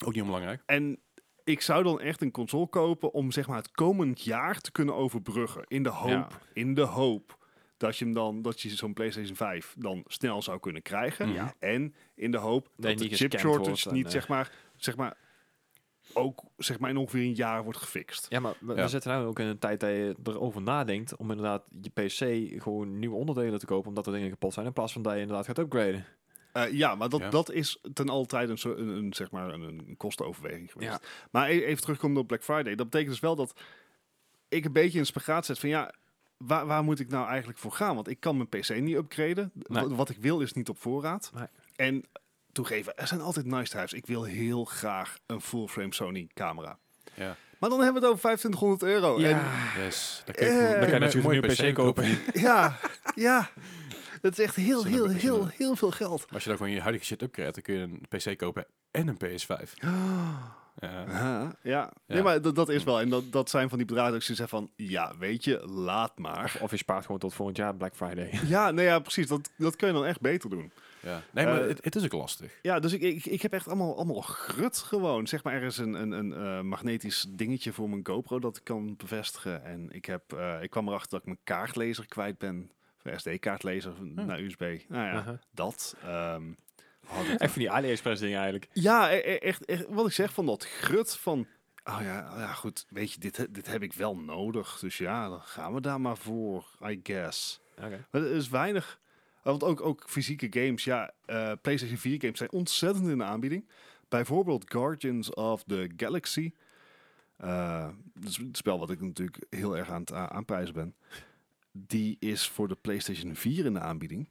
S1: Ook niet onbelangrijk.
S2: En ik zou dan echt een console kopen om zeg maar het komend jaar te kunnen overbruggen. In de hoop,
S3: Ja.
S2: in de hoop dat je hem dan, dat je zo'n PlayStation 5 dan snel zou kunnen krijgen.
S1: Mhm.
S2: En in de hoop
S3: Nee,
S2: dat
S3: niet
S2: de chip
S3: gescamd wordt
S2: shortage
S3: en,
S2: niet
S3: eh.
S2: zeg maar, zeg maar ook zeg maar in ongeveer een jaar wordt gefixt.
S3: Ja, maar we,
S1: Ja.
S3: we zitten nu ook in een tijd dat je erover nadenkt om inderdaad je PC gewoon nieuwe onderdelen te kopen, omdat er dingen kapot zijn, in plaats van dat je inderdaad gaat upgraden.
S2: Eh, ja, maar dat,
S1: Ja.
S2: dat is ten altijd een, zo- een, een, zeg maar een, een kostenoverweging geweest.
S3: Ja.
S2: Maar e- even terugkomen op Black Friday. Dat betekent dus wel dat ik een beetje in spagaat zet van ja, waar, waar moet ik nou eigenlijk voor gaan? Want ik kan mijn PC niet upgraden. W-
S3: Nee.
S2: Wat, ik wil is niet op voorraad.
S3: Nee.
S2: En toegeven, er zijn altijd nice to have's. Ik wil heel graag een full-frame Sony camera.
S1: Ja.
S2: Maar dan hebben we het over 2500 euro. En
S1: Yes. Dan
S2: Eh, Dan kan je
S1: een
S3: natuurlijk
S1: mooie
S3: een nieuwe PC kopen.
S2: ja, ja. Dat is echt heel,
S1: Zullen
S2: heel,
S1: we- zullen
S2: heel,
S1: we-
S2: heel veel geld.
S1: Maar als je dan gewoon je huidige shit upgrade, dan kun je een PC kopen en een PS5. Ja.
S2: Ja, ja.
S1: Ja.
S2: Nee, maar dat, dat is wel. En dat, dat zijn van die bedragen dat ik zoiets heb van... Ja, weet je, laat maar.
S3: Of, of je spaart gewoon tot volgend jaar Black Friday.
S2: Ja, nee, ja precies. Dat, dat kun je dan echt beter doen.
S1: Ja. Nee, maar
S2: Eh,
S1: het, het is ook lastig.
S2: Ja, dus ik, ik, ik heb echt allemaal, allemaal grut gewoon. Zeg maar, er is een, een, een eh, magnetisch dingetje voor mijn GoPro dat ik kan bevestigen. En ik, heb, eh, ik kwam erachter dat ik mijn kaartlezer kwijt ben. SD-kaartlezer naar USB. Nou ja,
S3: Aha.
S2: dat. ehm, had ik
S3: Echt van die AliExpress dingen eigenlijk.
S2: Ja, e- e- echt, echt wat ik zeg van dat grut van... Oh ja, ja goed, weet je, dit, he- dit heb ik wel nodig. Dus ja, dan gaan we daar maar voor, I guess. Maar er is weinig... eh, Want ook, ook fysieke games, ja, eh, PlayStation 4 games zijn ontzettend in de aanbieding. Bijvoorbeeld Guardians of the Galaxy. Eh, dat is het spel wat ik natuurlijk heel erg aan het a- aanprijzen ben. Die is voor de PlayStation 4 in de aanbieding.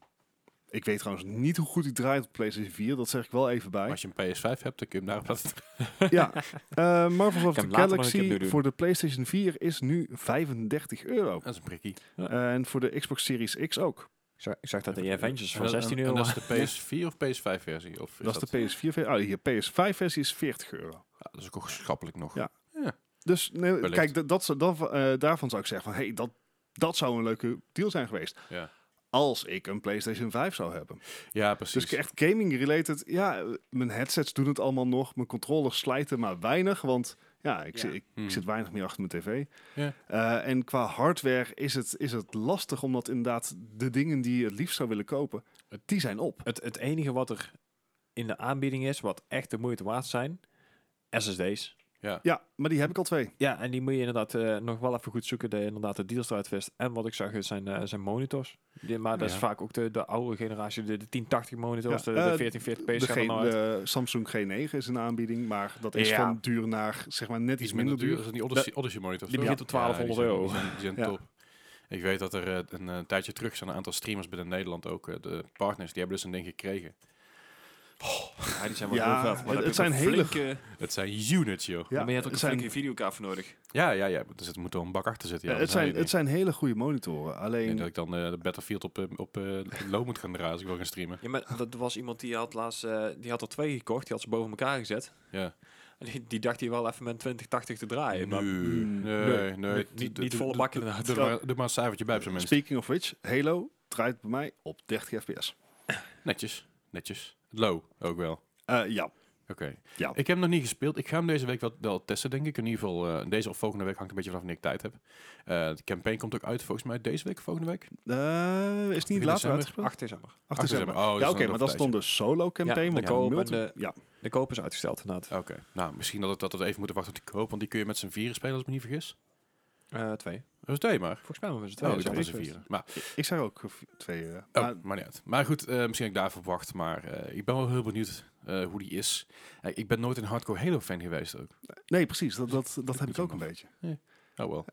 S2: Ik weet trouwens niet hoe goed die draait op PlayStation 4. Dat zeg ik wel even bij.
S1: Maar als je een PS5 hebt, dan kun je hem daarop laten
S2: Ja, eh, Marvel's of
S3: Ik heb
S2: the
S3: hem later nog een keer
S2: Galaxy
S3: doen.
S2: voor de PlayStation 4 is nu 35 euro. Eh,
S1: Dat is een prikkie.
S2: En voor de Xbox Series X ook.
S3: Ik zag, ik zag dat die Avengers
S1: En
S3: voor
S1: dat- en-
S3: 16
S1: en
S3: euro.
S1: dat is de PS4 of PS5 versie? Of is
S2: Dat is de PS4-versie. Oh, hier, PS5-versie is 40 euro.
S1: Ja, dat is ook wel schappelijk nog.
S2: Ja. Dus nee,
S1: Wellicht.
S2: kijk, dat, dat, zou- dat, eh, daarvan zou ik zeggen van... hey, dat, dat zou een leuke deal zijn geweest.
S1: Ja.
S2: Als ik een PlayStation 5 zou hebben.
S1: Ja, precies.
S2: Dus echt gaming-related. Ja, eh, mijn headsets doen het allemaal nog. Mijn controllers slijten maar weinig. Want ja, ik,
S3: Ja.
S2: zit- ik, ik
S1: Hmm.
S2: zit weinig meer achter mijn tv.
S1: Ja.
S2: Eh, en qua hardware is het, is het lastig, omdat inderdaad de dingen die je het liefst zou willen kopen, die zijn op.
S3: Het, het enige wat er in de aanbieding is, wat echt de moeite waard zijn, SSD's.
S1: Ja.
S2: Ja, maar die heb ik al twee.
S3: Ja, en die moet je inderdaad eh, nog wel even goed zoeken, dat je inderdaad de deals eruit vist. En wat ik zag, het zijn, eh, zijn monitors. Die, maar dat is
S1: Ja.
S3: vaak ook de, de oude generatie, de, de 1080 monitors,
S2: Ja, eh,
S3: de, de 1440p
S2: De,
S3: gaan er
S2: G-
S3: nou uit.
S2: de Samsung G9 is een aanbieding, maar dat is
S3: Ja.
S2: van duur naar zeg maar net iets minder duur.
S1: Is dat niet Odyssey, Odyssey monitors?
S3: die
S1: toch?
S3: begint op
S1: Ja,
S3: 1200
S1: die zijn- Die zijn, die zijn
S2: Ja.
S1: top. Ik weet dat er eh, een eh, tijdje terug zijn een aantal streamers binnen Nederland ook. eh, de partners, die hebben dus een ding gekregen.
S3: Ja, Ah, die zijn
S2: wel eh, Ja, heel vet, maar het- daar heb het je zijn een hele-
S1: Het zijn units, joh.
S3: Oh,
S2: Ja, het zijn,
S3: videokaart voor nodig.
S1: Ja, ja, ja. Dus het moet wel een bak achter zitten. Ja,
S2: eh,
S1: dat is
S2: het,
S1: een
S2: zijn,
S1: idee.
S2: het zijn hele goede monitoren.
S1: Ik
S2: Alleen,
S1: denk dat ik dan eh, de Battlefield op, eh, op eh, low moet gaan draaien als ik wil gaan streamen.
S3: Ja, maar dat was iemand die had laatst, eh, die had er twee gekocht, die had ze boven elkaar gezet.
S1: Ja.
S3: En die, die dacht hij wel even met 2080 te draaien.
S1: nee,
S3: Ah, Maar
S1: nee, nee,
S3: Nee, niet- niet
S1: Doe- doe-
S3: volle bak inderdaad.
S1: Doe er maar, doe maar een cijfertje bij op zijn minst.
S2: speaking of which, Halo draait bij mij op 30 fps.
S1: Netjes, netjes. Low ook wel.
S2: Eh, ja,
S1: Oké.
S2: Ja.
S1: Ik heb hem nog niet gespeeld. Ik ga hem deze week wel, wel testen, denk ik. In ieder geval, eh, deze of volgende week hangt een beetje vanaf wanneer ik tijd heb. Eh, de campaign komt ook uit volgens mij deze week of volgende week.
S2: Eh, is het niet
S1: Begin
S2: later
S1: december?
S2: uitgespeeld?
S3: 8 december.
S2: 8
S1: december.
S2: december.
S1: Oh, dus
S2: ja,
S1: dan
S2: oké,
S1: nog
S2: maar
S1: een
S2: dat is dan de solo-campaign.
S3: Ja,
S2: want
S3: de
S2: ja,
S3: koop en
S2: multi-
S3: de-
S2: ja.
S3: De koop is uitgesteld inderdaad.
S1: Oké. Nou, misschien dat, het, dat we even moeten wachten op die koop. Want die kun je met z'n vieren spelen, als ik me niet vergis.
S3: Eh, twee.
S1: Dat is twee maar.
S3: Volgens mij was het twee.
S1: Oh,
S2: dat
S1: ik
S2: zou
S1: dacht met z'n
S2: ik weten.
S1: vieren. Maar,
S2: Ik zeg ook eh, twee. eh,
S1: oh,
S2: maar-
S1: maar niet uit. Maar goed, eh, misschien dat ik daarvoor wacht. Maar eh, ik ben wel heel benieuwd eh, hoe die is. Eh, ik ben nooit een hardcore Halo-fan geweest ook.
S2: nee, precies. Dat, dat, dat heb ik ook een beetje.
S1: Oh wel.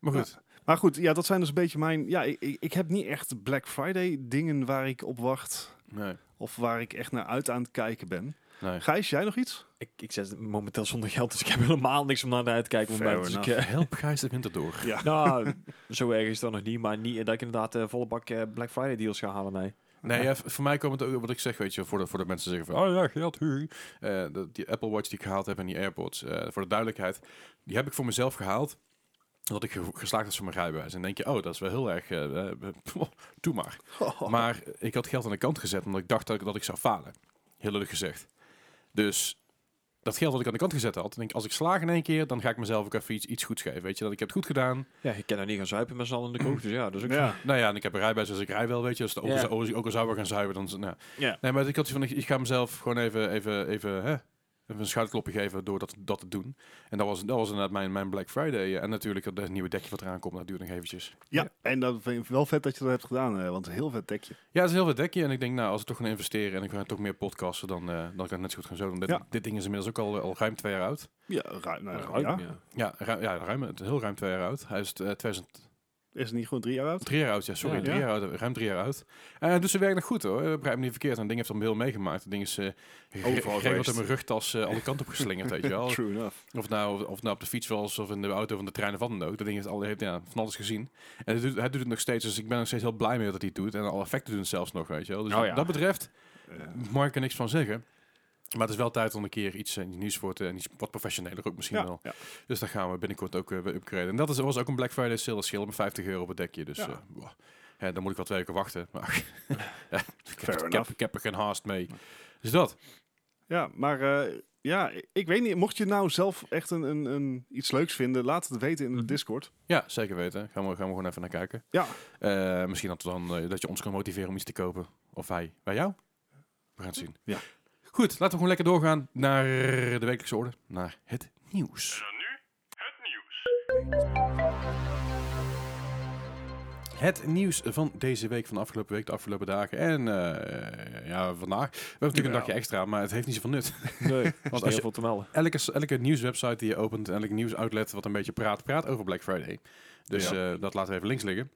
S1: Maar goed,
S2: Maar goed, ja, dat zijn dus een beetje mijn... Ja, ik, ik ik heb niet echt Black Friday dingen waar ik op wacht.
S1: nee.
S2: Of waar ik echt naar uit aan het kijken ben.
S1: nee.
S2: Gijs, jij nog iets?
S3: Ik, ik zit momenteel zonder geld, dus ik heb helemaal niks om naar uit te kijken. op het
S2: Fair
S3: moment. Dus ik,
S2: enough.
S1: Help Gijs de winter door.
S3: eh, nou, zo erg is dat nog niet. Maar niet eh, dat ik inderdaad eh, volle bak eh, Black Friday deals ga halen, nee.
S1: Nee, ja, v- voor mij komt het ook wat ik zeg, weet je, voordat, voordat mensen zeggen van, oh ja, geld, hui. Eh, dat- die Apple Watch die ik gehaald heb en die AirPods, eh, voor de duidelijkheid, die heb ik voor mezelf gehaald, omdat ik ge- geslaagd was voor mijn rijbewijs. En dan denk je, oh, dat is wel heel erg, eh, eh, doe maar. Maar ik had geld aan de kant gezet, omdat ik dacht dat ik, dat ik zou falen. Heel lullig gezegd. Dus dat geld wat ik aan de kant gezet had, denk ik, als ik slaag in één keer, dan ga ik mezelf ook even iets, iets goeds geven. Weet je, dat ik heb het goed gedaan.
S3: Ja, ik kan er niet gaan zuipen met z'n allen in de kroeg, dus ja. Dus ook,
S2: Ja.
S1: Nou ja, en ik heb een rijbewijs, dus ik rij wel, weet je. Dus de
S3: Ja.
S1: ogen, zou- ook al zou we gaan zuipen, dan... z- Nou.
S3: Ja.
S1: Nee, maar ik had zoiets van, ik, ik ga mezelf gewoon even, even, even, hè, even een schouderklopje geven door dat, dat te doen. En dat was, dat was inderdaad mijn, mijn Black Friday. En natuurlijk dat nieuwe dekje wat eraan komt, dat duurt nog eventjes.
S2: Ja, en dat vind ik wel vet dat je dat hebt gedaan, eh, want een heel vet dekje.
S1: Ja, het is heel veel dekje. En ik denk, nou, als ik toch ga investeren en ik ga toch meer podcasten, dan, eh, dan kan ik het net zo goed gaan zo doen. Dit,
S2: Ja.
S1: dit ding is inmiddels ook al, eh, al ruim twee jaar oud.
S2: Ja, ruim, nou,
S3: Ruim,
S2: ja.
S3: ja.
S1: Ja, ruim, ja ruim, het is heel ruim twee jaar oud. Hij is eh, 2000,
S2: Is het niet gewoon drie jaar oud?
S1: drie jaar oud, ja, sorry.
S3: Ja.
S1: Drie
S2: Ja.
S1: jaar oud, ruim drie jaar oud. Eh, dus ze werkt nog goed, hoor. Eh, Begrijp me niet verkeerd. En ding heeft hem heel meegemaakt. Het ding is eh
S2: Overal
S1: geregeld in
S2: geweest.
S1: mijn rugtas eh, alle kanten op geslingerd, weet je wel.
S2: True enough.
S1: Of nou, of nou op de fiets was, of in de auto, of in de trein, of wat dan ook. Dat ding heeft, al, heeft ja, van alles gezien. En hij doet, hij doet het nog steeds, dus ik ben nog steeds heel blij mee dat hij het doet. En alle effecten doen het zelfs nog, weet je wel. Dus
S3: Oh
S1: wat
S3: ja.
S1: dat betreft
S2: Eh,
S1: mag ik er niks van zeggen. Maar het is wel tijd om een keer iets eh, nieuws voor te... En iets wat professioneler ook misschien
S2: ja,
S1: wel.
S2: ja.
S1: Dus daar gaan we binnenkort ook eh, weer upgraden. En dat is, was ook een Black Friday sale. Dat scheelde me 50 euro op het dekje. Dus
S2: Ja.
S1: eh, wow. Ja, dan moet ik wel twee weken wachten. Maar ja, ik, heb,
S2: Fair
S1: ik, heb,
S2: enough.
S1: ik heb er geen haast mee. Dus dat.
S2: ja maar eh, ja, ik- ik weet niet. Mocht je nou zelf echt een, een, een, iets leuks vinden, laat het weten in de
S3: Mhm.
S2: Discord.
S1: Ja, zeker weten. Gaan we, gaan we gewoon even naar kijken.
S2: Ja,
S1: Eh, misschien dat, we dan, eh, dat je ons kan motiveren om iets te kopen. Of hij bij jou. We gaan het zien.
S2: Ja.
S1: Goed, laten we gewoon lekker doorgaan naar de wekelijkse orde. Naar het nieuws. Het nieuws van deze week, van de afgelopen week, de afgelopen dagen en eh, ja, vandaag. We hebben natuurlijk een
S2: Ja.
S1: dagje extra, maar het heeft niet zoveel nut.
S3: Nee, is niet
S1: als
S3: heel
S1: je-
S3: veel te melden.
S1: Elke, elke nieuwswebsite die je opent, en elke nieuwsoutlet wat een beetje praat, praat over Black Friday. Dus eh, dat laten we even links liggen.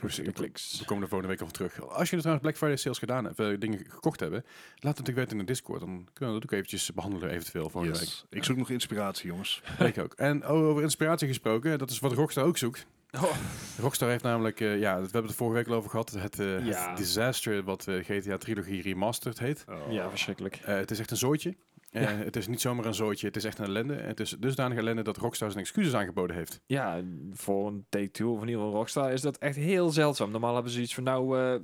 S1: Dus ik- We komen er volgende week op terug. Als jullie trouwens Black Friday sales gedaan hebben, eh, dingen gekocht hebben, laat het natuurlijk weten in de Discord. Dan kunnen we dat ook eventjes behandelen eventueel volgende
S2: yes. ik zoek nog inspiratie, jongens.
S1: week. Ik ook. En oh, over inspiratie gesproken, dat is wat Rockstar ook zoekt.
S3: Oh.
S1: Rockstar heeft namelijk, eh, ja, we hebben het er vorige week al over gehad, het, eh, het
S3: Ja.
S1: disaster wat eh, GTA Trilogie Remastered heet.
S2: Oh.
S3: Ja, verschrikkelijk.
S1: Eh, het is echt een zooitje. Eh, Het is niet zomaar een zooitje, het is echt een ellende. Het is dusdanig ellende dat Rockstar zijn excuses aangeboden heeft.
S3: Ja, en voor een Take-Two of in ieder geval Rockstar is dat echt heel zeldzaam. Normaal hebben ze iets van, nou, eh,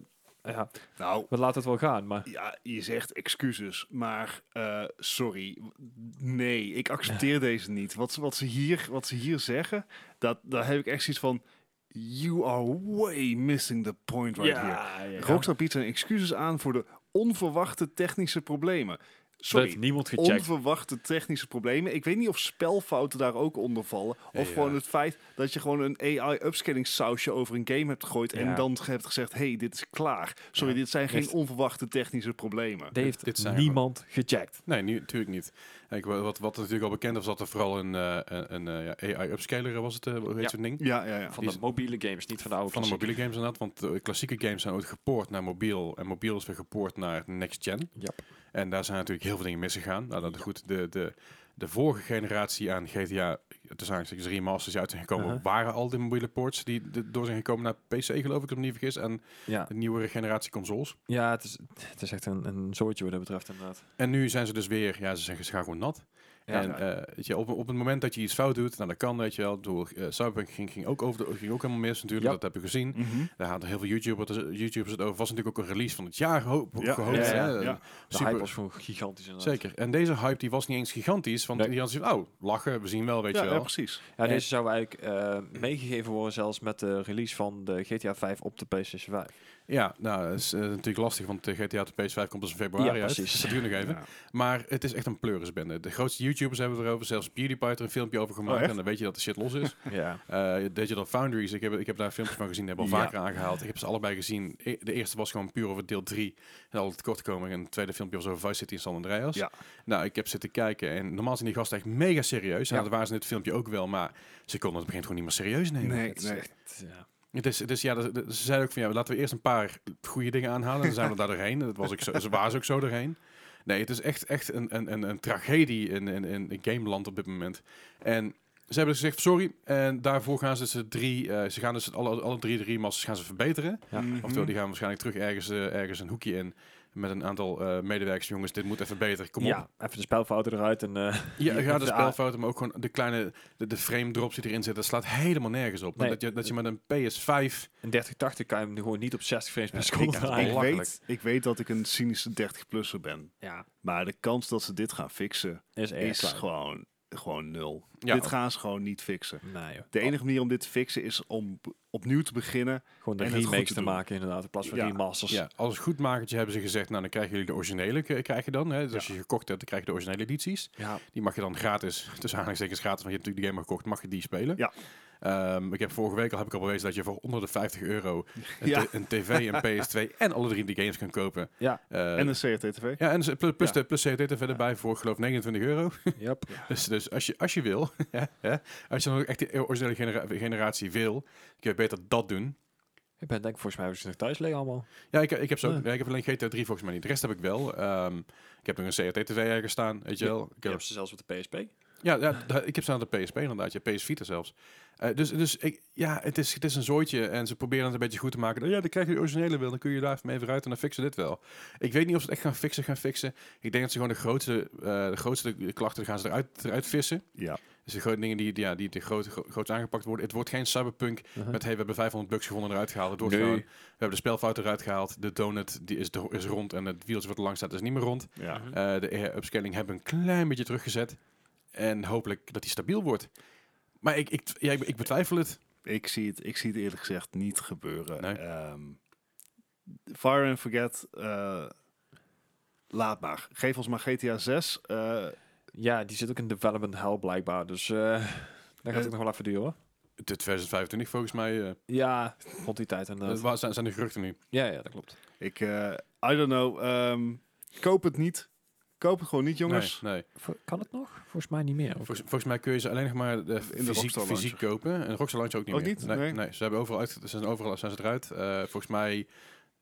S3: ja,
S2: Nou,
S3: we laten het wel gaan. Maar
S2: ja, je zegt excuses, maar eh, sorry. Nee, ik accepteer deze niet. Wat, ze- wat, ze hier, wat ze hier zeggen, dat, daar heb ik echt zoiets van... You are way missing the point right here.
S3: ja.
S2: Rockstar biedt zijn excuses aan voor de onverwachte technische problemen.
S3: dat heeft
S2: Sorry,
S3: niemand gecheckt.
S2: onverwachte technische problemen. Ik weet niet of spelfouten daar ook onder vallen. Of
S1: Ja.
S2: gewoon het feit dat je gewoon een AI-upscaling sausje over een game hebt gegooid...
S3: Ja.
S2: en dan ge- hebt gezegd, hey, dit is klaar. Sorry,
S1: Ja.
S2: dit zijn geen
S1: Echt.
S2: onverwachte technische problemen.
S3: Dat heeft
S1: dit zijn we.
S3: niemand gecheckt.
S1: Nee, nu, natuurlijk niet. Kijk, wa- wat, wat natuurlijk al bekend was, dat er vooral een, eh, een, een, eh, ja, AI-upscaler was het, eh, hoe heet
S3: Ja.
S1: zo'n ding?
S2: Ja, ja, ja.
S3: Van
S1: Die
S3: de mobiele games, niet van de oude
S1: Van de
S3: klassieke.
S1: mobiele games inderdaad, want eh, klassieke games zijn ooit gepoord naar mobiel en mobiel is weer gepoord naar next gen.
S3: Ja.
S1: En daar zijn natuurlijk heel veel dingen misgegaan. Nou, dat goed, de, de, de vorige generatie aan GTA, tussen aanstekens remasters die uit zijn gekomen,
S3: Uh-huh.
S1: waren al de mobiele ports die de- door zijn gekomen naar PC, geloof ik, om niet vergis, en
S3: Ja,
S1: de nieuwere generatie consoles.
S3: ja het, is, het is echt een, een zootje wat dat betreft inderdaad.
S1: En nu zijn ze dus weer, ja, ze zeggen ze gaan gewoon nat.
S3: Ja.
S1: en eh, weet je, op, op het moment dat je iets fout doet, nou dat kan, weet je wel. Ik bedoel, eh, Cyberpunk ging, ging, ook over de, ging ook helemaal mis natuurlijk,
S3: Ja.
S1: dat heb je gezien.
S2: Mhm.
S1: Daar hadden heel veel YouTubers, YouTubers het over. Was natuurlijk ook een release van het jaar ho-
S2: Ja,
S1: gehoopt.
S3: ja,
S1: hè.
S2: ja, ja.
S3: De hype was gewoon gigantisch inderdaad.
S1: Zeker. En deze hype die was niet eens gigantisch, want
S3: Nee.
S1: die had zoiets van, oh, lachen, we zien wel, weet
S2: Ja,
S1: je
S2: ja,
S1: wel.
S2: precies.
S3: Ja,
S1: En-
S3: deze zou eigenlijk eh, meegegeven worden zelfs met de release van de GTA 5 op de PlayStation 5.
S1: Ja, nou, dat is eh, natuurlijk lastig, want de GTA op de PS5 komt dus in februari
S3: Ja,
S1: uit.
S3: precies.
S1: Dat duurt nog even.
S2: Ja.
S1: Maar het is echt een pleurisbende. De grootste YouTubers hebben het erover. Zelfs PewDiePie heeft er een filmpje over gemaakt.
S2: Oh, echt?
S1: en dan weet je dat de shit los is.
S3: Ja.
S1: Eh, Digital Foundries, ik heb, ik heb daar filmpjes van gezien. Die hebben al
S2: Ja.
S1: vaker aangehaald. Ik heb ze allebei gezien. E- De eerste was gewoon puur over deel 3. En al het kortkoming. En het tweede filmpje was over Vice City in San Andreas.
S2: Ja.
S1: Nou, ik heb zitten kijken. En normaal zijn die gasten echt mega serieus.
S3: Ja.
S1: Nou, dat waren ze in het filmpje ook wel. Maar ze konden het begin gewoon niet meer serieus nemen.
S2: Nee,
S3: Het is
S2: nee.
S3: echt, ja.
S1: Het is, het is- ja, dat- dat- ze zeiden ook van ja, laten we eerst een paar goede dingen aanhalen. En dan zijn we daar doorheen. Dat was ik zo, ze waren ze ook zo doorheen. Nee, het is echt, echt een, een, een, een tragedie in, in, in, in gameland op dit moment. En ze hebben dus gezegd, sorry. En daarvoor gaan ze dus de drie, eh, ze gaan dus alle, alle drie de remasters gaan ze verbeteren.
S3: Ja.
S2: Mhm.
S1: Oftewel, die gaan waarschijnlijk terug ergens, eh, ergens een hoekje in. Met een aantal eh, medewerkers, jongens, dit moet even beter, kom op.
S3: ja, even de spelfouten eruit en... eh,
S1: Ja, ja, de
S3: Ja.
S1: spelfouten, maar ook gewoon de kleine, de, de frame drops die erin zitten, dat slaat helemaal nergens op.
S3: Nee.
S1: Dat, je, dat je met een PS5
S3: in 3080 kan je hem gewoon niet op 60 frames per
S1: Ja,
S3: seconde
S1: ik- ik-
S3: draaien.
S2: Ik
S1: Belachelijk.
S2: weet, ik weet dat ik een cynische 30-plusser ben.
S3: Ja,
S2: Maar de kans dat ze dit gaan fixen
S3: is erg
S2: is
S3: klein.
S2: gewoon, gewoon nul.
S1: Ja.
S2: Dit gaan ze gewoon niet fixen.
S3: Nee, joh.
S2: De enige manier om dit te fixen is om b- opnieuw te beginnen.
S3: Gewoon de
S2: en het goed
S3: remakes
S2: te
S3: te
S2: doen.
S3: maken inderdaad, in plaats van
S2: Ja.
S3: remasters.
S1: Ja, als een goedmakertje hebben ze gezegd, nou dan krijgen jullie de originele, k- krijg je dan. Hè? Dus als je gekocht hebt, dan krijg je de originele edities.
S3: ja.
S1: Die mag je dan gratis, tussen aanhalingstekens gratis, want je hebt natuurlijk de game al gekocht, mag je die spelen.
S2: Ja.
S1: Ehm, ik heb vorige week al, heb ik al bewezen dat je voor onder de 50 euro een,
S2: Ja.
S1: t- een tv, een PS2 en alle drie de games kan kopen.
S3: Ja.
S1: Eh,
S2: En een CRT-TV.
S1: ja, en ze- plus, plus,
S2: Ja.
S1: de- plus CRT er verder bij voor geloof 29 euro.
S3: Yep.
S1: Dus, dus als, je, als je wil, ja, ja, als je dan ook echt de originele genera- generatie wil, kun je beter dat doen.
S3: Ik ben denk volgens mij hebben ze nog thuis liggen allemaal.
S1: Ja, ik, ik, heb zo,
S3: Ah.
S2: Nee.
S1: ja, ik heb alleen GTA 3 volgens mij niet. De rest heb ik wel. Ehm, ik heb nog een CRT-TV ergens staan, weet je
S3: Ja,
S1: wel. Ik
S3: Je
S1: heb,
S3: hebt ze zelfs op de PSP.
S1: ja, ja, da- ik heb staan aan de PSP inderdaad, ja, PS Vita zelfs. Eh, dus dus ik, ja, het is, het is een zooitje en ze proberen het een beetje goed te maken. Nou ja, dan krijg je de originele wil, dan kun je daar even mee vooruit en dan fixen we dit wel. Ik weet niet of ze het echt gaan fixen, gaan fixen. Ik denk dat ze gewoon de grootste, eh, de grootste klachten gaan ze eruit, eruit vissen.
S2: Ja.
S1: Dus de grote dingen die, die- ja, die de groot, gro- groots aangepakt worden. Het wordt geen cyberpunk met hey, we hebben 500 bucks gevonden eruit gehaald. Het wordt
S3: Nee.
S1: gewoon, we hebben de spelfout eruit gehaald. De donut die is, do- is rond en het wieltje wat er lang staat is niet meer rond.
S2: Ja.
S3: Mhm.
S1: Eh, de eh, upscaling hebben we een klein beetje teruggezet. En hopelijk dat die stabiel wordt. Maar ik, ik, ja, ik, ik betwijfel het.
S2: Ik, zie het, ik zie het eerlijk gezegd niet gebeuren.
S1: Nee.
S2: Ehm, Fire and Forget, eh, laat maar. Geef ons maar GTA 6. eh,
S3: Ja, die zit ook in development hell blijkbaar, dus eh dat
S2: Eh.
S3: gaat het nog wel even duren. hoor.
S1: De 2025 volgens mij. eh,
S3: Ja, rond die tijd
S1: dat
S2: Eh,
S3: inderdaad.
S1: wa- zijn, zijn de geruchten nu.
S3: Ja, ja, dat klopt.
S2: ik, eh, I don't know. ehm, koop het niet. Koop het gewoon niet, jongens.
S1: Nee, nee.
S3: Vo- Kan het nog? Volgens mij niet meer.
S1: Volgens, volgens mij kun je ze alleen nog maar eh, fysiek,
S2: Rockstar Lounge.
S1: fysiek kopen. En Rockstar Lounge ook niet
S2: Ook
S1: meer.
S2: niet?
S1: Nee,
S2: Nee.
S1: nee, ze hebben overal uit, ze zijn overal zijn ze eruit. Eh, volgens mij,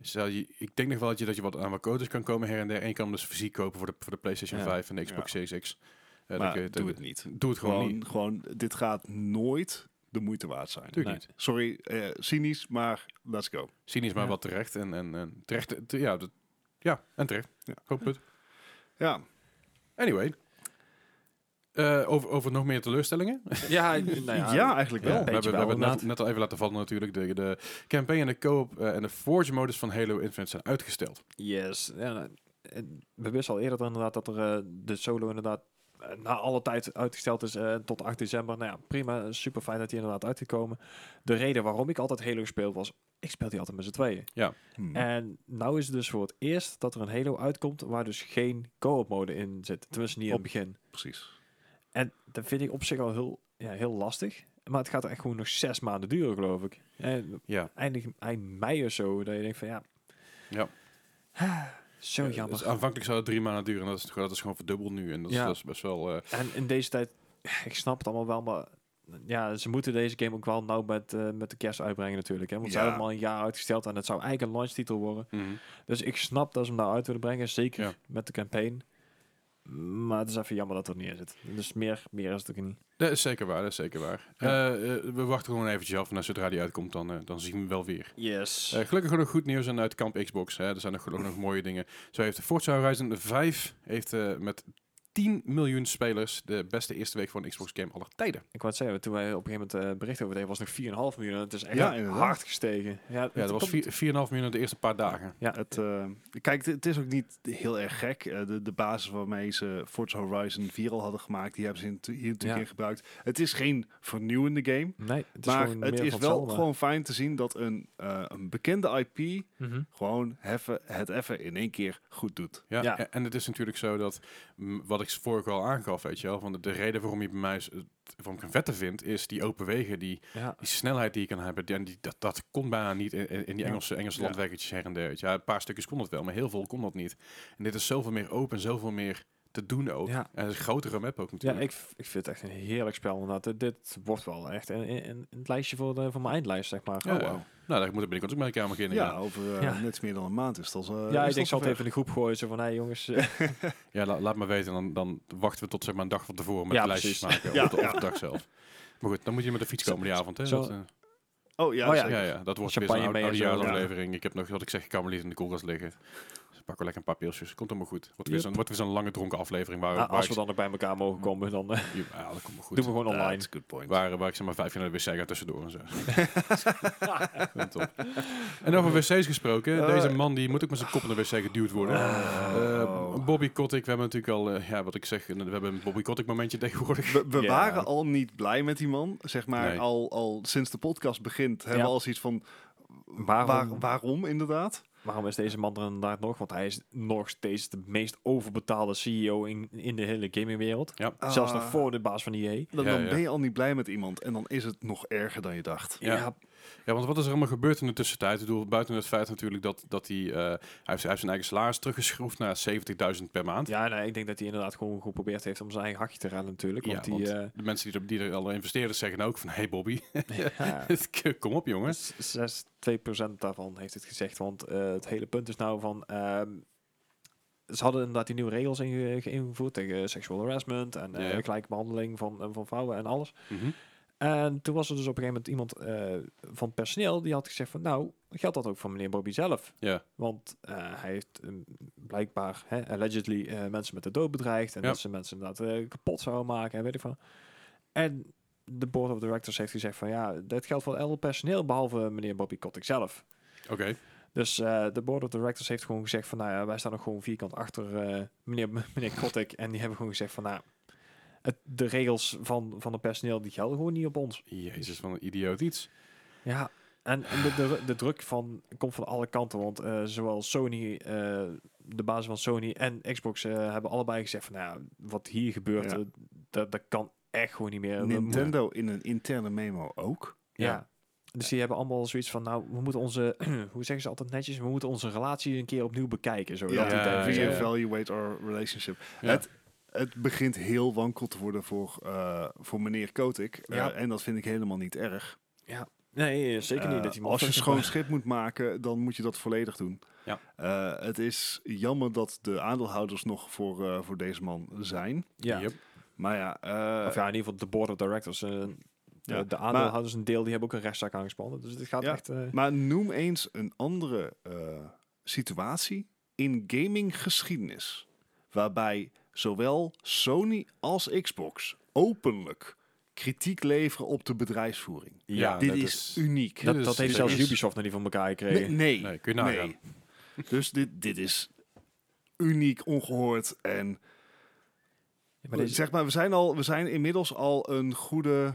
S1: zou je, ik denk nog wel dat je, dat je wat aan wat codes kan komen her en der. En je kan hem dus fysiek kopen voor de, voor de PlayStation
S3: Ja.
S1: 5 en de Xbox
S2: Ja.
S1: Series X. Eh, dan
S2: maar
S1: kun je-
S2: doe het niet.
S1: Doe het gewoon, niet.
S2: Gewoon, gewoon, dit gaat nooit de moeite waard zijn.
S1: Tuurlijk
S3: Nee.
S1: niet.
S2: Sorry, eh, cynisch, maar let's go.
S1: Cynisch, maar
S3: Ja.
S1: wat terecht. En, en, en terecht, eh, te- ja, dat- ja, en terecht.
S2: Ja.
S1: Goed punt.
S2: Ja,
S1: Anyway. Eh, over, over nog meer teleurstellingen.
S3: Ja, nou ja,
S2: ja eigenlijk
S1: Ja,
S2: wel.
S1: we hebben,
S3: Beetje
S1: we
S3: wel,
S1: hebben het net,
S3: inderdaad.
S1: net al even laten vallen natuurlijk. De, de campaign en de co-op eh, en de forge modus van Halo Infinite zijn uitgesteld.
S3: Yes. Ja, nou, en we wisten al eerder inderdaad dat er eh, de solo inderdaad eh, na alle tijd uitgesteld is eh, tot 8 december. Nou ja, prima. Super fijn dat die inderdaad uitgekomen. De reden waarom ik altijd Halo gespeeld was, ik speel die altijd met z'n tweeën.
S1: Mhm.
S2: Hm.
S1: Eh,
S3: En nou is het dus voor het eerst dat er een Halo uitkomt waar dus geen co-op mode in zit. Tenminste niet in het begin.
S2: Precies.
S3: En dat vind ik op zich al heel, ja, heel lastig. Maar het gaat echt gewoon nog zes maanden duren, geloof ik. En
S1: Ja.
S3: eindig, eind mei of zo, dat je denkt van ja...
S1: Ja.
S3: Zo
S1: Ja,
S3: Oh, jammer.
S1: dus aanvankelijk zou het drie maanden duren. En dat is, dat is gewoon verdubbeld nu. En dat, is,
S3: Ja.
S1: dat is best wel... eh,
S3: En in deze tijd, ik snap het allemaal wel, maar ja, ze moeten deze game ook wel nou met, eh, met de kerst uitbrengen natuurlijk. Hè? Want ze
S2: Ja.
S3: hebben hem al een jaar uitgesteld en het zou eigenlijk een launchtitel worden.
S1: Mhm.
S3: Dus ik snap dat ze hem nou uit willen brengen, zeker
S1: Ja.
S3: met de campaign. Maar het is even jammer dat het er niet in zit. Dus meer, meer is het ook niet.
S1: Dat is zeker waar, dat is zeker waar.
S3: Ja.
S1: Eh, eh, we wachten gewoon eventjes af. En als zodra die uitkomt, dan, eh, dan zien we hem wel weer.
S3: Yes.
S1: Eh, gelukkig ook nog goed nieuws en uit kamp Xbox. Hè. Er zijn nog, ook nog mooie dingen. Zo heeft Forza Horizon 5 heeft, eh, met 10 miljoen spelers. De beste eerste week voor een Xbox game aller tijden.
S3: Ik wou het zeggen, toen wij op een gegeven moment eh, bericht over deden, was het nog 4,5 miljoen. Het is echt
S2: Ja, inderdaad.
S3: hard gestegen. Ja, het
S1: Ja, dat was
S3: komt-
S1: 4- 4,5 miljoen de eerste paar dagen.
S3: Ja,
S2: Het, eh, kijk, het- het is ook niet heel erg gek. Eh, de, de basis waarmee ze Forza Horizon 4 al hadden gemaakt, die hebben ze in- hier natuurlijk
S3: Ja.
S2: in gebruikt. Het is geen vernieuwende game.
S3: nee, het is
S2: maar
S3: gewoon
S2: het
S3: meer
S2: is
S3: van
S2: wel
S3: hetzelfde.
S2: gewoon fijn te zien dat een, eh, een bekende IP
S3: Mhm.
S2: gewoon heffen, het even in één keer goed doet.
S1: Ja,
S3: Ja.
S1: e- En het is natuurlijk zo dat, m, wat ik vorige al aangaf, weet je wel, van de, de reden waarom je bij mij, s- het- waarom ik hem vetter vind, is die open wegen, die,
S3: Ja.
S1: die snelheid die je kan hebben, die, en die, dat, dat kon bijna niet in, in in die
S3: Ja.
S1: Engelse, Engelse
S2: Ja.
S1: landweggetjes her en der. weet je. Ja, een paar stukjes kon dat wel, maar heel veel kon dat niet. En dit is zoveel meer open, zoveel meer te doen ook.
S3: Ja.
S1: En het is een grotere map ook
S3: Ja,
S1: natuurlijk.
S3: ik, ik vind het echt een heerlijk spel. Inderdaad. Dit, dit wordt wel echt een, een, een- het lijstje voor, de, voor mijn eindlijst, zeg maar.
S1: Ja,
S3: Oh, wow.
S1: Nou, daar moet ik binnenkort ook mee aan beginnen.
S2: Ja,
S1: Ja,
S2: over eh,
S3: Ja.
S2: niks meer dan een maand is dat. eh,
S3: Ja, ik
S2: is
S3: denk, ik
S2: dat
S3: zal het even in de groep gooien. Zo van, hé jongens, eh,
S1: Oh, ja la- laat maar weten, dan, dan wachten we tot zeg maar een dag van tevoren met
S3: Ja,
S1: de lijstjes
S3: precies.
S1: maken.
S2: Ja,
S1: Of, de,
S2: ja.
S1: of de dag zelf. Maar goed, dan moet je met de fiets komen die avond. Hè?
S3: Zo-
S1: Dat, eh,
S2: Oh ja,
S3: Oh, ja.
S2: zeker.
S1: Ja, ja, dat wordt weer zo'n
S3: Champagne
S1: oude,
S3: mee en zo,
S1: oudejaarsoplevering. Ik heb nog, wat ik zeg, ik kan me niet in de koelkast liggen. Dus pak wel lekker een paar pilsjes. Komt allemaal goed. Wordt weer
S3: Yep.
S1: zo'n wordt weer zo'n lange dronken aflevering. Waar,
S3: nou,
S1: waar
S3: als
S1: ik,
S3: we dan nog bij elkaar mogen komen, dan eh,
S1: Ja, dat komt wel goed.
S3: doen we gewoon
S2: Ah,
S3: online.
S2: that's a good point.
S1: Waar, waar ik zeg maar vijf jaar naar de wc ga tussendoor en zo. Ja, top. En over wc's gesproken.
S2: Eh.
S1: deze man die moet ook met zijn kop in de wc geduwd worden.
S3: Oh.
S1: Eh, Bobby Kotick, we hebben natuurlijk al, eh, ja, wat ik zeg, we hebben een Bobby Kotick momentje tegenwoordig.
S2: We, we
S3: Ja.
S2: waren al niet blij met die man. Zeg maar,
S1: Nee.
S2: al, al sinds de podcast begint hebben
S3: Ja.
S2: we al zoiets van...
S3: Waarom?
S2: Waar, waarom inderdaad?
S3: Waarom is deze man er inderdaad nog? Want hij is nog steeds de meest overbetaalde CEO in, in de hele gamingwereld.
S1: Ja.
S3: Zelfs nog
S2: Ah.
S3: voor de baas van E EA.
S2: Dan,
S1: Ja,
S2: dan
S1: ja.
S2: ben je al niet blij met iemand. En dan is het nog erger dan je dacht.
S1: Ja. Ja, want wat is er allemaal gebeurd in de tussentijd? Ik bedoel, buiten het feit natuurlijk dat, dat hij, eh, hij, heeft, hij heeft zijn eigen salaris teruggeschroefd naar 70.000 per maand.
S3: Ja, nee, ik denk dat hij inderdaad gewoon geprobeerd heeft om zijn eigen hakje te raden natuurlijk.
S1: Ja,
S3: Want die,
S1: want-
S3: eh,
S1: De mensen die er, die er al investeren zeggen ook van... Hey Bobby,
S3: eh, ja,
S1: kom op jongen.
S3: zes- 2% daarvan heeft het gezegd. Want eh, het hele punt is nou van... ehm, ze hadden inderdaad die nieuwe regels inge- ingevoerd tegen seksual harassment en eh,
S1: Ja.
S3: gelijke behandeling van, eh, van vrouwen en alles.
S2: Mhm.
S3: En toen was er dus op een gegeven moment iemand eh, van het personeel die had gezegd van nou, geldt dat ook voor meneer Bobby zelf?
S1: Ja.
S3: Want eh, hij heeft eh, blijkbaar hè, allegedly eh, mensen met de dood bedreigd en
S1: Ja.
S3: dat ze mensen inderdaad eh, kapot zouden maken en weet ik van. En de board of directors heeft gezegd van ja, dat geldt voor elk personeel behalve meneer Bobby Kotick zelf.
S1: Oké.
S3: Dus eh, de board of directors heeft gewoon gezegd van nou ja, wij staan nog gewoon vierkant achter eh, meneer, meneer Kotick en die hebben gewoon gezegd van nou, het, de regels van, van het personeel die gelden gewoon niet op ons.
S1: Jezus, van een idioot iets.
S3: Ja, en de, de, de druk van, komt van alle kanten. Want eh, zowel Sony, eh, de baas van Sony en Xbox eh, hebben allebei gezegd van... Nou, ja, wat hier gebeurt,
S2: Ja.
S3: eh, dat, dat kan echt gewoon niet meer. We moeten-
S2: Nintendo in een interne memo ook.
S1: Ja.
S3: ja. Dus die hebben allemaal zoiets van, nou, we moeten onze, hoe zeggen ze altijd netjes, we moeten onze relatie een keer opnieuw bekijken. Zo,
S2: Ja,
S3: dat die
S1: ja, ja.
S3: denken, zo.
S2: Reevaluate our relationship.
S1: Ja.
S2: Het, het begint heel wankel te worden voor, eh, voor meneer Kotick. Eh,
S3: Ja.
S2: en dat vind ik helemaal niet erg.
S3: Nee, zeker niet.
S2: Eh,
S3: dat die man-
S2: als je schoon schip moet maken, dan moet je dat volledig doen.
S1: Ja.
S2: Eh, het is jammer dat de aandeelhouders nog voor, eh, voor deze man zijn.
S3: Ja.
S1: Yep.
S2: Maar ja, eh,
S3: Of ja, in ieder geval de board of directors. eh,
S2: Ja,
S3: de, de aandeelhouders, een deel, die hebben ook een rechtszaak aangespannen. Dus het gaat
S2: Ja.
S3: echt... eh,
S2: maar noem eens een andere eh, situatie in gaminggeschiedenis. Waarbij zowel Sony als Xbox openlijk kritiek leveren op de bedrijfsvoering.
S1: Ja,
S2: Dit
S1: dat
S2: is,
S1: is-
S2: uniek.
S1: Ja,
S3: dat,
S1: dus
S3: dat heeft
S1: dit
S3: zelfs
S1: is-
S3: Ubisoft nog niet van elkaar gekregen.
S2: Nee, nee,
S1: Nee, kun je nagaan.
S2: nee. Dus dit, dit is uniek, ongehoord en
S3: Maar deze-
S2: zeg maar, we zijn, al, we zijn inmiddels al een goede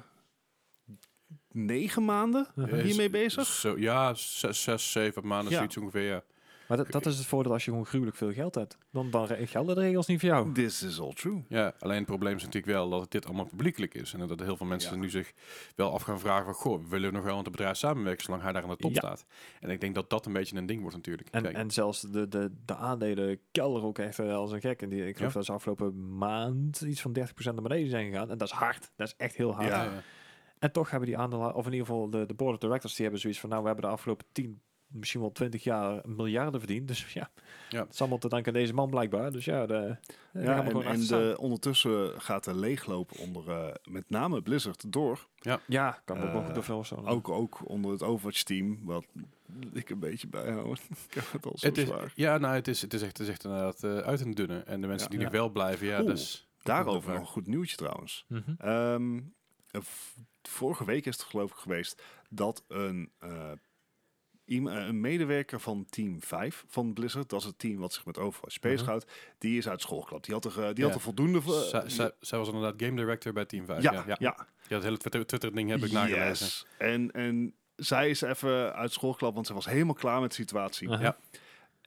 S2: negen maanden
S1: Eh,
S2: hiermee
S1: s-
S2: bezig.
S1: Zo, ja, zes, zes, zeven maanden,
S2: Ja.
S1: zoiets ongeveer. Ja.
S3: Maar dat, dat is het voordeel als je gewoon gruwelijk veel geld hebt. Dan, dan re- gelden de regels niet voor jou.
S2: This is all true.
S1: ja, alleen het probleem is natuurlijk wel dat dit allemaal publiekelijk is. En dat heel veel mensen
S2: Ja.
S1: nu zich wel af gaan vragen van... Goh, willen we nog wel met het bedrijf samenwerken zolang hij daar aan de top
S3: Ja.
S1: staat? En ik denk dat dat een beetje een ding wordt natuurlijk.
S3: En,
S1: Kijk,
S3: en zelfs de, de, de aandelen kelderen ook echt eh, als een gek. En die, ik geloof
S1: Ja.
S3: dat ze afgelopen maand iets van 30% naar beneden zijn gegaan. En dat is hard. Dat is echt heel hard.
S2: Ja.
S1: eh,
S3: En toch hebben die aandelen, of in ieder geval de, de board of directors, die hebben zoiets van... Nou, we hebben de afgelopen 10, misschien wel 20 jaar miljarden verdiend. Dus ja,
S1: Ja.
S3: het is allemaal te danken aan deze man blijkbaar. Dus ja, de, daar gaan we
S2: Ja, en
S3: gewoon
S2: en
S3: achter staan.
S2: de, ondertussen gaat de leegloop onder eh, met name Blizzard door.
S3: Ja, kan ik me ook
S2: Eh,
S3: nog veel zo.
S2: Ook, ook onder het Overwatch-team, wat ik een beetje bijhoud. ik heb het al zo
S1: het is,
S2: zwaar.
S1: ja, nou, het is, het is echt, het is echt inderdaad eh, uit en dunne. En de mensen
S2: Ja.
S1: die
S3: Ja.
S1: nog wel blijven, ja,
S2: Oeh.
S1: dus...
S2: Daarover
S1: vraag.
S2: nog een goed nieuwtje trouwens.
S3: Mhm.
S2: Ehm, eh, v- vorige week is het geloof ik geweest dat een, eh, iem- eh, een medewerker van Team 5 van Blizzard, dat is het team wat zich met Overwatch bezighoudt, die is uit school geklapt. Die had er, eh, die had
S1: Ja.
S2: er voldoende... voor.
S1: Zij, zij- zij was inderdaad game director bij Team 5.
S2: ja,
S1: ja.
S2: ja, ja.
S1: Ja, het hele Twitter- Twitter-ding heb ik nagelezen.
S2: Yes. En, en zij is even uit school geklapt, want ze was helemaal klaar met de situatie.
S3: Aha.
S1: Ja.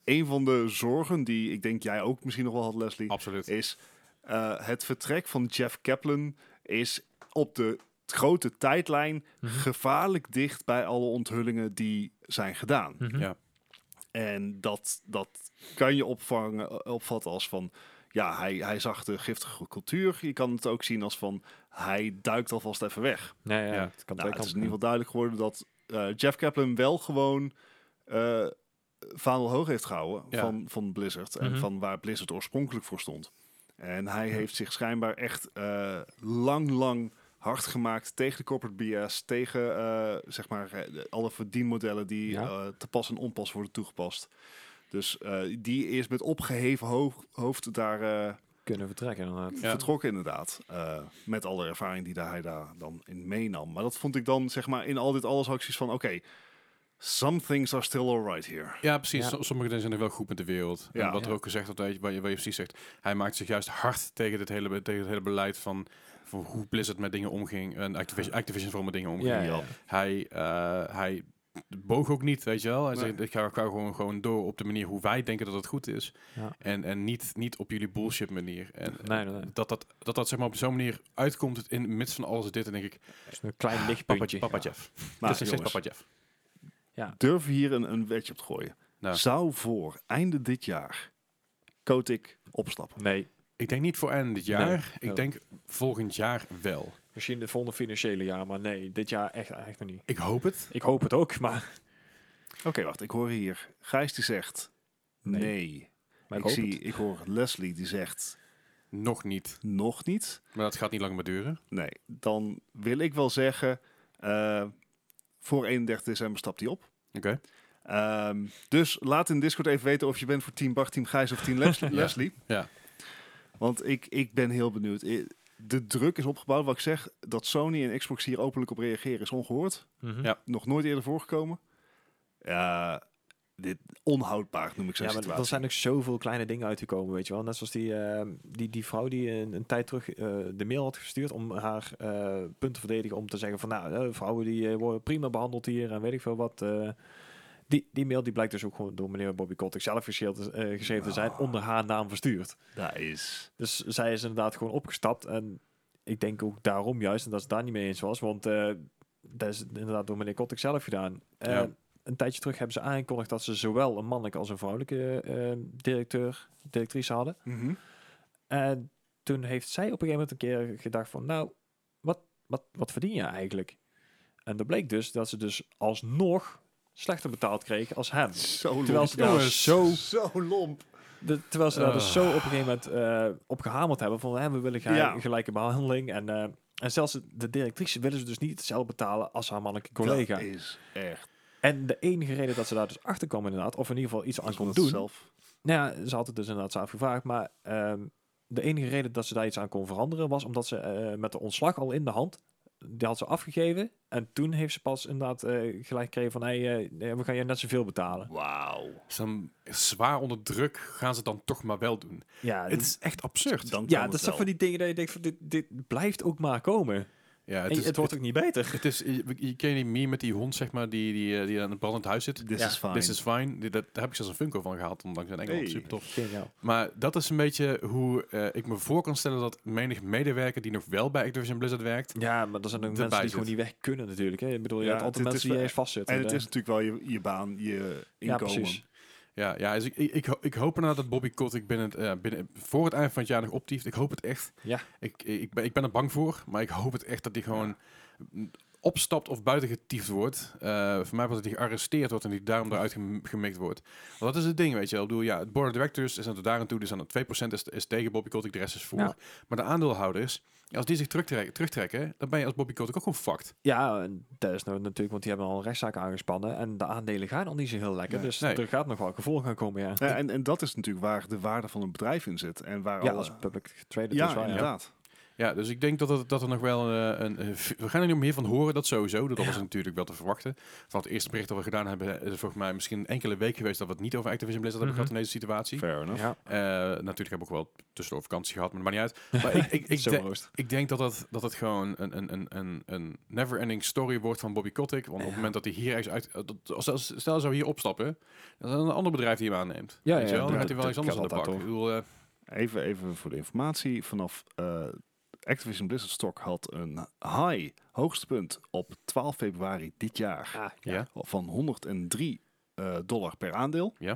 S2: Een van de zorgen die ik denk jij ook misschien nog wel had, Leslie,
S1: Absoluut.
S2: is eh, het vertrek van Jeff Kaplan is op de grote tijdlijn
S1: Mhm.
S2: gevaarlijk dicht bij alle onthullingen die zijn gedaan.
S3: Mhm.
S1: Ja.
S2: En dat, dat kan je opvangen, eh, opvatten als van, ja, hij, hij zag de giftige cultuur. Je kan het ook zien als van, hij duikt alvast even weg.
S3: Ja, ja,
S1: Ja.
S3: Het kan
S2: Nou,
S3: twee
S2: het is in ieder
S3: kanten.
S2: geval duidelijk geworden dat eh, Jeff Kaplan wel gewoon eh vaandel hoog heeft gehouden
S1: Ja.
S2: van, van Blizzard. En
S3: Mhm.
S2: van waar Blizzard oorspronkelijk voor stond. En hij heeft zich schijnbaar echt eh, lang, lang hard gemaakt tegen de corporate BS, tegen eh, zeg maar eh, de- alle verdienmodellen die
S3: Ja.
S2: eh, te pas en onpas worden toegepast. Dus eh, die is met opgeheven ho- hoofd daar eh,
S3: kunnen vertrekken inderdaad.
S1: Ja.
S2: vertrokken inderdaad. Eh, met alle ervaring die daar, hij daar dan in meenam. Maar dat vond ik dan, zeg maar, in al dit alles acties van... Oké, some things are still alright here.
S1: Ja, precies.
S3: Ja.
S1: Som- Sommige dingen zijn er wel goed met de wereld.
S2: Ja.
S1: En wat er
S3: Ja.
S1: ook gezegd wordt, weet je, waar je, waar je precies zegt, hij maakt zich juist hard tegen het hele, be- tegen het hele beleid van, van hoe Blizzard met dingen omging en Activision, Activision vooral met dingen omging.
S3: Ja, ja, ja.
S2: Ja.
S1: Hij, eh, hij boog ook niet, weet je wel. Hij
S2: Nee.
S1: zegt, ik ga, ik ga gewoon, gewoon door op de manier hoe wij denken dat het goed is.
S3: Ja.
S1: En, en niet, niet op jullie bullshit manier. En,
S3: Nee, inderdaad.
S1: dat dat, dat, dat zeg maar op zo'n manier uitkomt in het midst van alles dit. En denk ik,
S3: Dus een klein
S1: papa,
S3: lichtpuntje.
S1: papa
S3: Ja.
S1: Jeff.
S2: Maar
S1: dat is nog steeds
S2: jongens,
S1: papa Jeff.
S2: durf hier een, een wetje op te gooien.
S1: Nou.
S2: Zou voor einde dit jaar Kotick opstappen?
S3: Nee,
S1: Ik denk niet voor eind dit jaar.
S3: Nee.
S1: Ik denk volgend jaar wel.
S3: misschien de volgende financiële jaar, maar nee, dit jaar echt eigenlijk nog niet.
S1: Ik hoop het.
S3: Ik hoop het ook, maar,
S2: Oké, wacht. Ik hoor hier Gijs die zegt nee.
S3: Nee. maar
S2: ik,
S3: hoop
S2: zie,
S3: het.
S2: ik hoor Leslie die zegt
S1: Nog niet.
S2: nog niet.
S1: Maar dat gaat niet lang meer duren.
S2: Nee, dan wil ik wel zeggen... eh, voor 31 december stapt hij op.
S1: Oké.
S2: Ehm, dus laat in Discord even weten of je bent voor Team Bart, Team Gijs of Team Les- Leslie.
S1: Ja.
S2: Want ik, ik ben heel benieuwd. I- De druk is opgebouwd. Wat ik zeg, dat Sony en Xbox hier openlijk op reageren is ongehoord.
S3: Mhm.
S1: Ja.
S2: Nog nooit eerder voorgekomen. Ja, dit onhoudbaar noem ik zo'n
S3: Ja, maar
S2: situatie.
S3: er zijn ook zoveel kleine dingen uitgekomen, weet je wel. Net zoals die, eh, die, die vrouw die een, een tijd terug eh, de mail had gestuurd om haar eh, punt te verdedigen. Om te zeggen van, nou, eh, vrouwen die eh, worden prima behandeld hier en weet ik veel wat. eh. die, die mail die blijkt dus ook gewoon door meneer Bobby Kotick zelf geschreven, te- eh, geschreven te zijn,
S2: Oh.
S3: onder haar naam verstuurd.
S2: Daar is...
S3: Dus zij is inderdaad gewoon opgestapt. En ik denk ook daarom juist, en dat ze daar niet mee eens was. Want eh, dat is inderdaad door meneer Kotick zelf gedaan. Eh,
S1: Ja.
S3: Een tijdje terug hebben ze aangekondigd dat ze zowel een mannelijke als een vrouwelijke eh, directeur, directrice hadden. En toen heeft zij op een gegeven moment een keer gedacht van, nou, wat, wat, wat verdien je eigenlijk? En dat bleek dus dat ze dus alsnog slechter betaald kreeg als hem.
S2: Zo lomp. Nou,
S3: Terwijl ze daar
S1: Jongens.
S3: zo
S2: Zo lomp.
S3: de- terwijl ze daar dus
S1: Ah.
S3: zo op een gegeven moment eh, op gehamerd hebben van hè, we willen ge-
S2: Ja.
S3: gelijke behandeling. En, eh, en zelfs de directrice willen ze dus niet hetzelfde betalen als haar mannelijke collega.
S2: Dat is echt...
S3: En de enige reden dat ze daar dus achter kwam inderdaad, of in ieder geval iets aan kon
S2: Omdat
S3: doen.
S2: Zelf.
S3: Nou ja, ze had het dus inderdaad zelf gevraagd, maar ehm, de enige reden dat ze daar iets aan kon veranderen was omdat ze eh, met de ontslag al in de hand, die had ze afgegeven. En toen heeft ze pas inderdaad eh, gelijk gekregen van hey, eh, nee, we gaan je net zoveel betalen.
S2: Wauw.
S1: Dus dan zwaar onder druk gaan ze het dan toch maar wel doen.
S3: Ja,
S1: Het is echt absurd.
S2: Dan kan
S3: ja dat
S2: het
S3: is toch
S2: wel.
S3: van die dingen dat je denkt van dit, dit blijft ook maar komen.
S1: ja, het,
S3: En
S1: is,
S3: het wordt ook niet beter.
S1: het is, je, je ken je die meme met die hond, zeg maar, die, die, eh, die aan het brandend huis zit.
S2: This
S3: Ja,
S2: is fine.
S1: This is fine. Die- dat, daar heb ik zelfs een Funko van gehaald, ondanks in Engeland.
S2: Hey.
S1: Super tof. Maar dat is een beetje hoe eh, ik me voor kan stellen dat menig medewerker die nog wel bij Activision Blizzard werkt,
S3: Ja, maar er zijn ook
S1: Erbij
S3: mensen die
S1: zit.
S3: gewoon niet weg kunnen natuurlijk. Hè. Ik bedoel, je
S2: Ja,
S3: hebt altijd
S2: het- het
S3: mensen
S2: is
S3: die
S2: wel-
S3: eens vastzitten.
S2: En het is natuurlijk wel je, je baan, je
S3: ja,
S2: inkomen.
S3: precies.
S1: Ja, ja dus ik, ik, ik, ho- ik hoop inderdaad dat Bobby Kotick binnen, het, eh, binnen, voor het eind van het jaar nog optieft. Ik hoop het echt.
S3: Ja.
S1: Ik, ik, ben, ik ben er bang voor, maar ik hoop het echt dat hij gewoon opstapt of buiten getiefd wordt. Eh, voor mij was het die gearresteerd wordt en die daarom eruit gem- gemikt wordt. Want dat is het ding, weet je wel. Ik bedoel, ja, het board of directors is aan het daar aan toe, dus aan het 2% is, is tegen Bobby Kotick, de rest is voor.
S3: Ja.
S1: Maar de aandeelhouders, als die zich terugtrek- terugtrekken, dan ben je als Bobby Kotick ook gewoon fucked.
S3: Ja, en dat is nou natuurlijk, want die hebben al een rechtszaak aangespannen. En de aandelen gaan al niet zo heel lekker.
S1: Nee.
S3: Dus
S1: Nee.
S3: er gaat nog wel gevolgen gaan komen, ja.
S2: Ja, en, en dat is natuurlijk waar de waarde van een bedrijf in zit. En waar
S3: Ja,
S2: alle-
S3: als public traded
S2: eh, ja
S3: is waar, ja.
S2: inderdaad.
S1: Ja, dus ik denk dat, het, dat er nog wel eh, een... eh, v- we gaan er niet meer van horen, dat sowieso. Dat was natuurlijk wel te verwachten. Van het eerste bericht dat we gedaan hebben, eh, is er volgens mij misschien een enkele week geweest dat we het niet over Activision Blizzard hebben
S3: Mhm.
S1: gehad in deze situatie.
S2: Fair enough.
S3: Ja,
S1: Eh, natuurlijk heb ik ook wel tussendoor vakantie gehad, maar dat maakt niet uit. Maar ik, ik, ik,
S3: zo
S1: denk-
S3: roost.
S1: ik denk dat het, dat het gewoon een, een, een, een, een never-ending story wordt van Bobby Kotick. Want op het
S3: Ja.
S1: moment dat hij hier ergens uit... eh, Dat, als- als- stel, hij zou hier opstappen, dan is er een ander bedrijf die hem aanneemt.
S3: Ja,
S1: Weet
S3: ja,
S1: je wel? Dan
S3: dat-
S1: gaat hij wel
S3: dat
S1: iets anders aan de
S3: kan
S1: bak.
S3: altijd,
S1: Ik bedoel, eh,
S2: Even, even voor de informatie. Vanaf eh, Activision Blizzard Stock had een high, hoogste punt, op 12 februari dit jaar.
S3: Ah,
S1: ja.
S2: Van 103 eh, dollar per aandeel.
S3: Mhm.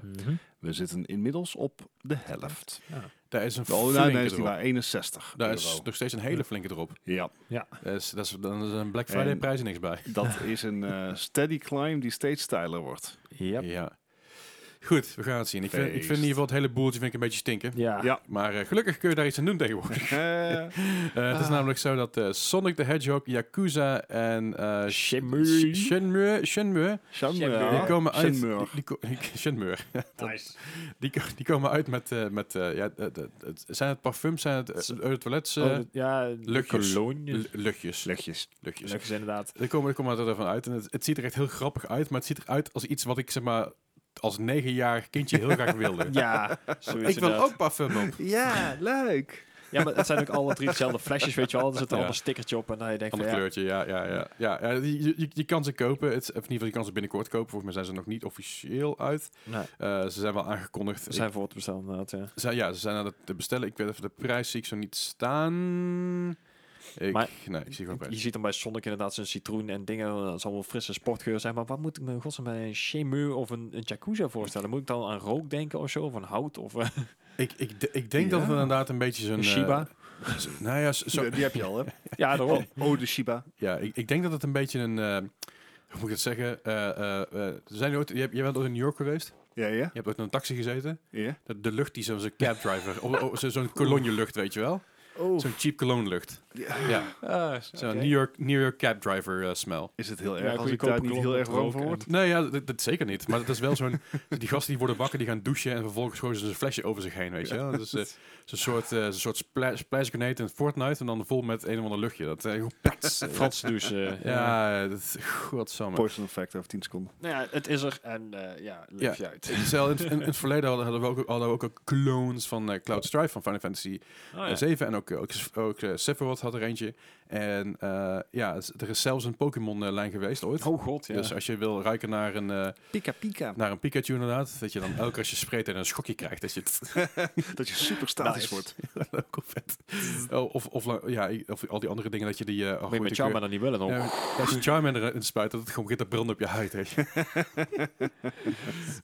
S2: We zitten inmiddels op de helft.
S1: Daar is een
S2: Oh, nee,
S1: flinke
S2: nee, is die
S1: erop.
S2: waar 61
S1: Daar
S2: euro.
S1: is nog steeds een hele flinke erop.
S2: Ja,
S1: Dat is, dat is, dan is een Black Friday
S2: En-
S1: prijs er niks bij.
S2: dat is een eh, steady climb die steeds steiler wordt.
S3: Yep.
S1: Ja. Goed, we gaan het zien. Ik vind, ik vind in ieder geval het hele boeltje vind ik een beetje stinken.
S3: Ja.
S2: Ja.
S1: Maar eh, gelukkig kun je daar iets aan doen tegenwoordig.
S2: Eh,
S1: Eh, het is namelijk zo dat eh, Sonic the Hedgehog, Yakuza en eh,
S3: Shenmue.
S1: Sh- Shenmue, Shenmue,
S2: Shenmue.
S1: die komen uit.
S2: Shenmue.
S1: Die, die, ko- Shenmue. Die, ko- die komen uit met, eh, met eh, ja, het- het- het- zijn het parfums, zijn het eh, eh, toilets, eh,
S3: Oh, dat- ja,
S1: luchtjes.
S3: Cologne.
S1: lu- luchtjes,
S2: Slechtjes.
S1: luchtjes.
S3: Luchtjes, inderdaad.
S1: Ik kom, ik kom altijd ervan uit. En het, het ziet er echt heel grappig uit, maar het ziet eruit als iets wat ik zeg maar als negenjarig kindje heel graag wilde.
S3: Ja, zoiets
S1: ik wil
S3: inderdaad.
S1: ook parfum op.
S2: Ja, leuk.
S3: Ja, maar het zijn ook alle drie dezelfde flesjes, weet je wel. Er zit een
S1: Ja.
S3: ander stickertje op en dan je denkt van,
S1: Ander
S3: ja,
S1: kleurtje, ja. ja, ja, ja, ja je, je, je kan ze kopen. Het, is- of in ieder geval, je kan ze binnenkort kopen. Volgens mij zijn ze nog niet officieel uit.
S3: nee,
S1: Eh, ze zijn wel aangekondigd.
S3: we zijn voor te bestellen inderdaad, ja.
S1: Ik- ze- ja, ze zijn aan het te bestellen. Ik weet even de prijs, zie ik zo niet staan. Ik,
S3: Maar-
S1: nee, ik zie gewoon
S3: Je
S1: prijs.
S3: ziet dan bij Sonic inderdaad zijn citroen en dingen. Dat is allemaal frisse sportgeur zijn. Maar wat moet ik me in godsnaam bij een Shemu of een, een Jacuzza voorstellen? Moet ik dan aan rook denken of zo? Of aan hout? Of, eh,
S1: Ik, ik, de- ik denk dat het
S2: Ja.
S1: inderdaad een beetje zo'n...
S3: Een
S1: eh,
S3: Shiba?
S1: zo- nou ja, zo,
S2: Die heb je al, hè?
S3: ja, daarom.
S2: Oh, de Shiba.
S1: Ja, ik, ik denk dat het een beetje een. eh, hoe moet ik het zeggen? Eh, eh, eh, zijn jullie ooit, jij, jij bent ooit in New York geweest.
S2: Ja, ja.
S1: Je hebt ooit in een taxi gezeten.
S2: ja.
S1: De, de lucht die zo- zo'n cab driver. of- of zo- zo'n cologne lucht, weet je wel?
S2: Oh,
S1: Zo'n cheap cologne lucht. Ja,
S3: Ah,
S1: zo'n New, York, New York cab driver eh, smell.
S2: is het heel
S3: Ja,
S2: erg als
S3: goede
S2: ik daar
S3: koper
S2: niet
S3: klomp
S2: heel erg
S3: met
S2: warm
S3: rook
S2: van
S3: en-
S2: word?
S1: Nee, ja, dat, dat zeker niet. Maar het is wel zo'n. Die gasten die worden wakker, die gaan douchen. en vervolgens gooien ze een flesje over zich heen, weet je wel? Dat is eh, zo'n soort, eh, zo'n soort spla- splash grenade in Fortnite. en dan vol met een of ander luchtje. Dat, eh, pats.
S3: Frans douche. eh, ja.
S1: ja, dat, godsamme.
S2: Poison effect over 10 seconden.
S3: Nou ja, het is er. En eh, ja, leef je uit.
S1: Zelf in, het- in het verleden hadden, hadden we ook, hadden we ook, ook clones van eh, Cloud Strife van Final Fantasy
S3: Oh,
S1: eh, 7 en ook, eh, ook, ook eh, Sephiroth had er eentje. En eh, ja, het is- er is zelfs een Pokémon-lijn geweest ooit.
S3: Oh god, ja.
S1: Dus als je wil ruiken naar een, eh,
S2: Pika pika.
S1: naar een Pikachu inderdaad, dat je dan elke keer als je spreekt en een schokje krijgt, dat je het
S2: Dat je super statisch
S3: Nice.
S2: wordt.
S1: ook al vet. Oh, Of, of, la- ja, i- of al die andere dingen dat je die... eh, oh,
S3: Moet je
S1: hoe
S3: met
S1: heet
S3: jou
S1: die
S3: maar dan niet willen.
S1: keur-
S3: hoor.
S1: Ja, als je Charmander erin spuit, dat het gewoon begint te branden op je huid. Hè.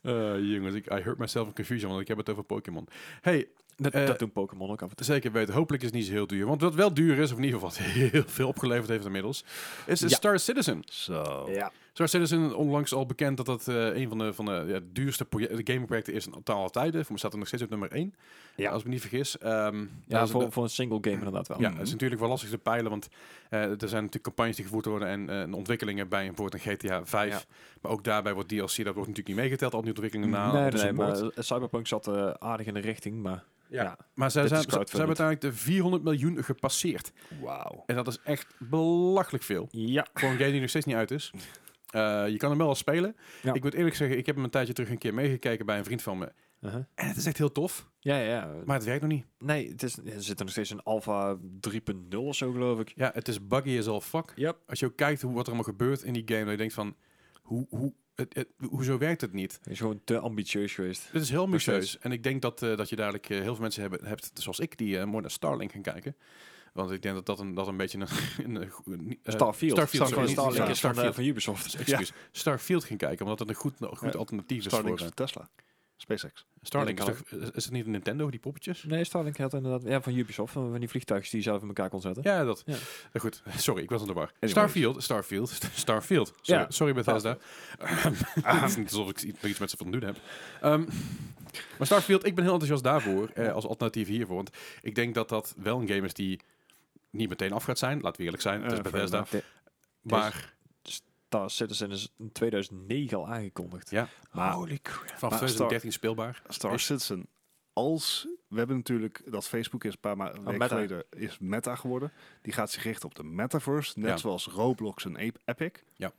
S1: Eh, jongens, ik, I hurt myself in confusion, want ik heb het over Pokémon. Hey,
S3: Dat,
S1: eh,
S3: dat doen Pokémon ook af en toe.
S1: Zeker weten. Hopelijk is het niet zo heel duur. Want wat wel duur is, of in ieder geval wat heel veel opgeleverd heeft inmiddels, is de
S3: Ja.
S1: Star Citizen.
S2: Zo.
S3: Ja.
S1: Star Citizen, onlangs al bekend dat dat eh, een van de, van de ja, duurste proje- gamingprojecten is in taal tijden. Voor mij staat er nog steeds op nummer 1.
S3: Ja.
S1: Als ik me niet vergis. Ehm, dat
S3: Ja,
S1: is-
S3: voor, mm. voor een single game inderdaad wel.
S1: ja, het is natuurlijk wel lastig te peilen, want eh, er zijn natuurlijk campagnes die gevoerd worden en, eh, en ontwikkelingen bij bijvoorbeeld een GTA 5. Maar ook daarbij wordt DLC, dat wordt natuurlijk niet meegeteld, al die ontwikkelingen na.
S3: nee, nee,
S1: de
S3: nee, maar
S1: support.
S3: eh, Cyberpunk zat eh, aardig in de richting, maar
S1: Ja.
S3: ja.
S1: Maar zij
S3: dit
S1: zijn,
S3: is
S1: ze ze hebben
S3: crowdfunded.
S1: uiteindelijk de 400 miljoen gepasseerd.
S2: Wauw.
S1: En dat is echt belachelijk veel.
S3: Ja.
S1: Voor een game die nog steeds niet uit is. Eh, je kan hem wel al spelen.
S3: Ja.
S1: Ik moet eerlijk zeggen, ik heb hem een tijdje terug een keer meegekeken bij een vriend van me.
S3: Uh-huh.
S1: En het is echt heel tof,
S3: Ja, ja, ja.
S1: maar het werkt nog niet.
S3: Nee, het is, er zit er nog steeds een Alpha 3.0 of zo, geloof ik.
S1: Ja, het is buggy as all fuck.
S3: Yep.
S1: Als je ook kijkt hoe, wat er allemaal gebeurt in die game, dan je denkt van, hoe, hoe, het, het- hoezo werkt het niet?
S3: Hij is gewoon te ambitieus geweest.
S1: Dit is heel
S3: Nog steeds.
S1: ambitieus. En ik denk dat, eh, dat je dadelijk eh, heel veel mensen hebben, hebt, zoals ik, die eh, mooi naar Starlink gaan kijken. Want ik denk dat dat een, dat een beetje een... een, een goe- niet- eh,
S3: Starfield.
S1: Starfield,
S2: sorry,
S3: Starlink
S2: Starlink
S3: is van, eh,
S1: Starfield.
S3: van Ubisoft.
S1: excuus. Starfield ging kijken, omdat het een goed, goed alternatief is
S2: Starlink
S1: voor... eh,
S2: voor Tesla. SpaceX.
S1: Starlink is,
S3: Illegaal.
S1: toch- is- is het niet een Nintendo, die poppetjes?
S3: Nee, Starlink had inderdaad... Ja, van Ubisoft. Van van die vliegtuigjes die je zelf in elkaar kon zetten.
S1: Ja, dat.
S3: Ja.
S1: Eh, Goed, sorry, ik was aan de war.
S3: Anyways.
S1: Starfield, Starfield, Starfield. Sorry,
S3: Ja.
S1: sorry Bethesda. Het is niet alsof ik iets- nog iets met ze van doen heb. Ehm, maar Starfield, ik ben heel enthousiast daarvoor, eh, als alternatief hiervoor. Want ik denk dat dat wel een game is die niet meteen af gaat zijn. Laten we eerlijk zijn, het
S2: Eh,
S1: is
S2: fair
S1: Bethesda.
S2: enough.
S1: Maar
S3: Star Citizen is in 2009 al aangekondigd.
S1: Ja.
S3: Maar,
S1: vanaf 2013 speelbaar.
S2: Star
S1: Is-
S2: Citizen. Als we hebben natuurlijk dat Facebook is een paar ma- weken
S3: Meta.
S2: geleden is Meta geworden. Die gaat zich richten op de metaverse, net
S1: Ja.
S2: zoals Roblox en Ape Epic.
S1: Ja.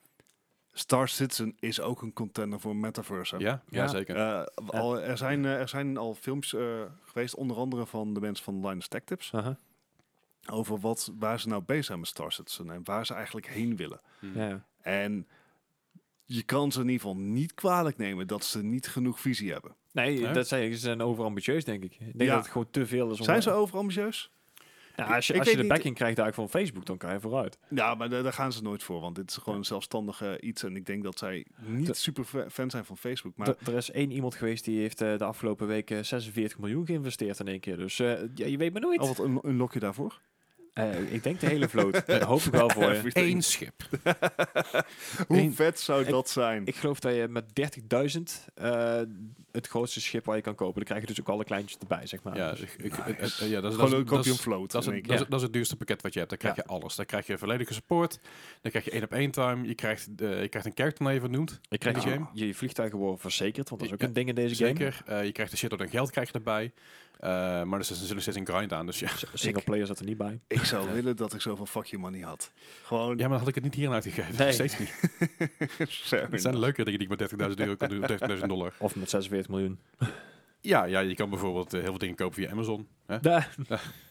S2: Star Citizen is ook een contender voor metaverse. hè?
S1: Ja, ja,
S3: Ja.
S1: zeker.
S2: Eh, al, er, zijn, eh, er zijn al films eh, geweest, onder andere van de mensen van Linus Tech Tips,
S3: Aha.
S2: over wat, waar ze nou bezig zijn met Star Citizen en waar ze eigenlijk heen willen.
S3: ja, ja.
S2: En je kan ze in ieder geval niet kwalijk nemen dat ze niet genoeg visie hebben.
S3: Nee,
S1: Ja.
S3: dat zijn, ze zijn overambitieus, denk ik. Ik denk
S2: Ja.
S3: dat het gewoon te veel is. Om,
S2: Zijn ze overambitieus?
S3: Nou, als je,
S2: Ik
S3: als
S2: weet
S3: je de
S2: niet-
S3: backing krijgt eigenlijk van Facebook, dan kan je vooruit.
S2: Ja, maar daar, daar gaan ze nooit voor, want dit is gewoon een zelfstandige iets. En ik denk dat zij niet
S3: De-
S2: super fa- fan zijn van Facebook. Maar
S3: D- er is één iemand geweest die heeft eh, de afgelopen week eh, 46 miljoen geïnvesteerd in één keer. Dus eh, ja, je weet maar nooit.
S2: oh, wat een, een lokje daarvoor?
S3: Eh, ik denk de hele vloot. dat hoop ik wel voor je.
S1: Eén schip.
S2: Hoe
S3: Eén-
S2: vet zou
S3: Ik-
S2: dat zijn?
S3: Ik geloof dat je met 30.000 eh, het grootste schip waar je kan kopen. Dan krijg je dus ook alle kleintjes erbij, zeg maar.
S1: Ja,
S3: Dus-
S1: ik- ik- het- het- ja, dat is-
S2: gewoon
S1: dat
S2: een
S1: is- dat
S2: kopje
S1: is-
S2: een float.
S1: Dat is,
S2: in
S1: het,
S2: één
S1: dat, is, dat is het duurste pakket wat je hebt. Dan krijg
S3: Ja.
S1: je alles. Dan krijg je volledige support. Dan krijg je één op één time. Je krijgt, eh, je krijkt een character naar je vernoemd.
S3: je krijgt
S1: die
S3: je-
S1: game?
S3: je, vliegtuigen worden verzekerd, want dat is ook
S1: Ja,
S3: een ding in deze game.
S1: Zeker. Eh, je krijgt de shit door een geld krijg je erbij. Eh, maar er zit natuurlijk steeds een grind aan. Dus ja.
S3: S- Single player zat er niet bij.
S2: keer. Ik zou willen dat ik zoveel fuck you money had. Gewoon,
S1: ja, maar dan had ik het niet hierin uitgegeven.
S3: Nee.
S1: Steeds niet.
S2: fair
S1: Het zijn leuke dingen die ik met 30.000 euro kan doen. 30.000 dollar.
S3: Of met 46 miljoen.
S1: Ja, ja, je kan bijvoorbeeld eh, heel veel dingen kopen via Amazon. Hè?
S3: Daar.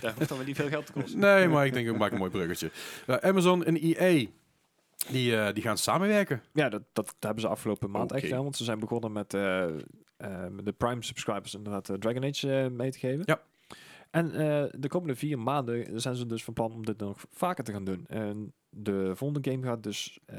S3: Daar hoeft dan weer niet veel geld te kosten.
S1: Nee, maar ik denk ik maak een mooi bruggetje. Eh, Amazon en EA. Die, eh, die gaan samenwerken.
S3: Ja, dat, dat, dat hebben ze afgelopen maand echt
S1: Oké.
S3: gedaan. Want ze zijn begonnen met eh, eh, met de Prime subscribers inderdaad eh, Dragon Age eh, mee te geven.
S1: Ja.
S3: En eh, de komende vier maanden zijn ze dus van plan om dit nog vaker te gaan doen. En de volgende game gaat dus, eh,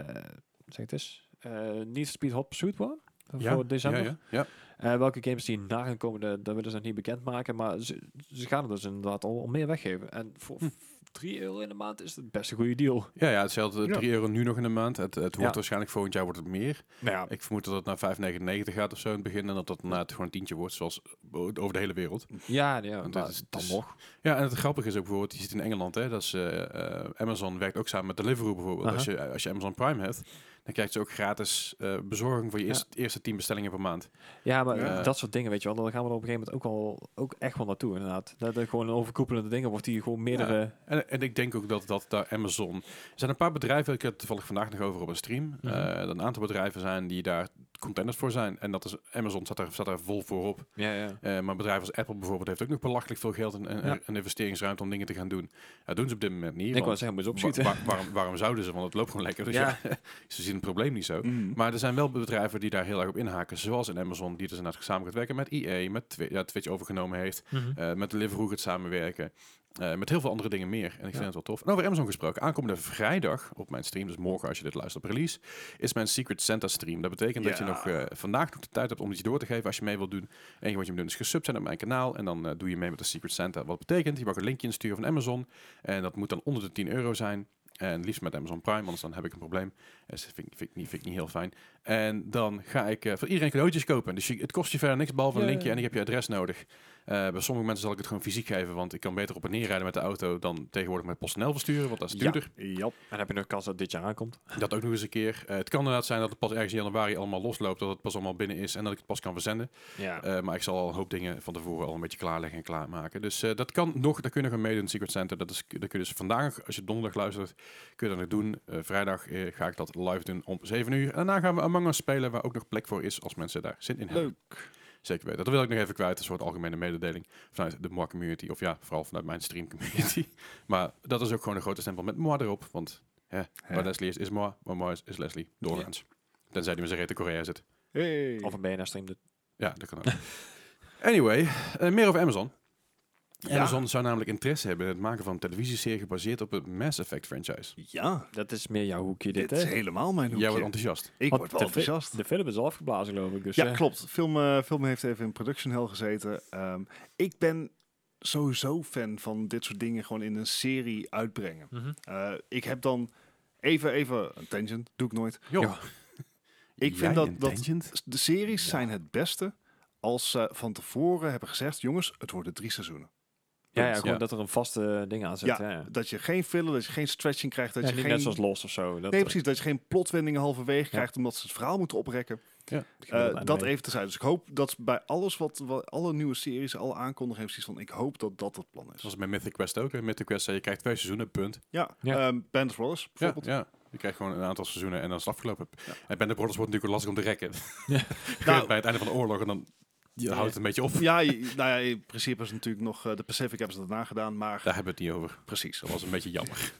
S3: zeg het eens, eh Need for Speed Hot Pursuit worden. Voor december.
S1: Ja, ja, ja.
S3: Eh, welke games die na gaan komen, dat, dat willen ze nog niet bekendmaken. Maar ze, ze gaan het dus inderdaad al, al meer weggeven. En voor
S1: Hm.
S3: 3 euro in de maand is het best een goede deal.
S1: Ja, ja, hetzelfde.
S2: Ja.
S1: 3 euro nu nog in de maand. Het, het wordt
S3: Ja.
S1: waarschijnlijk volgend jaar wordt het meer.
S3: Nou ja,
S1: Ik vermoed dat het naar 5,99 gaat of zo in het begin. En dat dat na het gewoon een tientje wordt, zoals o- over de hele wereld.
S3: ja, ja
S1: Want
S3: maar
S1: het is- dus het
S3: dan
S1: is-
S3: nog.
S1: Ja, en het grappige is ook bijvoorbeeld, je zit in Engeland, hè, dat is, eh, eh, Amazon werkt ook samen met Deliveroo bijvoorbeeld.
S3: Aha.
S1: Als, je, als je Amazon Prime hebt, dan krijg je ook gratis eh, bezorging voor je eerste, eerste 10 bestellingen per maand.
S3: Ja, maar
S1: Ja.
S3: dat soort dingen, weet je wel. Daar gaan we er op een gegeven moment ook, al, ook echt wel naartoe, inderdaad. Dat er gewoon een overkoepelende dingen wordt die gewoon meerdere...
S1: En, en ik denk ook dat, dat daar Amazon... Er zijn een paar bedrijven, ik heb het toevallig vandaag nog over op een stream.
S3: Mhm.
S1: eh, dat een aantal bedrijven zijn die daar contenders voor zijn. En dat is, Amazon staat daar, staat daar vol voor op.
S3: Ja, ja.
S1: Eh, maar bedrijven als Apple bijvoorbeeld heeft ook nog belachelijk veel geld en, en,
S3: Ja.
S1: en investeringsruimte om dingen te gaan doen. Dat doen ze op dit moment niet.
S3: Ik wou
S1: want
S3: zeggen, moet je
S1: wa-
S3: opschieten.
S1: wa- waarom, waarom zouden ze? Want het loopt gewoon lekker. Dus ja.
S3: Ja.
S1: ze zien het probleem niet zo.
S2: Mm.
S1: Maar er zijn wel bedrijven die daar heel erg op inhaken. Zoals in Amazon, die dus inderdaad samen gaat werken met EA, met Twi- ja, Twitch overgenomen heeft.
S2: Mhm.
S1: eh, met Deliveroo gaat samenwerken. eh, met heel veel andere dingen meer. En ik vind
S3: Ja.
S1: het wel tof. En over Amazon gesproken. Aankomende vrijdag op mijn stream, dus morgen als je dit luistert op release, is mijn Secret Santa stream. Dat betekent dat je
S2: Ja.
S1: nog eh, vandaag nog de tijd hebt om iets door te geven als je mee wilt doen. En wat je moet doen is gesubt zijn op mijn kanaal. En dan eh, doe je mee met de Secret Santa. Wat betekent, je mag een linkje insturen van Amazon. En dat moet dan onder de 10 euro zijn. En liefst met Amazon Prime, anders dan heb ik een probleem. Dus dat vind ik, vind ik, niet, vind ik niet heel fijn. En dan ga ik eh, voor iedereen cadeautjes kopen. Dus je- het kost je verder niks, behalve een
S3: Ja, ja,
S1: linkje.
S3: ja.
S1: En ik heb je adres nodig. Eh, bij sommige mensen zal ik het gewoon fysiek geven, want ik kan beter op en neer rijden met de auto dan tegenwoordig met PostNL versturen, want dat is
S3: Ja.
S1: duurder.
S2: Jap.
S3: En heb je nog kans dat dit jaar aankomt?
S1: Dat ook nog eens een keer. Eh, het kan inderdaad zijn dat het pas ergens in januari allemaal losloopt, dat het pas allemaal binnen is en dat ik het pas kan verzenden.
S3: Ja.
S1: Eh, maar ik zal al een hoop dingen van tevoren al een beetje klaarleggen en klaarmaken. Dus eh, dat kan nog, daar kun je nog aan meedoen in het Secret Center. Dat, is, dat kun je dus vandaag, als je donderdag luistert, kun je dat nog doen. Eh, vrijdag eh, ga ik dat live doen om 7 uur. En daarna gaan we Among Us spelen, waar ook nog plek voor is als mensen daar zin in hebben.
S2: Leuk.
S1: Zeker weten. Dat wil ik nog even kwijt. Een soort algemene mededeling vanuit de Moa community. Of ja, vooral vanuit mijn stream community. maar dat is ook gewoon een grote stempel met Moa erop. Want hè, waar Leslie is, is Moa. Waar Moa is, is Leslie. Doorgaans. Tenzij die met zijn reet in Korea zit.
S2: Hey.
S3: Of een BNR-stream.
S1: Ja, dat kan ook. anyway, eh, meer over Amazon. Amazon zou namelijk interesse hebben in het maken van een televisieserie gebaseerd op het Mass Effect franchise.
S2: Ja,
S3: Dat is meer jouw hoekje dit,
S2: dit is
S3: hè?
S2: helemaal mijn
S1: Jij wordt
S2: hoekje.
S1: enthousiast.
S2: Ik
S3: Want
S2: word wel
S3: de fi-
S2: enthousiast.
S3: De film is al afgeblazen, geloof ik. Dus,
S2: Ja,
S3: eh,
S2: klopt. Film, eh, film heeft even in production hell gezeten. Ehm, ik ben sowieso fan van dit soort dingen gewoon in een serie uitbrengen.
S3: mhm.
S2: Eh, ik heb dan even, even een tangent, doe ik nooit.
S1: Joh.
S3: Ja.
S2: Ik
S1: Jij
S2: vind dat,
S1: een
S2: dat
S1: tangent?
S2: de series
S1: Ja.
S2: zijn het beste als ze van tevoren hebben gezegd, jongens, het worden drie seizoenen.
S3: Ja, ja, gewoon
S1: Ja.
S3: dat er een vaste eh, ding aan zit.
S2: Ja,
S3: Ja, ja.
S2: Dat je geen filler, dat je geen stretching krijgt, dat
S3: Ja,
S2: je
S3: niet
S2: geen...
S3: net zoals Lost of zo. Dat, eh,
S2: Nee, precies, dat je geen plotwendingen halverwege
S3: Ja.
S2: krijgt omdat ze het verhaal moeten oprekken.
S3: eh,
S2: Eh,
S3: gebeurt bij
S2: dat
S3: mij.
S2: even tezijde. Dus ik hoop dat bij alles wat, wat alle nieuwe series, alle aankondigingen, precies van ik hoop dat dat het plan is.
S1: Zoals bij Mythic Quest ook. hè. Mythic Quest zei, je krijgt twee seizoenen, punt.
S2: Ja,
S3: Ja.
S2: ja. Band of Brothers
S1: Ja,
S2: bijvoorbeeld.
S1: ja. Je krijgt gewoon een aantal seizoenen en dan is het afgelopen.
S2: Ja.
S1: En Band of Brothers wordt natuurlijk lastig om te rekken.
S3: Ja.
S2: Nou-
S1: bij het einde van de oorlog en dan
S2: eh,
S3: Ja.
S1: houdt het een beetje op.
S2: Ja, je- nou ja, in principe is natuurlijk nog eh, de Pacific hebben ze daarna gedaan, maar
S1: Daar hebben we het niet over.
S2: precies.
S1: Dat was een beetje jammer.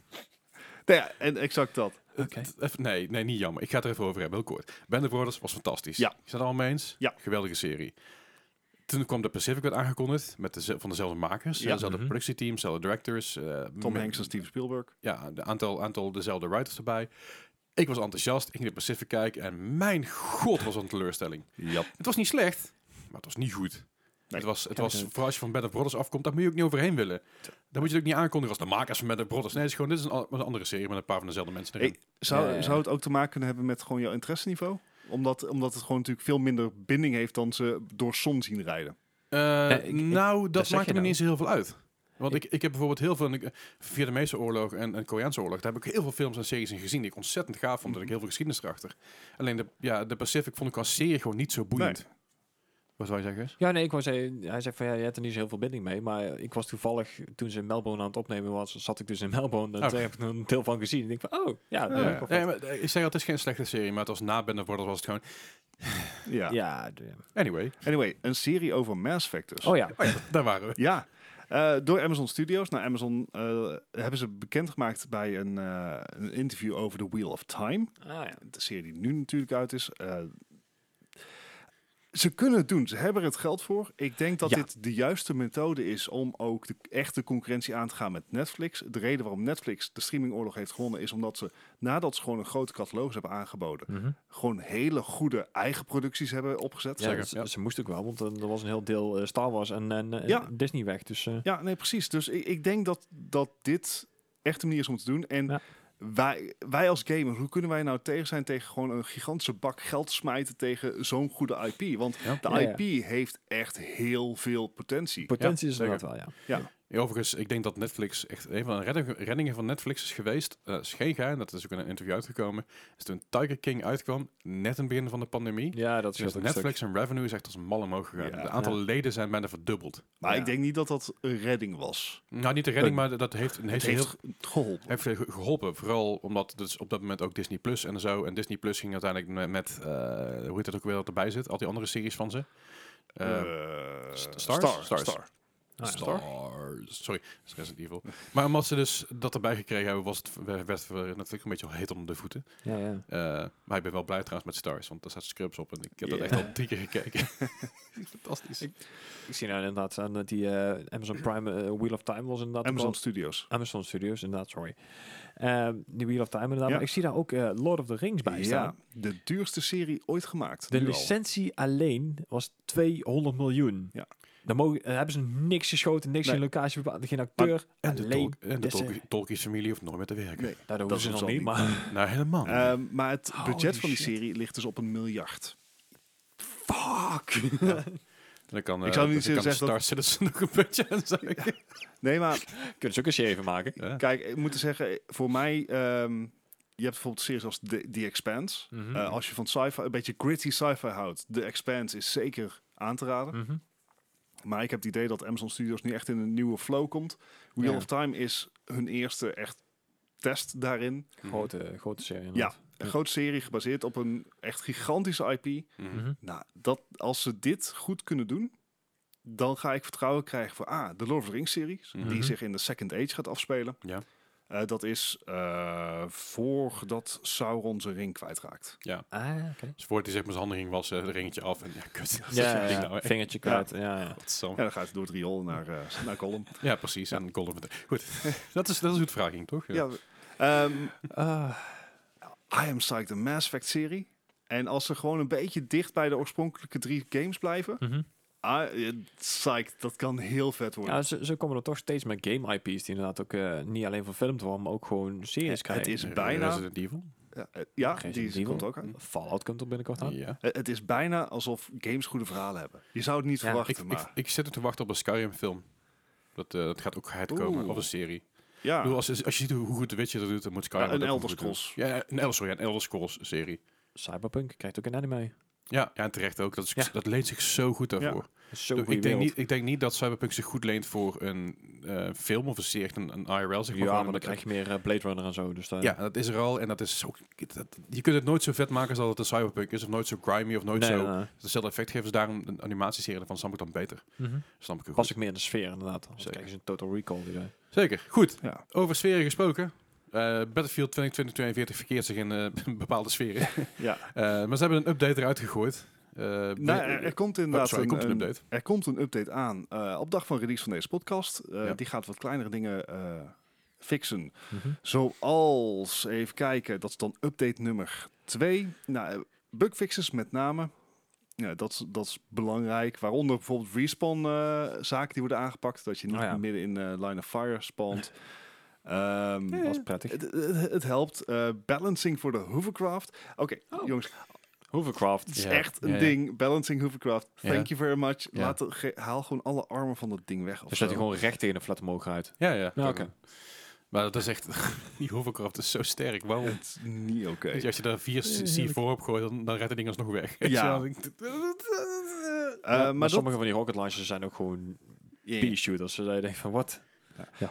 S2: Nou ja, en exact dat.
S3: Oké.
S1: Even- Nee, nee, niet jammer. Ik ga het er even over hebben, heel kort. Band of Brothers was fantastisch.
S2: Ja.
S1: Is dat allemaal mee eens?
S2: Ja.
S1: Geweldige serie. Toen kwam de Pacific werd aangekondigd met de, van dezelfde makers.
S2: Ja.
S1: Ja. Dezelfde
S3: Mhm.
S1: productieteam, dezelfde directors. eh,
S2: Tom
S1: met-
S2: Hanks en Steven Spielberg.
S1: Ja, een aantal, aantal dezelfde writers erbij. Ik was enthousiast. Ik ging de Pacific kijken en mijn god was het een teleurstelling.
S2: Ja.
S1: Het was niet slecht, maar het was niet goed. Het was, het
S3: Ja,
S1: was
S3: dat-
S1: vooral als je van Band of Brothers afkomt, daar moet je ook niet overheen willen. Dan moet je het ook niet aankondigen als de makers van Band of Brothers. Nee, het is gewoon, dit is een, a- een andere serie met een paar van dezelfde mensen erin.
S2: Hey, zou,
S3: Ja, ja, ja.
S2: zou het ook te maken kunnen hebben met gewoon jouw interesseniveau? Omdat, omdat het gewoon natuurlijk veel minder binding heeft dan ze door zon zien rijden.
S1: Eh,
S3: Nee, ik- ik-
S1: nou, dat
S3: zeg
S1: maakt
S3: je
S1: me
S3: nou.
S1: niet eens heel veel uit. Want ik, ik heb bijvoorbeeld heel veel, ik- Vietnamese oorlog en, en Koreaanse oorlog, daar heb ik heel veel films en series in gezien die ik ontzettend gaaf vond. En
S3: Mhm.
S1: ik heel veel geschiedenis erachter. Alleen de, ja, de Pacific vond ik als serie gewoon niet zo boeiend. Wat zou je zeggen?
S3: Ja, nee, ik was hij zei van ja, je hebt er niet zo heel veel binding mee. Maar ik was toevallig toen ze in Melbourne aan het opnemen was, zat ik dus in Melbourne. En
S1: Oh.
S3: daar heb ik er een deel van gezien. En ik van oh, ja,
S1: Eh,
S3: dat heb ik wel
S1: nee,
S3: vast.
S1: maar, eh, ik zeg al, het is geen slechte serie, maar het was na Band of Brothers was het gewoon...
S2: Ja.
S3: ja. de-
S1: Anyway,
S2: Anyway, een serie over Mass Effect dus.
S3: Oh ja.
S1: oh ja, daar waren we.
S2: Ja, eh, door Amazon Studios. Nou, Amazon eh, hebben ze bekendgemaakt bij een, eh, een interview over The Wheel of Time.
S3: Ah, ja.
S2: De serie die nu natuurlijk uit is. eh, ze kunnen het doen. Ze hebben er het geld voor. Ik denk dat
S3: Ja.
S2: dit de juiste methode is om ook de echte concurrentie aan te gaan met Netflix. De reden waarom Netflix de streamingoorlog heeft gewonnen is omdat ze, nadat ze gewoon een grote catalogus hebben aangeboden,
S3: Mhm.
S2: gewoon hele goede eigen producties hebben opgezet.
S3: Ja,
S1: Zeker,
S3: dat-
S1: ja.
S3: Ze moest ook wel, want eh, er was een heel deel eh, Star Wars en, en, en
S2: Ja.
S3: Disney weg. Dus eh,
S2: Ja, nee, precies. Dus ik, ik denk dat, dat dit echt een manier is om te doen. En
S3: Ja.
S2: wij, wij als gamers, hoe kunnen wij nou tegen zijn tegen gewoon een gigantische bak geld smijten tegen zo'n goede IP? Want
S1: Ja.
S2: de
S3: Ja, ja.
S2: IP heeft echt heel veel potentie.
S3: potentie is er
S1: zeker.
S3: inderdaad wel, ja.
S1: Ja, Overigens, ik denk dat Netflix echt een van de redding- reddingen van Netflix is geweest. Eh, Dat is geen geheim, dat is ook in een interview uitgekomen. Is toen Tiger King uitkwam, net in het begin van de pandemie.
S3: Ja, dat
S1: Dus
S3: scheelt ook een stuk.
S1: Netflix en revenue is echt als een mal omhoog gegaan.
S2: Ja.
S1: Het aantal leden zijn bijna verdubbeld.
S2: maar
S3: Ja.
S2: ik denk niet dat dat een redding was.
S1: Nou, niet de redding, maar dat heeft, heeft,
S2: Het
S1: heel,
S2: heeft ge- geholpen.
S1: heeft veel ge- geholpen. Vooral omdat dus op dat moment ook Disney Plus en zo. En Disney Plus ging uiteindelijk me- met, eh, hoe heet dat ook weer dat erbij zit? Al die andere series van ze. Eh,
S2: Eh,
S1: Stars?
S2: Star.
S1: Stars.
S2: Star.
S3: Ah, ja.
S1: Stars. Sorry, dat is Resident Evil. Maar omdat ze dus dat erbij gekregen hebben, was het, werd werd het natuurlijk een beetje al heet onder de voeten.
S3: Ja, ja.
S1: Eh, maar ik ben wel blij trouwens met Stars, want daar staat Scrubs op en ik heb
S2: Ja.
S1: dat echt al drie keer gekeken. Fantastisch.
S3: Ik zie nou inderdaad aan dat die eh, Amazon Prime eh, Wheel of Time was inderdaad ook
S2: Amazon
S3: wel-
S2: Studios.
S3: Amazon Studios, inderdaad, sorry. Ehm, die Wheel of Time inderdaad.
S2: Ja.
S3: Maar ik zie daar ook eh, Lord of the Rings bij
S2: Ja,
S3: staan.
S2: de duurste serie ooit gemaakt.
S3: De
S2: nu al.
S3: licentie alleen was 200 miljoen.
S2: Ja.
S3: Dan mogen, dan hebben ze niks geschoten, niks
S2: Nee.
S3: in locatie bepaald, geen acteur.
S1: En de,
S3: alleen.
S1: Tol- en de
S3: deze-
S1: Tolkien- Tolkien's familie hoeft nooit meer te werken.
S2: Nee.
S3: Daar
S2: dat
S3: hoeven ze
S2: hoeft
S3: nog
S2: al
S3: niet,
S2: niet.
S3: maar...
S1: Nou, helemaal niet.
S2: Eh, maar het
S3: Holy
S2: budget van die
S3: shit.
S2: serie ligt dus op een miljard.
S3: Fuck!
S1: dan kan,
S2: ik zou
S1: eh,
S2: niet
S1: dan kan
S2: zeggen
S1: Star
S2: dat-
S1: Citizen nog een beetje aan zijn.
S2: Nee, maar
S3: Kunnen ze ook een serie van maken?
S1: Ja.
S2: Kijk, ik moet zeggen, voor mij, ehm, je hebt bijvoorbeeld series als The, The Expanse.
S3: Mhm.
S2: Eh, als je van sci-fi, een beetje gritty sci-fi houdt, The Expanse is zeker aan te raden.
S3: Mhm.
S2: Maar ik heb het idee dat Amazon Studios nu echt in een nieuwe flow komt. Wheel
S3: Ja.
S2: of Time is hun eerste echt test daarin.
S3: Grote, grote serie
S2: Ja,
S3: inderdaad.
S2: een grote serie gebaseerd op een echt gigantische IP.
S1: Mhm.
S3: Mhm.
S2: Nou, dat, als ze dit goed kunnen doen, dan ga ik vertrouwen krijgen voor A, ah, de Lord of the Rings series,
S1: Mhm.
S2: die zich in de Second Age gaat afspelen.
S1: Ja.
S2: Eh, dat is eh, voordat Sauron zijn ring kwijtraakt.
S3: Ah, oké.
S1: Dus voordat hij zeg maar zijn handen ging wassen, het ringetje af. En ja, kut. dat is
S3: Ja,
S1: een ding
S3: ja,
S1: nou, hè.
S3: vingertje kwijt. Ja, ja.
S1: Godsam.
S2: Ja, dan gaat hij door het riool naar, eh naar Gollum.
S1: Ja, precies. En Golden meteen. Goed. dat is, dat is goed vraging, toch?
S2: Ja. Ehm, I am psyched, de Mass Effect serie. En als ze gewoon een beetje dicht bij de oorspronkelijke drie games blijven...
S3: Mhm.
S2: ah, eh, psyched, dat kan heel vet worden.
S3: Ja, ze, ze komen er toch steeds met game IP's die inderdaad ook eh, niet alleen verfilmd worden, maar ook gewoon series
S2: Het- het
S3: krijgen.
S2: is bijna...
S1: Eh, Resident Evil.
S2: ja, eh, ja,
S3: Resident
S2: die
S3: Evil.
S2: komt ook uit.
S3: Fallout komt er binnenkort aan.
S1: Ja.
S2: Eh, Het is bijna alsof games goede verhalen hebben. Je zou het niet
S3: Ja,
S1: Ik,
S2: verwachten, maar...
S1: ik, ik zit er te wachten op een Skyrim film. Dat, eh, dat gaat ook geheid komen.
S2: Oeh.
S1: Of een serie.
S2: ja.
S1: Ik bedoel, als, je- als je ziet hoe hoe goed de Witcher dat doet, dan moet Skyrim
S2: Ja, een
S1: dat ook
S2: Elder
S1: goed doen.
S2: Scrolls.
S1: Ja, ja, een Elder, sorry, een Elder Scrolls serie.
S3: Cyberpunk krijgt ook een anime.
S1: Ja, ja en terecht ook. Dat, is,
S3: Ja.
S1: dat leent zich zo goed daarvoor.
S3: Zo
S1: Ik
S3: goed.
S1: bedoel, ik, denk niet, ik denk niet dat Cyberpunk zich goed leent voor een eh, film of een serie, echt een, een IRL. Zeg maar,
S3: Ja,
S1: gewoon
S3: maar dan
S1: met-
S3: krijg je meer eh, Blade Runner en zo. Dus daar-
S1: Ja, dat is er al en dat is ook... dat- je kunt het nooit zo vet maken als dat het een cyberpunk is, of nooit zo grimy, of nooit
S3: Nee,
S1: zo...
S3: nee, nee.
S1: Hetzelfde effect geven ze daarom een animatieserie van snap ik dan beter.
S3: Mhm.
S1: Snap ik het
S3: Pas
S1: goed.
S3: ik meer in de sfeer inderdaad. Anders
S1: Zeker.
S3: krijg je een Total Recall die eh, daar.
S1: Zeker, goed.
S2: Ja.
S1: Over sferen gesproken. Eh, Battlefield 2042 verkeert zich in eh, bepaalde sferen.
S2: ja.
S1: Eh, maar ze hebben een update eruit gegooid. Eh,
S2: Nou,
S1: eh,
S2: er, er komt inderdaad
S1: sorry,
S2: een,
S1: komt een
S2: een- eh,
S1: update.
S2: Er komt een update aan eh, op dag van release van deze podcast. Eh,
S1: Ja.
S2: Die gaat wat kleinere dingen eh, fixen.
S3: Mhm.
S2: Zoals, even kijken, dat is dan update nummer 2. Nou, eh, bugfixes met name. Ja, dat, is- dat is belangrijk. Waaronder bijvoorbeeld respawn-zaken die worden aangepakt. Dat je niet
S3: Oh ja.
S2: midden in eh, line of fire spant. Ehm,
S3: Dat was prettig.
S2: het, het- het helpt. Eh, balancing voor de hovercraft. Oké,
S3: Oh.
S2: jongens.
S3: Hovercraft.
S2: Het is
S1: Ja,
S2: echt een
S1: ja, ja.
S2: ding. Balancing Hovercraft.
S1: Ja.
S2: Thank you very much.
S1: Ja.
S2: Laat het, ge- haal gewoon alle armen van dat ding weg. Of
S3: Dus dat
S2: zo.
S3: hij gewoon recht tegen een flat omhoog rijdt.
S1: Ja, ja.
S3: Ja,
S1: kan
S3: oké.
S1: doen. Maar dat is echt... die hovercraft is zo sterk. Waarom?
S2: Het is niet oké.
S1: Dus als je daar vier C4 op gooit, dan, dan rijdt het ding alsnog weg.
S2: Ja.
S1: Nou,
S2: Eh,
S3: Ja, maar
S2: maar, dat,
S3: sommige van die rocket launchers zijn ook gewoon
S2: ja, ja.
S3: pea-shooters. Dus je denkt van, wat?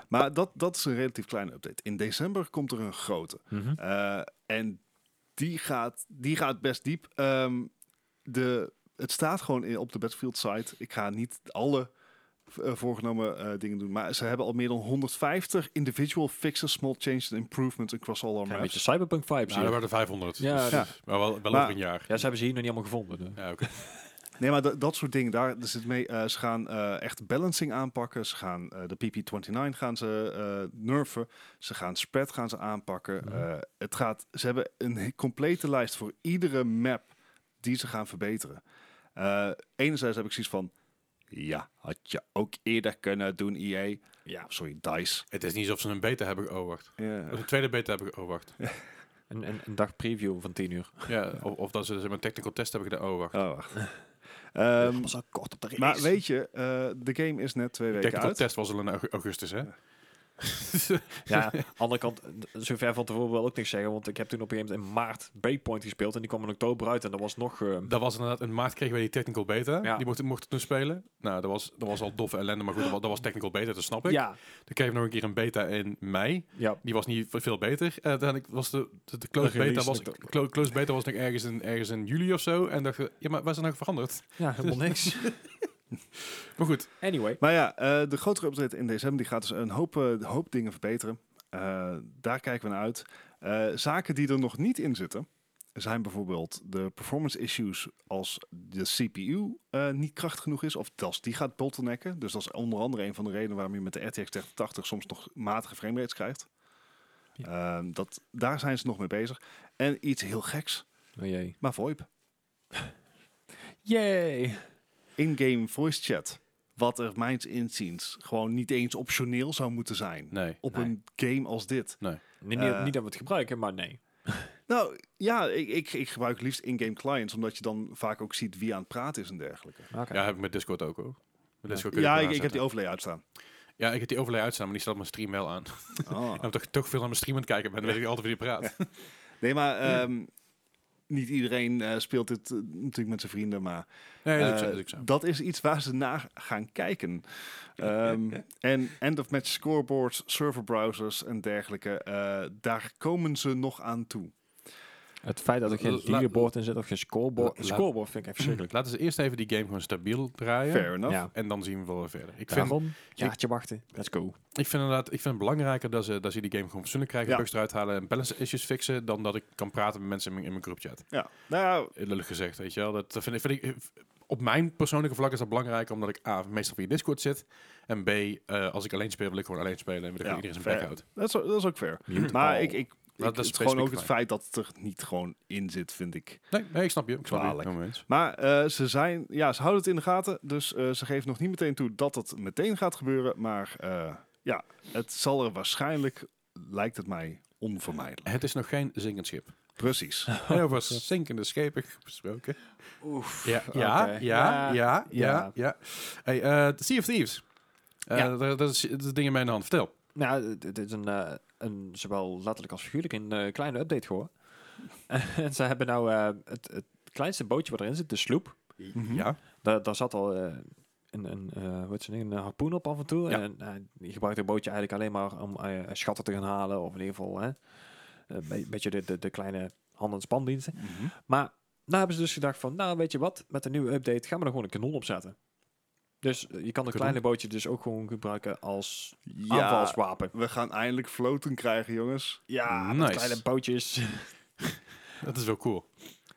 S2: maar dat, dat is een relatief kleine update. In december komt er een grote.
S3: Mhm.
S2: Eh, en die gaat, die gaat best diep. Ehm, de, het staat gewoon in, op de Battlefield site. Ik ga niet alle eh, voorgenomen eh, dingen doen. Maar ze hebben al meer dan 150 individual fixes, small changes, improvements across all our
S3: Een beetje
S2: maps.
S3: cyberpunk vibes
S1: Nou, er
S3: hier.
S1: waren er 500.
S3: Ja,
S1: dus-
S2: ja.
S1: Maar wel, wel
S2: Maar-
S1: over een jaar.
S3: Ja, ze hebben ze hier nog niet allemaal gevonden. dus.
S1: Ja, oké.
S2: Nee, maar da- dat soort dingen, daar daar zit mee. eh, ze gaan eh, echt balancing aanpakken. Ze gaan eh, de PP29 gaan ze eh nerven. Ze gaan spread gaan ze aanpakken.
S3: Mhm.
S2: Eh, het gaat, ze hebben een he- complete lijst voor iedere map die ze gaan verbeteren. Eh, enerzijds heb ik zoiets van, ja, had je ook eerder kunnen doen, EA.
S3: Ja.
S2: Sorry, DICE.
S1: Het is niet alsof ze een beta hebben geoverwacht.
S2: Ja.
S1: Of een tweede beta hebben geoverwacht.
S3: Een, een, een dag preview van 10 uur.
S1: Ja, of, of dat ze zeg maar, een technical test hebben gedaan. Oh, wacht.
S2: Oh, wacht. Ehm,
S3: zo kort op de
S2: maar weet je, eh, de game is net twee weken
S1: technical
S2: uit.
S1: test was al in aug- augustus, hè?
S3: Ja, aan de andere kant, d- zover van tevoren wil ik ook niks zeggen. Want ik heb toen op een gegeven moment in maart Breakpoint gespeeld. En die kwam in oktober uit. En dat was nog... eh,
S1: Dat was inderdaad, in maart kregen wij die technical beta.
S3: Ja.
S1: Die mochten, mochten toen spelen. Nou, dat was, dat was al doffe ellende, maar goed, dat wa- dat was technical beta, dat snap ik.
S3: ja.
S1: Dan kregen we nog een keer een beta in mei.
S3: ja.
S1: Die was niet ve- veel beter. En uiteindelijk was de, de, de close,
S3: De release
S1: beta was,
S3: natuurlijk ook.
S1: clo- close beta was nog ergens in, ergens in juli of zo. En dachten we, ja, maar waar is er nou veranderd?
S3: Ja, helemaal niks.
S1: Maar goed,
S3: Anyway.
S2: Maar ja, eh, de grotere update in december die gaat dus een hoop, eh, een hoop dingen verbeteren. Eh, daar kijken we naar uit. Eh, zaken die er nog niet in zitten zijn bijvoorbeeld de performance issues als de CPU eh, niet krachtig genoeg is of als die gaat bottlenecken. Dus dat is onder andere een van de redenen waarom je met de RTX 3080 soms nog matige framerates krijgt. Ehm, dat, daar zijn ze nog mee bezig. En iets heel geks,
S3: Oh jee.
S2: maar VoIP.
S3: Yay.
S2: In-game voice chat. Wat er mijns inziens gewoon niet eens optioneel zou moeten zijn.
S1: nee.
S2: op
S3: Nee.
S2: een game als dit.
S3: Niet,
S2: Eh.
S3: niet dat we het gebruiken, maar nee.
S2: Nou ja, ik, ik, ik gebruik liefst in-game clients, omdat je dan vaak ook ziet wie aan het praten is en dergelijke.
S3: Oké.
S1: Ja, heb ik met Discord ook hoor. Met Discord kun je
S2: Ja,
S1: het
S2: ik, ik heb die
S1: aanzetten.
S2: overlay uitstaan.
S1: ja, ik heb die overlay uitstaan, maar die staat op mijn stream wel aan.
S2: Ah.
S1: En toch, toch veel aan mijn stream aan het kijken ben, dan weet ik altijd wie die praat.
S2: Nee, maar ehm, niet iedereen eh, speelt dit eh, natuurlijk met zijn vrienden, maar
S1: Nee, dat is ook zo,
S2: eh,
S1: dat is ook zo.
S2: dat is iets waar ze naar gaan kijken. Ehm, en end-of-match scoreboards, serverbrowsers en dergelijke, eh, daar komen ze nog aan toe.
S3: Het feit dat er geen
S1: La-
S3: leaderboard in zit of geen scoreboard.
S1: La-
S3: scoreboard vind ik echt verschrikkelijk.
S1: Laten ze eerst even die game gewoon stabiel draaien.
S2: Fair enough.
S3: Ja,
S1: En dan zien we wel weer verder. Ik vind,
S3: daarom jaartje wachten. Let's go.
S1: ik vind inderdaad, ik vind het belangrijker dat ze, dat ze die game gewoon verzoenlijk krijgen,
S2: Ja.
S1: bugs eruit halen en balance issues fixen, dan dat ik kan praten met mensen in mijn, in mijn groupchat.
S2: Ja, nou,
S1: Eh, Lullig gezegd, weet je wel. Dat dat vind, ik- vind ik, op mijn persoonlijke vlak is dat belangrijk, omdat ik A, meestal via Discord zit, en B, eh, als ik alleen speel, wil ik gewoon alleen spelen en wil ik
S2: Ja,
S1: gewoon iedereen zijn plek
S2: fair.
S1: houdt.
S2: dat is, dat is ook fair.
S3: Mute
S2: Maar
S3: all.
S2: ik, ik, ik-
S1: dat is
S2: het is gewoon ook het
S1: specifiek fijn.
S2: feit dat het er niet gewoon in zit, vind ik.
S1: Nee, nee, ik snap je. Nou, Ik snap je.
S2: Kwalijk.
S1: Helemaal eens.
S2: Maar eh, ze, zijn, ja, ze houden het in de gaten, dus eh, ze geven nog niet meteen toe dat het meteen gaat gebeuren. Maar eh, ja, het zal er waarschijnlijk, lijkt het mij, onvermijdelijk.
S1: Het is nog geen zinkend schip.
S2: Precies.
S1: Heel over zinkende schepen gesproken.
S3: Oef.
S1: Ja, ja,
S3: oké.
S1: ja, ja, ja,
S3: ja.
S1: ja. Hey, eh, the sea of Thieves. Eh,
S3: Ja.
S1: daar- daar is- Er is dingen mee in de hand. Vertel.
S3: Nou, dit- dit is een, eh, een zowel letterlijk als figuurlijk een eh, kleine update geworden. en ze hebben nou eh, het, het kleinste bootje wat erin zit, de sloep.
S2: Mhm.
S1: Ja.
S3: Daar, daar zat al eh, een, een, eh, hoe heet zo'n ding, een harpoen op af en toe.
S1: Ja.
S3: En eh, je gebruikt het bootje eigenlijk alleen maar om eh, schatten te gaan halen. Of in ieder geval hè, eh, een be- beetje de, de, de kleine hand- en spandiensten.
S2: Mhm.
S3: Maar nou hebben ze dus gedacht van, nou weet je wat, met de nieuwe update gaan we er gewoon een kanon op zetten. Dus eh, je kan het
S1: Kanon?
S3: kleine bootje dus ook gewoon gebruiken als
S2: Ja,
S3: aanvalswapen.
S2: we gaan eindelijk floten krijgen, jongens.
S3: Ja,
S1: Nice.
S3: met kleine bootjes.
S1: Dat is wel cool.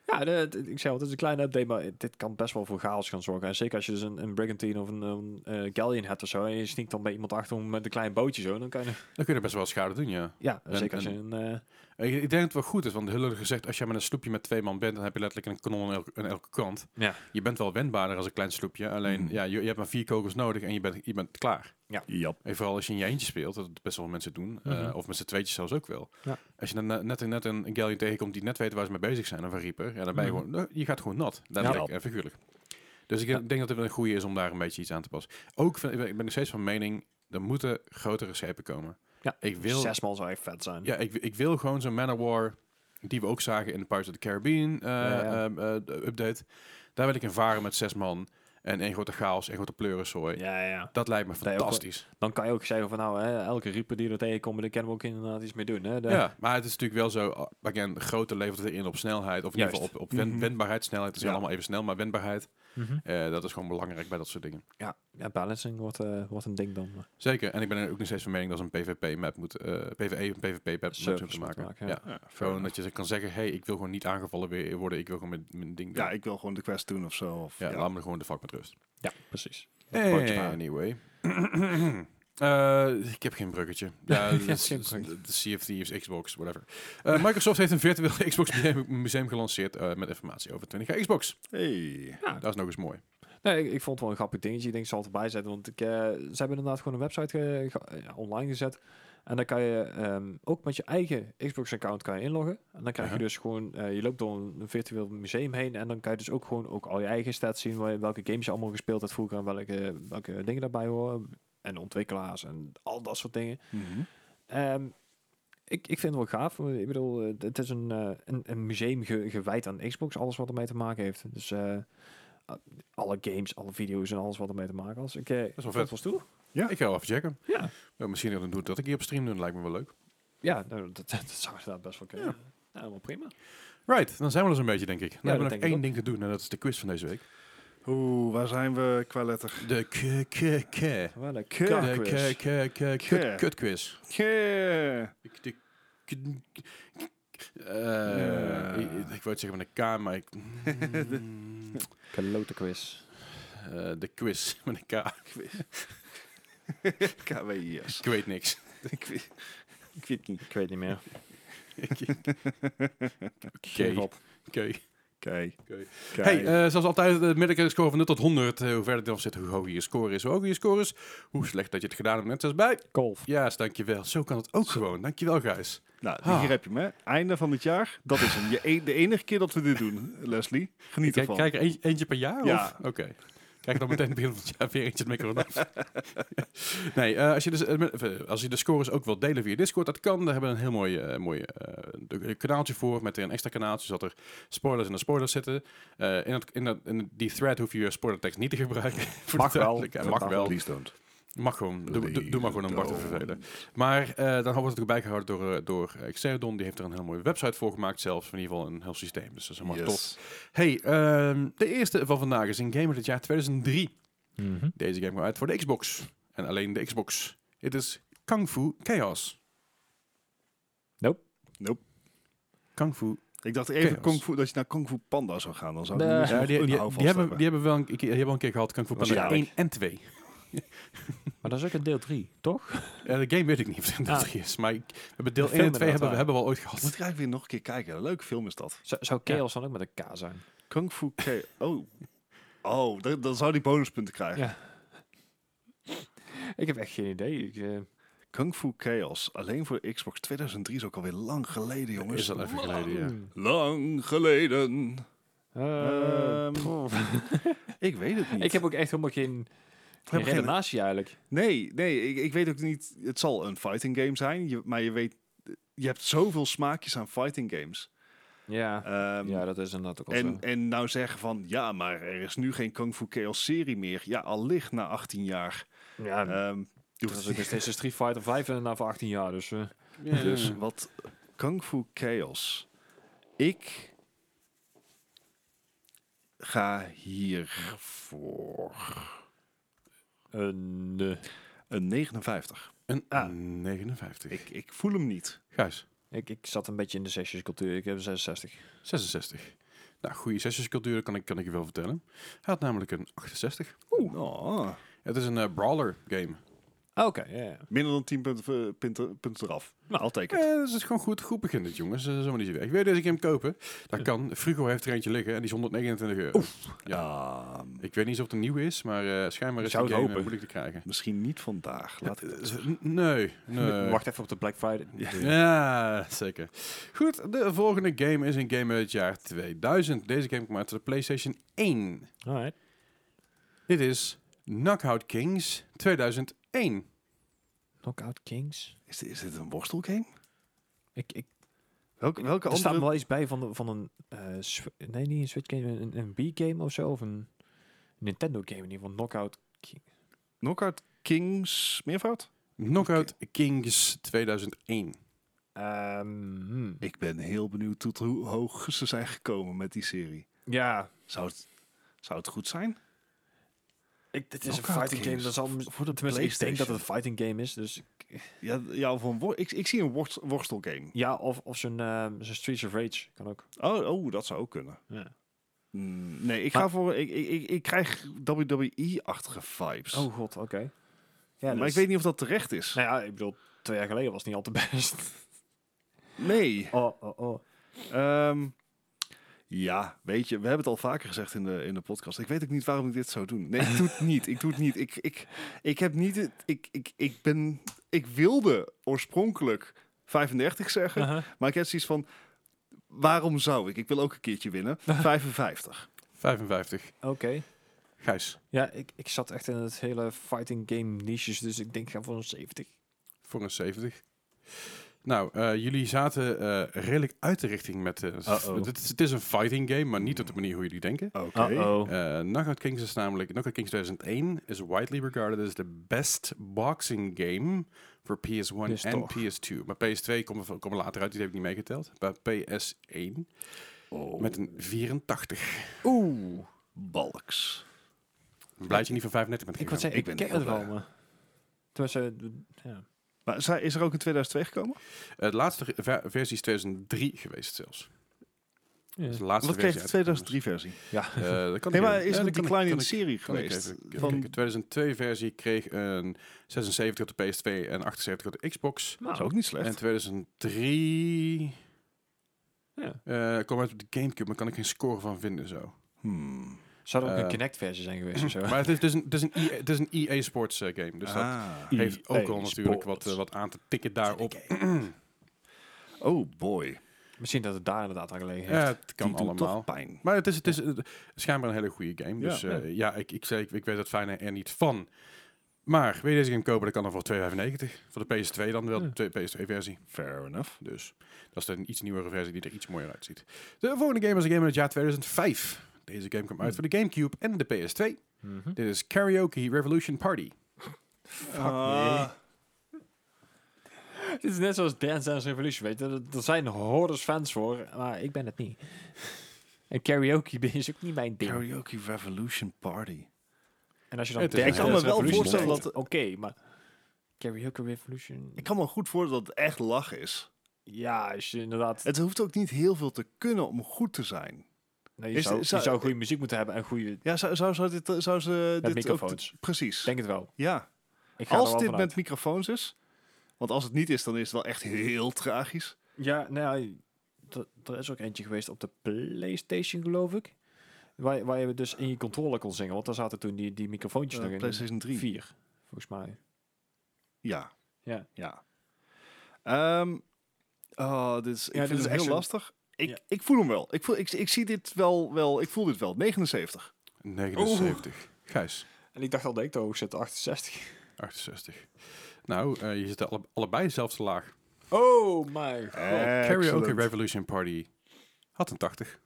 S3: ja, de- de- ik zei al, het is een kleine update, maar dit kan best wel voor chaos gaan zorgen. En zeker als je dus een, een brigantine of een, een eh, galleon hebt of zo, en je sneakt dan bij iemand achter om met een klein bootje zo, dan kan je...
S1: Dan kun je best wel schade doen, ja.
S3: Ja,
S1: En-
S3: zeker als je een... eh,
S1: Ik, ik denk dat het wel goed is, want heel erg gezegd, als jij met een sloepje met twee man bent, dan heb je letterlijk een kanon aan elke, aan elke kant.
S3: Ja.
S1: Je bent wel wendbaarder als een klein sloepje, alleen
S2: Mhm.
S1: ja, je, je hebt maar vier kogels nodig en je bent, je bent klaar.
S2: Ja.
S1: En vooral als je in je eentje speelt, dat best wel veel mensen doen, eh,
S3: Mhm.
S1: of met z'n tweetjes zelfs ook wel.
S3: Ja.
S1: Als je dan net, net, net een galleon tegenkomt die net weet waar ze mee bezig zijn, of een reaper, ja, dan ben je
S3: Mhm.
S1: gewoon, nou, je gaat gewoon nat, letterlijk en figuurlijk. Dus ik
S3: Ja.
S1: denk dat het wel een goede is om daar een beetje iets aan te passen. Ook, vind- ik ben- ik ben nog steeds van mening, er moeten grotere schepen komen.
S3: Ja,
S1: ik wil
S3: Zesmaal zou echt vet zijn.
S1: ja, ik, ik wil gewoon zo'n Manowar, die we ook zagen in de Pirates of the Caribbean eh,
S3: ja.
S1: ehm, eh, de update. Daar wil ik in varen met zes man en één grote chaos, één grote pleurensooi.
S3: ja, ja.
S1: Dat lijkt me
S3: je ook wel-
S1: fantastisch.
S3: Dan kan je ook zeggen van, nou, hè, elke rieper die er tegenkomt, daar kunnen we ook inderdaad iets mee doen. Hè? De-
S1: Ja. maar het is natuurlijk wel zo, ah, again, grote levert het in op snelheid. Of in ieder
S3: Juist.
S1: geval op, op wen-
S2: Mhm.
S1: wendbaarheid. Snelheid is
S2: Ja.
S1: allemaal even snel, maar wendbaarheid,
S3: Mhm.
S1: eh, dat is gewoon belangrijk bij dat soort dingen.
S3: ja. ja, balancing wordt, eh, wordt een ding dan.
S1: Zeker, en ik ben er ook nog steeds van mening dat ze een PvP-map moet, eh PvE en PvP-map
S3: Servers
S1: moeten maken.
S3: moeten maken, ja.
S1: ja. Gewoon dat je ze kan zeggen, hey, ik wil gewoon niet aangevallen weer worden, ik wil gewoon mijn, mijn ding doen.
S2: Ja, ik wil gewoon de quest doen of zo. Of,
S1: ja,
S2: ja.
S1: laat me gewoon de vak met rust.
S3: Ja, precies.
S1: Anyway. Eh, ik heb geen bruggetje. Ja,
S3: Je
S1: dat
S3: hebt
S1: is-
S3: geen
S1: dat is-
S3: bruggetje.
S1: de CFT is Xbox, whatever. Eh, Microsoft heeft een virtueel Xbox museum- museum gelanceerd eh, met informatie over 20 jaar Xbox.
S2: Hey.
S1: Dat is nog eens mooi.
S3: Nee, ik, ik vond het wel een grappig dingetje. Ik denk, ik zal het erbij zetten. Want ik, eh, ze hebben inderdaad gewoon een website ge- ge- ja, online gezet. En dan kan je ehm, ook met je eigen Xbox-account kan je inloggen. En dan krijg
S1: Aha.
S3: je dus gewoon... eh, je loopt door een, een virtueel museum heen. En dan kan je dus ook gewoon ook al je eigen stats zien. waar- Welke games je allemaal gespeeld hebt vroeger. En welke, welke dingen daarbij horen. En ontwikkelaars en al dat soort dingen.
S2: Mhm.
S3: Ehm, ik, ik vind het wel gaaf. Ik bedoel, eh, het is een, eh, een, een museum ge- gewijd aan Xbox, alles wat ermee te maken heeft. Dus eh, a- alle games, alle video's en alles wat ermee te maken heeft. Ik, eh,
S1: is wel
S3: vond het stoer.
S2: Ja.
S1: Ik ga wel even checken.
S3: Ja,
S1: Eh, misschien dat ik doe dat ik hier op stream doe, dat lijkt me wel leuk.
S3: ja nou, dat, dat zou inderdaad best wel kunnen. Ja. helemaal prima.
S1: Right, dan zijn we er zo'n beetje, denk ik. Dan
S3: Ja,
S1: hebben we
S3: dat denk
S1: nog
S3: ik
S1: één
S3: ook.
S1: ding te doen en dat is de quiz van deze week.
S2: Oeh, waar zijn we qua letter?
S1: De k k k
S3: Wel een
S2: Ke-
S3: kak,
S1: De
S3: Chris.
S1: k k k
S2: Ke.
S1: kut- kutquiz.
S2: Yeah.
S1: Ik, de, k- k- eh,
S2: Eh.
S1: ik, ik wou het zeggen met een K, maar ik...
S3: Klote quiz.
S1: Eh, de quiz met een K.
S2: KWIS.
S1: Ik weet niks.
S2: Ik weet-
S3: Ik weet, niet, ik weet niet meer.
S1: Oké.
S3: Geef op.
S1: Oké.
S2: Kei.
S1: Oké.
S2: Kei.
S1: Hey, eh, zoals altijd, de middelkere score van 0 tot 100. Eh, hoe verder dan zit, hoe hoger je score is. Hoe hoger je score is, hoe slecht dat je het gedaan hebt. Net zoals bij.
S3: Golf.
S1: Ja, yes, dankjewel. Zo kan het ook gewoon. Dankjewel, guys.
S2: nou,
S1: ha.
S2: hier heb je me. Einde van het jaar. Dat is hem. Je e- de enige keer dat we dit doen, Leslie. Geniet
S1: Kijk,
S2: ervan.
S1: kijk er eentje, eentje per jaar?
S2: Ja.
S1: of- Oké. Kijk dan meteen begin van het jaar weer eentje het microfoon af. nee, eh, als, je dus, eh, met- eh, als je de scores ook wilt delen via Discord, dat kan. Daar hebben we een heel mooi, eh, mooi eh, de- kanaaltje voor. Met weer een extra kanaaltje, zodat er spoilers en de spoilers zitten. Eh, in, dat, in, dat, in die thread hoef je je spoilertekst niet te gebruiken. voor de
S3: Mag wel.
S1: duidelijkheid. Mag wel.
S2: Please don't.
S1: Mag gewoon. Doe, doe, doe maar gewoon om Bart te
S2: Please
S1: vervelen. Maar eh, dan wordt het ook bijgehouden door, eh, door eh, Xerdon. Die heeft er een heel mooie website voor gemaakt zelfs. Of in ieder geval een heel systeem. Dus dat is helemaal
S2: Yes.
S1: top. Hey, ehm, de eerste van vandaag is een game uit het jaar 2003. Deze game kwam uit voor de Xbox. En alleen de Xbox. Het is Kung Fu Chaos.
S3: Nope.
S2: Nope.
S1: Kung Fu.
S2: Ik dacht even
S1: Chaos.
S2: Kung Fu, dat je naar Kung Fu Panda zou gaan. Dan zou ik
S3: Nee.
S2: nee.
S3: Ja,
S1: Ja, die, die, die hebben, die hebben wel een, keer- die hebben wel een keer gehad. Kung Fu Panda
S2: Waarschijnlijk.
S1: 1 en 2.
S3: Maar dat is ook een deel 3, toch?
S1: Ja, de game weet ik niet of het
S3: Ah.
S1: ah. is. Maar ik, we hebben deel
S3: De
S1: 1 en
S3: film
S1: 2 hebben,
S3: inderdaad,
S1: we-
S3: ja.
S1: hebben we al ooit
S2: Moet
S1: gehad.
S2: ik eigenlijk weer nog een keer kijken. Een leuke film is dat.
S3: Zou, zou Chaos dan ook met een K zijn?
S2: Kung Fu K. Oh. Oh, dan, dan zou die bonuspunten krijgen.
S3: Ja. Ik heb echt geen idee. Ik, eh,
S2: Kung Fu Chaos. Alleen voor Xbox 2003 is ook alweer lang geleden, jongens.
S1: Is al even geleden, ja.
S3: hmm.
S2: Lang geleden.
S3: Eh,
S2: Ehm,
S3: pff.
S2: Ik weet het niet.
S3: ik heb ook echt helemaal geen, geen
S2: heb geen-
S3: redenatie eigenlijk.
S2: Nee, nee ik, ik weet ook niet. Het zal een fighting game zijn, je, maar je weet... Je hebt zoveel smaakjes aan fighting games.
S3: Ja.
S2: Ehm,
S3: ja, dat is inderdaad ook al
S2: en,
S3: zo.
S2: en nou zeggen van... Ja, maar er is nu geen Kung Fu Chaos serie meer. Ja, allicht na 18 jaar.
S3: Ja,
S2: Ehm,
S3: Eh, dat is ook nog steeds een Street Fighter 5 en na voor 18 jaar. Dus eh,
S2: Dus wat Kung Fu Chaos. Ik ga hiervoor
S3: een... eh,
S2: een 59.
S1: Een
S2: Ah.
S1: 59.
S2: Ik, ik voel hem niet.
S1: Gijs,
S3: ik, ik zat een beetje in de sessiescultuur. Ik heb een 66.
S1: 66. Nou, goede sessiescultuur kan ik, kan ik je wel vertellen. Hij had namelijk een 68.
S2: Oeh. Oh.
S1: Het is een eh, brawler game.
S3: Ah, Oké, ja, ja.
S2: Minder dan 10 punten, eh, punten, punten eraf. Nou, altijd.
S1: Eh, dat is gewoon goed, goed begin dit, jongens. Eh, Zo maar niet idee. Ik weet deze game kopen. Dat kan. Frugo heeft er eentje liggen en die is 129 euro. Ja. Ik weet niet of het een nieuwe is, maar eh, schijnbaar is
S3: Zou
S1: die game
S3: het
S1: eh,
S3: hopen.
S1: moeilijk te krijgen.
S2: misschien niet vandaag. Laat ik dat
S1: Eh, Nee, nee.
S3: Wacht even op de Black Friday.
S1: Ja, zeker. Goed, de volgende game is een game uit het jaar 2000. Deze game kwam uit de PlayStation 1.
S3: Alright.
S1: Dit is Knockout Kings 2001.
S3: Knockout Kings.
S2: is, dit- is dit een worstelgame?
S3: Ik, ik,
S2: Welke, welke
S3: er staat
S2: andere...
S3: me wel iets bij van, de- van een... eh, Sw- nee, niet een Switch game, een, een B-game of zo. Of een Nintendo game in ieder geval. Knockout King.
S2: Knockout Kings meervoud?
S1: Knockout Kings 2001.
S3: Ehm, hmm.
S2: Ik ben heel benieuwd tot hoe hoog ze zijn gekomen met die serie.
S3: Ja,
S2: Zou het, zou het goed zijn?
S3: ik, dit is een
S2: Knockout
S3: fighting game.
S2: Kings.
S3: Dat zal, mis-
S2: Voor de
S3: tenminste, ik denk dat het
S2: PlayStation.
S3: een fighting game is. Dus
S2: Ja, ja of een wor- ik, ik zie een worst, worstelgame.
S3: ja, of, of zo'n ehm, zo'n Streets of Rage kan ook.
S2: Oh, oh, dat zou ook kunnen.
S3: Ja.
S2: Mm, nee, ik
S3: Maar-
S2: ga voor... Ik, ik, ik, ik krijg WWE-achtige vibes.
S3: Oh god, oké. Ja,
S2: maar ik weet niet of dat terecht is.
S3: Nou ja, ik bedoel, twee jaar geleden was het niet al te best.
S2: Nee.
S3: Oh, oh, oh.
S2: Ehm, ja, weet je, we hebben het al vaker gezegd in de, in de podcast. Ik weet ook niet waarom ik dit zou doen. Nee, ik doe het niet. Ik doe het niet. Ik, ik, ik heb niet... het- Ik, ik, ik ben... Ik wilde oorspronkelijk 35 zeggen,
S3: Uh-huh.
S2: maar ik heb zoiets van... Waarom zou ik? Ik wil ook een keertje winnen. 55.
S1: 55.
S3: Oké.
S1: Gijs,
S3: Ja, ik, ik zat echt in het hele fighting game niches, dus ik denk ik ga voor een 70.
S1: voor een 70. Nou, eh, jullie zaten eh, redelijk uit de richting met... eh,
S3: Uh-oh.
S1: het, is, het is een fighting game, maar niet op de manier hoe jullie denken.
S2: Oké. Oh.
S1: Eh Knockout Kings is namelijk... Knockout Kings 2001 is widely regarded as the best boxing game voor PS1
S3: Dus
S1: en
S3: toch.
S1: PS2. Maar PS2 komen komen later uit, die heb ik niet meegeteld. Maar PS1
S2: Oh.
S1: met een 84.
S2: Oeh. Balks.
S1: Blijf je niet van 35 bent
S3: Ik wou
S1: gegaan.
S3: zeggen, ik,
S2: ben
S3: ken
S2: heel
S3: het wel,
S2: blij.
S3: maar... Tenminste, eh, ja.
S2: Maar zij- is er ook in 2002 gekomen?
S1: Het Eh, laatste ge- ver- versie is 2003 geweest zelfs. Dat is de laatste
S2: Wat kreeg de
S1: versie
S2: 2003-versie?
S1: uit. Eh, dat kan
S2: Nee,
S1: ik
S2: maar
S1: even-
S2: is
S1: ja,
S2: er
S1: dat
S2: een
S1: kan ik-
S2: decline in
S1: kan
S2: de
S1: ik-
S2: serie
S1: kan ik
S2: geweest?
S1: even- even
S2: Van-
S1: kijken. 2002 versie kreeg een 76 op de PS2 en 78 op de Xbox.
S3: Nou,
S2: Dat is ook niet slecht.
S1: En 2003
S3: Ja.
S1: eh kwam uit op de Gamecube, maar kan ik geen score van vinden zo.
S2: Hmm.
S3: Zou er ook
S1: Eh,
S3: een Kinect-versie zijn geweest of zo?
S1: Maar het is, het is een, het is een, EA, het is een EA Sports eh, game, dus dat
S2: Ah.
S1: heeft ook al
S3: EA
S1: natuurlijk wat,
S3: Sports.
S1: eh, wat aan te tikken daarop.
S2: Oh boy.
S3: Misschien dat het daar inderdaad aan gelegen heeft.
S1: Ja, het kan
S2: Die doet toch
S1: allemaal.
S2: pijn.
S1: Maar het is, het is eh, schijnbaar een hele goede game.
S2: Ja,
S1: dus eh, ja, ik, ik, zei, ik, ik weet het fijne er niet van. Maar wil je deze game kopen, dan kan dat voor 2,95. Voor de PS2 dan wel,
S3: Ja.
S1: de PS2-versie.
S2: Fair enough.
S1: Dus dat is een iets nieuwere versie die er iets mooier uitziet. De volgende game is een game uit het jaar 2005. Deze game kwam uit voor de Gamecube en de PS2.
S3: Mhm.
S1: Dit is Karaoke Revolution Party.
S2: Ah,
S3: Het is net zoals Dance Dance Revolution, weet je. Er- Er zijn hordes fans voor, maar ik ben het niet. En karaoke is ook niet mijn ding.
S2: Karaoke Revolution Party.
S3: En als je dan
S1: Het is een hele Ik
S3: Dance Dance
S1: kan me wel
S3: Revolution
S2: voorstellen
S3: kijkt,
S2: dat-
S3: Oké, maar... Karaoke Revolution...
S2: Ik kan me goed voorstellen dat het echt lachen is.
S3: Ja, als je inderdaad...
S2: Het hoeft ook niet heel veel te kunnen om goed te zijn.
S3: Nee, je,
S2: is-
S3: zou, je
S2: zou-
S3: zou goede muziek moeten hebben en goede...
S2: Ja, zou, zou, zou, dit, zou ze dit ook-
S3: microfoons.
S2: precies.
S3: Ik denk het wel.
S2: ja.
S3: Ik ga er
S2: Als
S3: wel
S2: dit
S3: vanuit.
S2: met microfoons is. Want als het niet is, dan is het wel echt heel tragisch.
S3: Ja, nou ja, d- er is ook eentje geweest op de PlayStation, geloof ik. Waar, waar je dus in je controller kon zingen. Want daar zaten toen die, die microfoontjes
S2: Eh,
S3: nog in.
S2: PlayStation 3.
S3: 4, volgens mij.
S2: Ja.
S3: Ja.
S2: ja. Ehm, oh, dit is, ik
S3: dit
S2: vind
S3: is
S2: het
S3: echt
S2: heel
S3: zo'n-
S2: lastig. Ik,
S3: Ja.
S2: ik voel hem wel. Ik, voel, ik, ik zie dit wel, wel. Ik voel dit wel. 79.
S1: 79. Gijs,
S3: En ik dacht al dat ik te hoog zit, 68.
S1: 68. Nou, eh, je zit alle, allebei zelfs te laag.
S3: Oh my god.
S2: Eh.
S1: Karaoke
S2: Excellent.
S1: Revolution Party had een 80.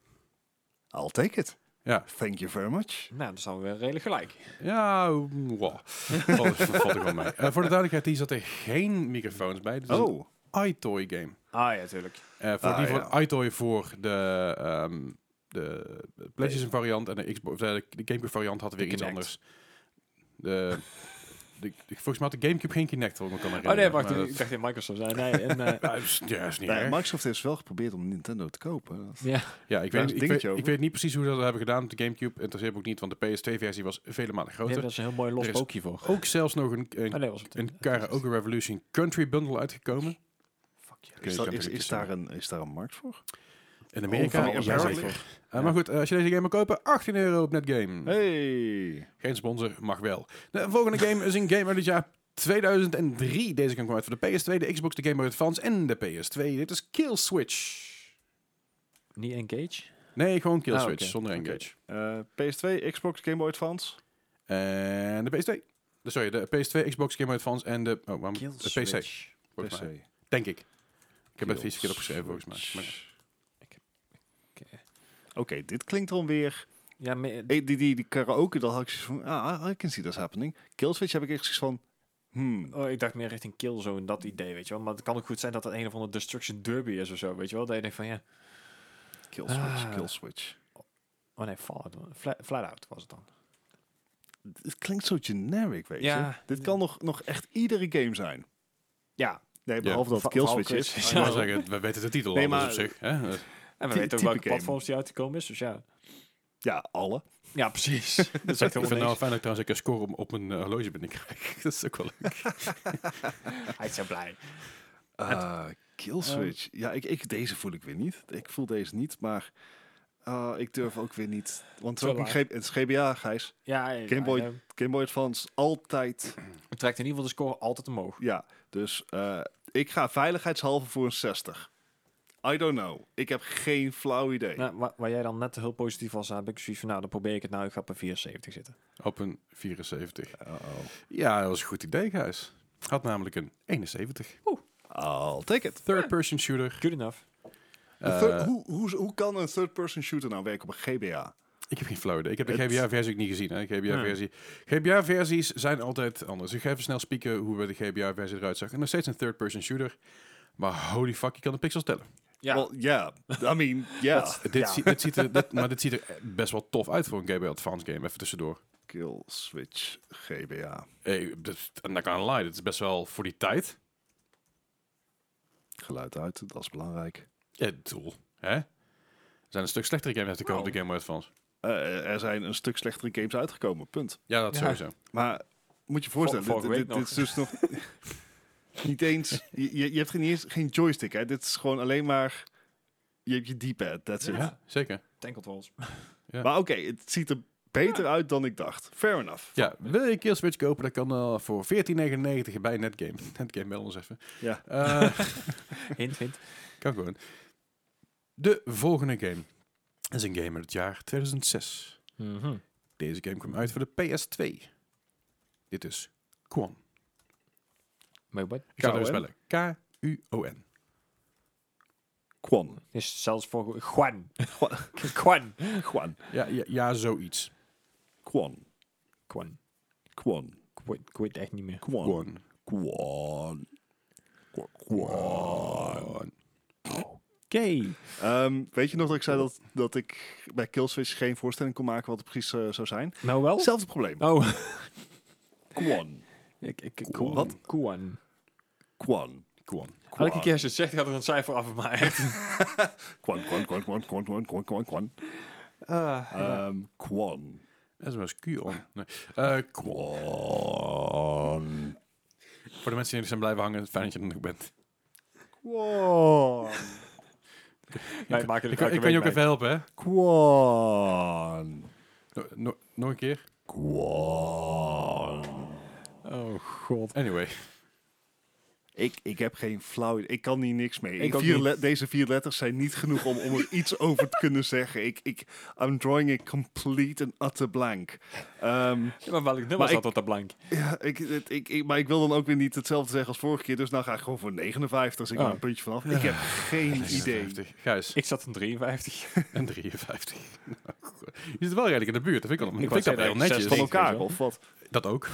S2: I'll take it.
S1: Ja.
S2: Thank you very much.
S3: Nou, dan staan we weer redelijk gelijk.
S1: Ja, mm, wow. valt, valt er wel mee. Eh, voor de duidelijkheid, hier zaten geen microfoons bij. Dit is een
S2: Oh,
S1: iToy game.
S3: Ah ja, tuurlijk.
S1: Eh, voor
S2: Ah,
S1: die van
S2: ja.
S1: iToy voor de, ehm, de PlayStation variant en de Xbox, eh, de GameCube variant had weer
S3: De
S1: iets
S3: Kinect.
S1: anders. De, de, de- volgens mij had de GameCube geen Kinect, wat ik me kan
S3: Oh
S1: herinneren.
S3: nee, wacht.
S1: maar
S3: Ik dacht in Microsoft. Nee, nee, en, eh,
S1: dat- Ja, is- ja, is niet
S2: nou,
S1: erg.
S2: Microsoft heeft wel geprobeerd om Nintendo te kopen. Dat-
S3: ja.
S1: Ja, ik
S2: Daar
S1: weet,
S2: is een
S1: ik, weet,
S2: dingetje over.
S1: ik weet niet precies hoe ze dat hebben gedaan op de GameCube. Interesseert me ook niet, want de PS2-versie was vele malen
S3: Nee,
S1: groter.
S3: dat is een heel mooi los
S1: Er is-
S3: boekje voor.
S1: Ook zelfs nog een, een,
S3: Ah, nee, was het
S1: een Karaoke Revolution Country Bundle uitgekomen.
S3: Fuck je.
S1: Kun
S2: Is,
S1: je
S2: dat,
S1: Country
S2: is, is,
S1: Kids
S2: daar
S1: noemen.
S2: een, is daar een markt voor?
S1: In Amerika?
S2: Overal,
S1: ja,
S2: apparently.
S1: zeker. Eh, maar goed, eh, als je deze game wil kopen, 18 euro op Netgame.
S2: Hey.
S1: Geen sponsor, mag wel. De volgende game is een game uit het jaar 2003. Deze kwam uit voor de PS2, de Xbox, de Game Boy Advance en de PS2. Dit is Kill Switch.
S3: Niet Engage?
S1: Nee, gewoon Kill
S3: Ah,
S1: Switch,
S3: oké.
S1: zonder engage.
S2: Eh, PS2, Xbox, Game Boy Advance.
S1: En de PS2. De- Sorry, de PS2, Xbox, Game Boy Advance en de... Oh, waarom?
S3: Kill
S1: de PC, volgens mij. Denk ik. Ik heb het iets verkeerd opgeschreven, volgens mij. Maar-
S2: Oké, dit klinkt dan weer...
S3: Ja, maar,
S2: eh, Die, die, die karaoke, dan had ik zoiets van... Ah, I can see this happening. Killswitch heb ik echt zoiets van... Hmm,
S3: Oh, ik dacht meer richting Killzone, dat idee, weet je wel. Maar het kan ook goed zijn dat het een of andere Destruction Derby is of zo, weet je wel. Dat je denkt van, ja...
S2: Killswitch,
S3: Ah.
S2: Killswitch.
S3: Oh nee, Fallout. Fla- Flatout was het dan.
S2: Het klinkt zo generic, weet je.
S3: Ja.
S2: Dit kan nog, nog echt iedere game zijn.
S3: Ja.
S1: behalve
S2: Nee, behalve dat
S3: Va-
S2: het Killswitch
S3: vooral
S2: is.
S3: Chris.
S1: Ik
S3: Ja.
S1: wou zeggen, we weten de titel
S2: Nee,
S1: al, dus
S2: maar-
S1: op zich. Hè?
S3: En we
S2: Ty-
S3: weten ook
S2: type
S3: welke
S2: game.
S3: platforms die uitgekomen is, dus ja.
S2: Ja, alle.
S3: Ja, precies. dat is echt
S1: Ik vind het
S3: heel
S1: nou fijn dat ik trouwens ook een score op, op een eh, horloge binnenkrijg. dat is ook wel leuk.
S3: Hij is zo blij.
S2: Ah, Killswitch. ja, ik, ik, deze voel ik weer niet. Ik voel deze niet, maar ah, ik durf ook weer niet. Want het is, ook een
S3: laag.
S2: G- het is GBA, Gijs.
S3: Ja, ja,
S2: Game Boy.
S3: ja,
S2: Game Boy Advance, altijd.
S3: Het trekt in ieder geval de score altijd omhoog.
S2: Ja, dus eh, ik ga veiligheidshalve voor een 60. I don't know. Ik heb geen flauw idee.
S3: Nou, waar, waar jij dan net heel positief was, heb ik zoiets van, nou, dan probeer ik het nou, ik ga op een 74 zitten.
S1: Op een 74.
S2: Uh-oh.
S1: Ja, dat was een goed idee, guys. Had namelijk een 71.
S2: I'll take it.
S1: Third-person shooter.
S3: Good enough.
S2: Een
S1: Eh,
S2: third- hoe, hoe, hoe kan een third-person shooter nou werken op een GBA?
S1: ik heb geen flauw idee. Ik heb de
S2: Het-
S1: GBA-versie ook niet gezien. Hè? GBA-versie. GBA-versies zijn altijd anders. Ik ga even snel spieken hoe we de GBA-versie eruit zag. En nog steeds een third-person shooter. Maar holy fuck, je kan de pixels tellen.
S3: Ja.
S2: Well, yeah. I mean, yeah.
S1: Dit, zie- dit ziet er, dit- maar dit ziet er best wel tof uit voor een GBA Advance game. Even tussendoor.
S2: Kill Switch GBA.
S1: Hey, dat, dus, en dat kan een lie. Dat is best wel voor die tijd.
S2: Geluid uit, dat is belangrijk.
S1: Ja, eh, doel. Hè? Er zijn een stuk slechtere games uitgekomen op de Game Boy Advance.
S2: Eh, er zijn een stuk slechtere games uitgekomen, punt.
S1: Ja, dat
S3: Ja.
S1: sowieso.
S2: Maar moet je voorstellen,
S3: Vor-
S2: dit,
S3: vorige
S2: dit-
S3: week
S2: dit is dus nog niet eens... Je, je je hebt geen, niet eens, geen joystick, hè. Dit is gewoon alleen maar... Je hebt je D-pad, that's it.
S1: Ja, zeker.
S3: Tank controls.
S2: Maar oké, het ziet er beter uit dan ik dacht. Fair enough.
S1: Ja, wil je Killswitch kopen, dat kan al voor 14,99 bij Netgame. Netgame, bel ons even.
S2: Ja.
S1: Eh,
S3: Hint, hint.
S1: kan gewoon. De volgende game is een game uit het jaar 2006.
S3: Mhm.
S1: Deze game kwam uit voor de PS2. Dit is Kwon.
S3: Maar wat?
S1: Ik zou het
S2: K-O-N?
S1: even spellen. K-U-O-N.
S2: Kwan.
S3: Is zelfs voor Juan. Juan.
S2: Kwan.
S1: Ja, ja, ja, zoiets.
S2: Kwan.
S3: Juan.
S2: Kwan.
S3: Ik weet, ik weet echt niet meer.
S2: Kwon.
S1: Gewoon.
S2: Kwon.
S1: Gewoon.
S3: Oké.
S2: Ehm, weet je nog dat ik zei dat, dat ik bij Killswitch geen voorstelling kon maken wat het precies eh, zou zijn?
S3: Nou wel?
S2: Hetzelfde probleem.
S3: Oh.
S2: Kwon.
S3: ik, ik, ik,
S1: Kwan.
S3: Wat? Kwan.
S2: Kwon.
S1: Gewoon.
S3: Elke keer als je het zegt, gaat er een cijfer af op mij.
S2: Kwon, kwon, kwon, kwon, kwon, kwon, kwon, kwon, kwon.
S3: Ah. Eh,
S2: Ehm, Kwon.
S1: Dat is wel eens Q-on. Nee. Eh, Kwon.
S2: Kwon.
S1: Voor de mensen die zijn blijven hangen, fijn dat je er nog bent.
S2: Kwon.
S1: Ik
S3: Wij maken dit
S1: kan,
S3: elke
S1: ik kan je
S3: week
S1: ook
S3: mee.
S1: even helpen, hè?
S2: Kwon.
S1: No- no- nog een keer?
S2: Kwon.
S3: Oh god.
S1: Anyway.
S2: Ik, ik heb geen flauw idee. Ik kan hier niks mee.
S3: Ik
S2: Die
S3: ook
S2: vier
S3: niet.
S2: le- deze vier letters zijn niet genoeg om, om er iets over te kunnen zeggen. Ik, ik, I'm drawing a complete and utter blank. Ehm,
S3: Ja, maar welk nummer
S2: Maar
S3: zat
S2: ik-
S3: op dat blank?
S2: ja, ik, het- ik, ik, maar ik wil dan ook weer niet hetzelfde zeggen als vorige keer. Dus nou ga ik gewoon voor 59. Dus ik
S3: Oh.
S2: maak een puntje vanaf. Ik heb geen idee.
S1: 59. Gijs,
S3: Ik zat in 53.
S1: en 53. Nou, goed. je zit wel redelijk in de buurt. Dat vind ik, al,
S3: Ik
S1: ik
S3: wou
S1: vind dat wel heel
S3: zeggen, zes
S1: netjes.
S2: Van
S3: Steeds,
S2: elkaar
S3: weet je
S2: of wat?
S1: Dat ook.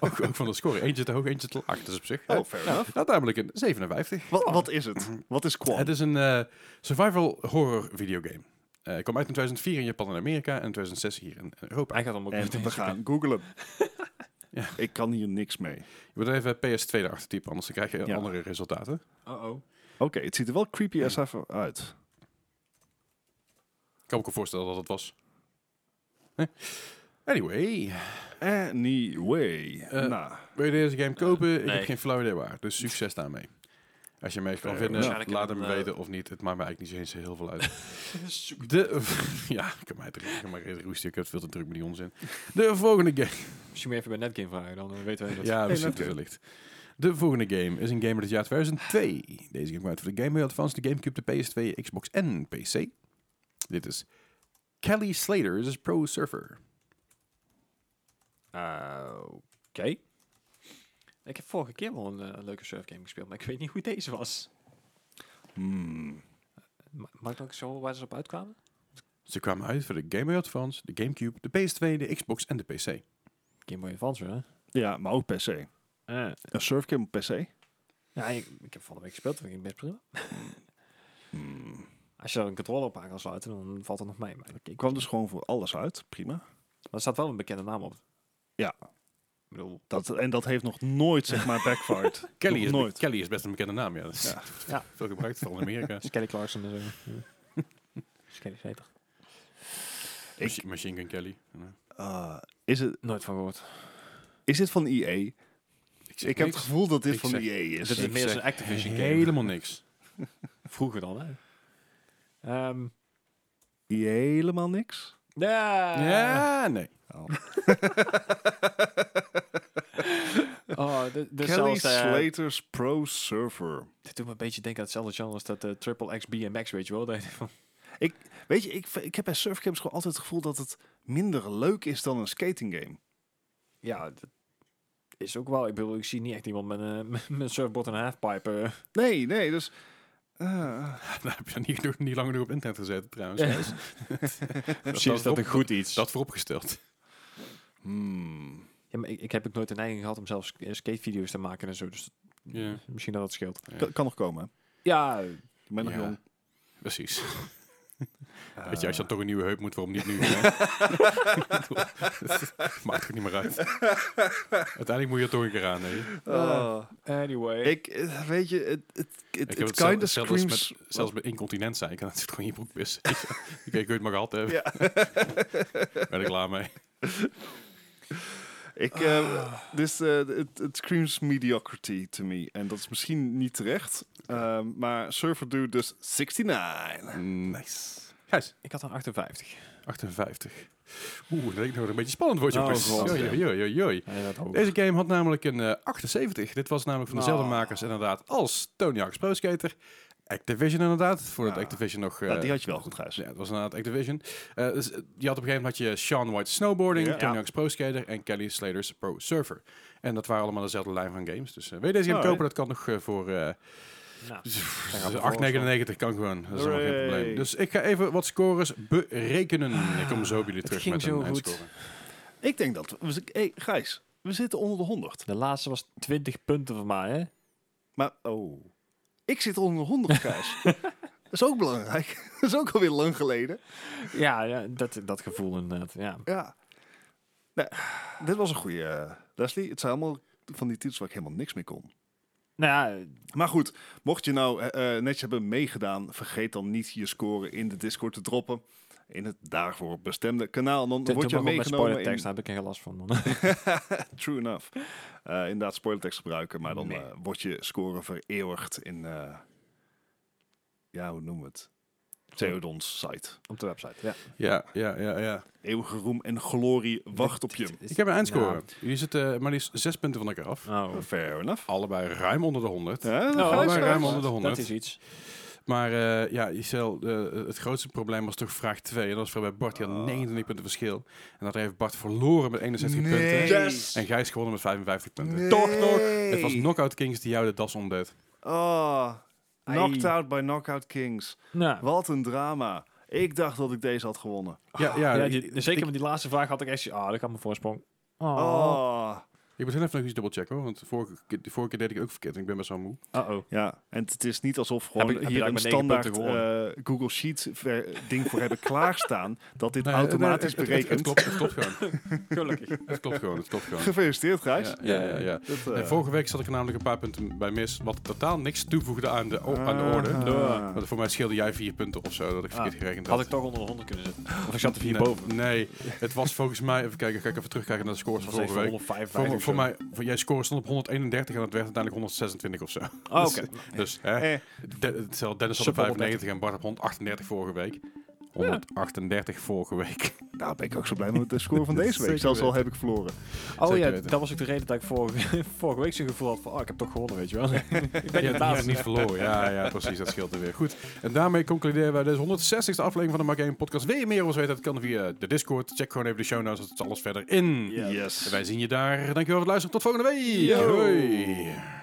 S1: ook. Ook van de score. Eentje te hoog, eentje te laag. Dat is op zich.
S2: Oh, fair enough.
S1: Dat namelijk een 57.
S2: Wat, wat is het? Wat is Quan?
S1: Het is een eh, survival horror videogame. Eh ik kwam uit in 2004 in Japan en Amerika en in 2006 hier in Europa.
S3: Hij gaat hem ook
S2: En
S3: meteen
S2: we gaan googlen.
S1: Ja.
S2: Ik kan hier niks mee.
S1: Je moet even PS2 erachter typen, anders dan krijg je
S2: Ja.
S1: andere resultaten.
S3: zoeken. Uh-oh.
S2: Oké, het ziet er wel creepy as ever uit.
S1: Ik kan me ook voorstellen dat het was. Eh. Anyway,
S2: Anyway.
S1: Eh,
S2: nou,
S1: wil je deze game kopen? Ik
S3: nee.
S1: heb geen flauw idee waar, dus succes daarmee. Als je mee kan
S2: Eh,
S1: vinden,
S2: waarschijnlijk
S1: laat
S3: een,
S1: hem
S3: eh,
S1: weten of niet. Het maakt me eigenlijk niet zo eens heel veel uit. De, ja, ik kan mij het ik kan mij het roesten. Ik heb het veel te druk met die onzin. De volgende game.
S3: Misschien moet je even bij Netgame vragen, dan eh, weten wij dat.
S1: Ja, misschien
S2: natuurlijk.
S1: wellicht. De volgende game is een game uit het jaar 2002. Deze game kwam uit voor de Game Boy Advance, de Gamecube, de PS2, Xbox en PC. Dit is Kelly Slater's Pro Surfer.
S3: Eh, Oké. Ik heb vorige keer wel een, eh, een leuke surfgame gespeeld, maar ik weet niet hoe deze was.
S2: hmm.
S3: Ma maakt ook zo waar ze op uitkwamen?
S1: Ze kwamen uit voor de Game Boy Advance, de Gamecube, de PS2, de Xbox en de PC.
S3: Game Boy Advance, hè?
S2: Ja, maar ook PC. Een surfcam op PC?
S3: Ja, ik, ik heb vorige week gespeeld, dat ging best prima.
S2: Hmm.
S3: Als je daar een controller op aan kan sluiten, dan valt het nog mee. Maar ik,
S2: Ik kwam dus gewoon voor alles uit. Prima.
S3: Maar er staat wel een bekende naam op.
S2: Ja.
S3: Ik bedoel,
S2: Dat, en dat heeft nog nooit, zeg maar, backfired.
S1: Kelly is,
S2: nog nooit.
S1: Kelly is best een bekende naam, ja. Dat is
S2: Ja.
S3: Ja.
S1: Veel gebruikt, vooral in Amerika.
S3: Skelly Clarkson en zo. Skelly Slater.
S2: Ik-
S1: Machine Gun Kelly. Ja.
S2: Ah, is, het,
S3: Nooit van gehoord.
S2: is dit van E EA?
S1: zeg
S2: Ik heb het
S1: niks.
S2: gevoel dat dit
S1: Ik
S2: van
S1: zeg-
S2: EA is.
S3: Dit is
S1: Ik
S3: meer
S1: zeg
S3: zo'n Activision game.
S1: Helemaal niks.
S3: Vroeger dan, hè? Ehm
S2: EA helemaal niks?
S3: ja.
S2: Eh.
S1: ja, nee.
S3: Oh, dit,
S1: Dus
S3: dit,
S2: Kelly
S3: zelfs, eh,
S2: Slater's Pro Surfer.
S3: dit doet me een beetje denken aan hetzelfde genre als dat eh, Triple X BMX, weet je wel. Dat je van-
S2: Weet je, ik, v- ik heb bij surfcams gewoon altijd het gevoel dat het minder leuk is dan een skating game.
S3: ja, dat is ook wel... Ik bedoel, ik zie niet echt iemand met, een met een surfboard en een halfpipe. eh.
S2: Nee, nee, dus... eh,
S1: Nou, heb je niet, genoeg- niet lang genoeg op internet gezet, trouwens. Gijs.
S3: Misschien is dat een goed iets.
S1: Dat vooropgesteld.
S2: hmm.
S3: Ja, maar ik, ik heb ook nooit de neiging gehad om zelfs eh, skatevideo's te maken en zo. Dus
S1: Ja.
S3: misschien dat dat scheelt.
S2: Kan, kan nog komen. hè?
S3: Ja,
S2: Ik ben nog
S1: Ja.
S2: jong.
S1: Precies. Weet je, als je
S2: Eh,
S1: dan toch een nieuwe heup moet, waarom niet nu? hè? Maakt ook niet meer uit. Uiteindelijk moet je er toch een keer aan, nee.
S2: ah.
S3: anyway.
S2: Ik, eh, weet je, het, het, het,
S1: Ik
S2: het,
S1: heb het
S2: kinda
S1: zelf- zelf als
S2: screams... oh.
S1: met, zelfs met incontinent zijn, ik kan natuurlijk gewoon in je broek dus pissen. Oké, kun je het maar gehad hebben.
S2: Ja.
S1: Ben ik klaar mee.
S2: Ik, eh, dus, eh, het, het screams mediocrity to me. En dat is misschien niet terecht. ehm, maar Surfer Dude dus 69.
S1: Mm. Nice. Gijs,
S3: Ik had een 58.
S1: 58. Oeh, dat denk ik nog een beetje spannend wordt,
S3: Oh,
S1: jongens.
S3: god.
S1: Joi, joi, joi, joi.
S3: Nou,
S1: Deze game had namelijk een eh, 78. Dit was namelijk van
S2: Nou.
S1: dezelfde
S3: Ah.
S1: makers inderdaad als Tony Hawk's Pro Skater. Activision inderdaad, voordat
S2: Ja.
S1: Activision nog... eh,
S2: Nou, die had je wel goed, Gijs.
S1: Ja, het was inderdaad Activision. Eh dus, eh, je had op een gegeven moment had je Sean White Snowboarding,
S2: Ja.
S1: Tony
S3: Ja.
S1: Hawk's Pro Skater en Kelly Slater's Pro Surfer. En dat waren allemaal dezelfde lijn van games. Dus eh wil je deze game
S2: Alright.
S1: kopen, dat kan nog eh, voor eh
S3: Nou,
S1: 8,99 kan gewoon. Dat is allemaal geen
S2: Hooray.
S1: probleem. Dus ik ga even wat scores berekenen. Ik kom zo bij jullie terug
S3: ging
S1: met een
S3: zo goed.
S1: eindscore.
S2: Ik denk dat... we- Was ik, hey, Gijs, we zitten onder de 100.
S3: De laatste was 20 punten van mij, hè?
S2: Maar, oh, ik zit onder de 100, Gijs. dat is ook belangrijk. dat is ook alweer lang geleden.
S3: Ja, ja dat, dat gevoel inderdaad, ja.
S2: Ja. Nou, dit was een goede. Leslie, het zijn allemaal van die titels waar ik helemaal niks mee kon.
S3: Nou ja,
S2: Maar goed, mocht je nou eh, eh, netjes hebben meegedaan, vergeet dan niet je score in de Discord te droppen. In het daarvoor bestemde kanaal. Dan
S3: dit
S2: word
S3: wordt
S2: je
S3: met
S2: meegenomen in...
S3: spoilertekst, daar heb ik geen last van. man.
S2: True enough. Eh, inderdaad, spoilertekst gebruiken, maar dan
S3: Nee.
S2: eh, wordt je score vereeuwigd in... eh, ja, hoe noemen we het? Theodons site.
S3: Op de website, ja.
S1: Ja, ja, ja, ja.
S2: Eeuwige roem en glorie wacht op je.
S1: Ik heb een eindscore. Jullie zitten maar liefst zes punten van elkaar af.
S3: Nou,
S2: Fair enough.
S1: Allebei ruim onder de 100.
S2: Ja, dan
S3: Nou,
S2: ga je
S1: allebei
S2: zo.
S1: ruim onder de
S3: dat
S1: 100.
S3: is iets.
S1: Maar eh, ja, Isel, eh, het grootste probleem was toch vraag 2. En dat was vooral bij Bart. Die had
S2: Ah.
S1: 29 punten verschil. En dat heeft Bart verloren met 61 punten.
S2: Yes!
S1: En Gijs gewonnen met 55 punten.
S2: Nee.
S1: Toch nog. Het was Knockout Kings die jou de das omdeed.
S2: Oh,
S3: Ai.
S2: knocked out by Knockout Kings.
S3: Nou,
S2: Wat een drama. Ik dacht dat ik deze had gewonnen.
S1: Ja, ja,
S3: ja,
S1: ik-
S3: die- zeker met die laatste vraag had ik echt... Ah, dat gaat mijn voorsprong.
S2: Oh.
S3: Oh.
S1: Ik moet heel even nog iets dubbelchecken hoor. Want de vorige, keer- de vorige keer deed ik ook verkeerd. En ik ben best wel moe.
S3: Uh-oh.
S2: Ja, en het is niet alsof gewoon
S3: ik- heb je
S2: hier
S3: daar
S2: een
S3: met negen
S2: standaard
S3: punten
S2: eh, Google Sheet ver- ding voor hebben klaarstaan. Dat dit
S1: Nee,
S2: automatisch
S1: nee, het- het-
S2: berekent.
S1: Het, klopt, het klopt gewoon.
S3: Gelukkig.
S1: Het klopt gewoon. Het klopt gewoon.
S2: Gefeliciteerd, Gijs.
S1: Ja, ja, ja, ja.
S2: Dat, eh,
S1: Nee, vorige week zat ik er namelijk een paar punten bij mis. Wat totaal niks toevoegde aan de, o- aan de orde.
S2: Ah.
S1: Want voor mij scheelde jij vier punten of zo. Dat ik verkeerd
S3: Ah,
S1: gerekend had.
S3: Had ik toch onder de 100 kunnen zitten. Of ik zat er
S1: Nee,
S3: vier boven.
S1: Nee, het was volgens mij... Even kijken, ga ik even terugkijken naar de scores van
S3: Dat was even
S1: vorige week.
S3: 155
S1: Voor,
S3: of
S1: voor
S3: zo.
S1: mij, voor jij score stond op 131 en het werd uiteindelijk 126 of zo.
S3: Oh, oké.
S1: Dus hè,
S2: Eh.
S1: De- hetzelfde, Dennis had op
S3: Sub
S1: 95 en Bart op 138 vorige week. 138 vorige week.
S2: Nou ben ik ook zo blij met de score van deze week.
S1: Zeker
S2: Zelfs al heb ik verloren.
S3: Oh
S1: Zeker
S3: ja,
S1: weten.
S3: dat was ook de reden dat ik vorige, vorige week zo'n gevoel had van... Oh, ik heb toch gewonnen, weet je wel. ik
S1: Je
S3: ben niet
S1: hebt het
S3: baas.
S1: niet verloren. Ja, ja, precies. Dat scheelt er weer. Goed. En daarmee concluderen wij deze 160ste aflevering van de Mark 1 podcast. Wil je meer over ons weten? Dat kan via de Discord. Check gewoon even de show notes. Dat is alles verder in.
S3: Ja.
S1: En wij zien je daar. Dankjewel voor het luisteren. Tot volgende week.
S3: Yo.
S1: Hoi.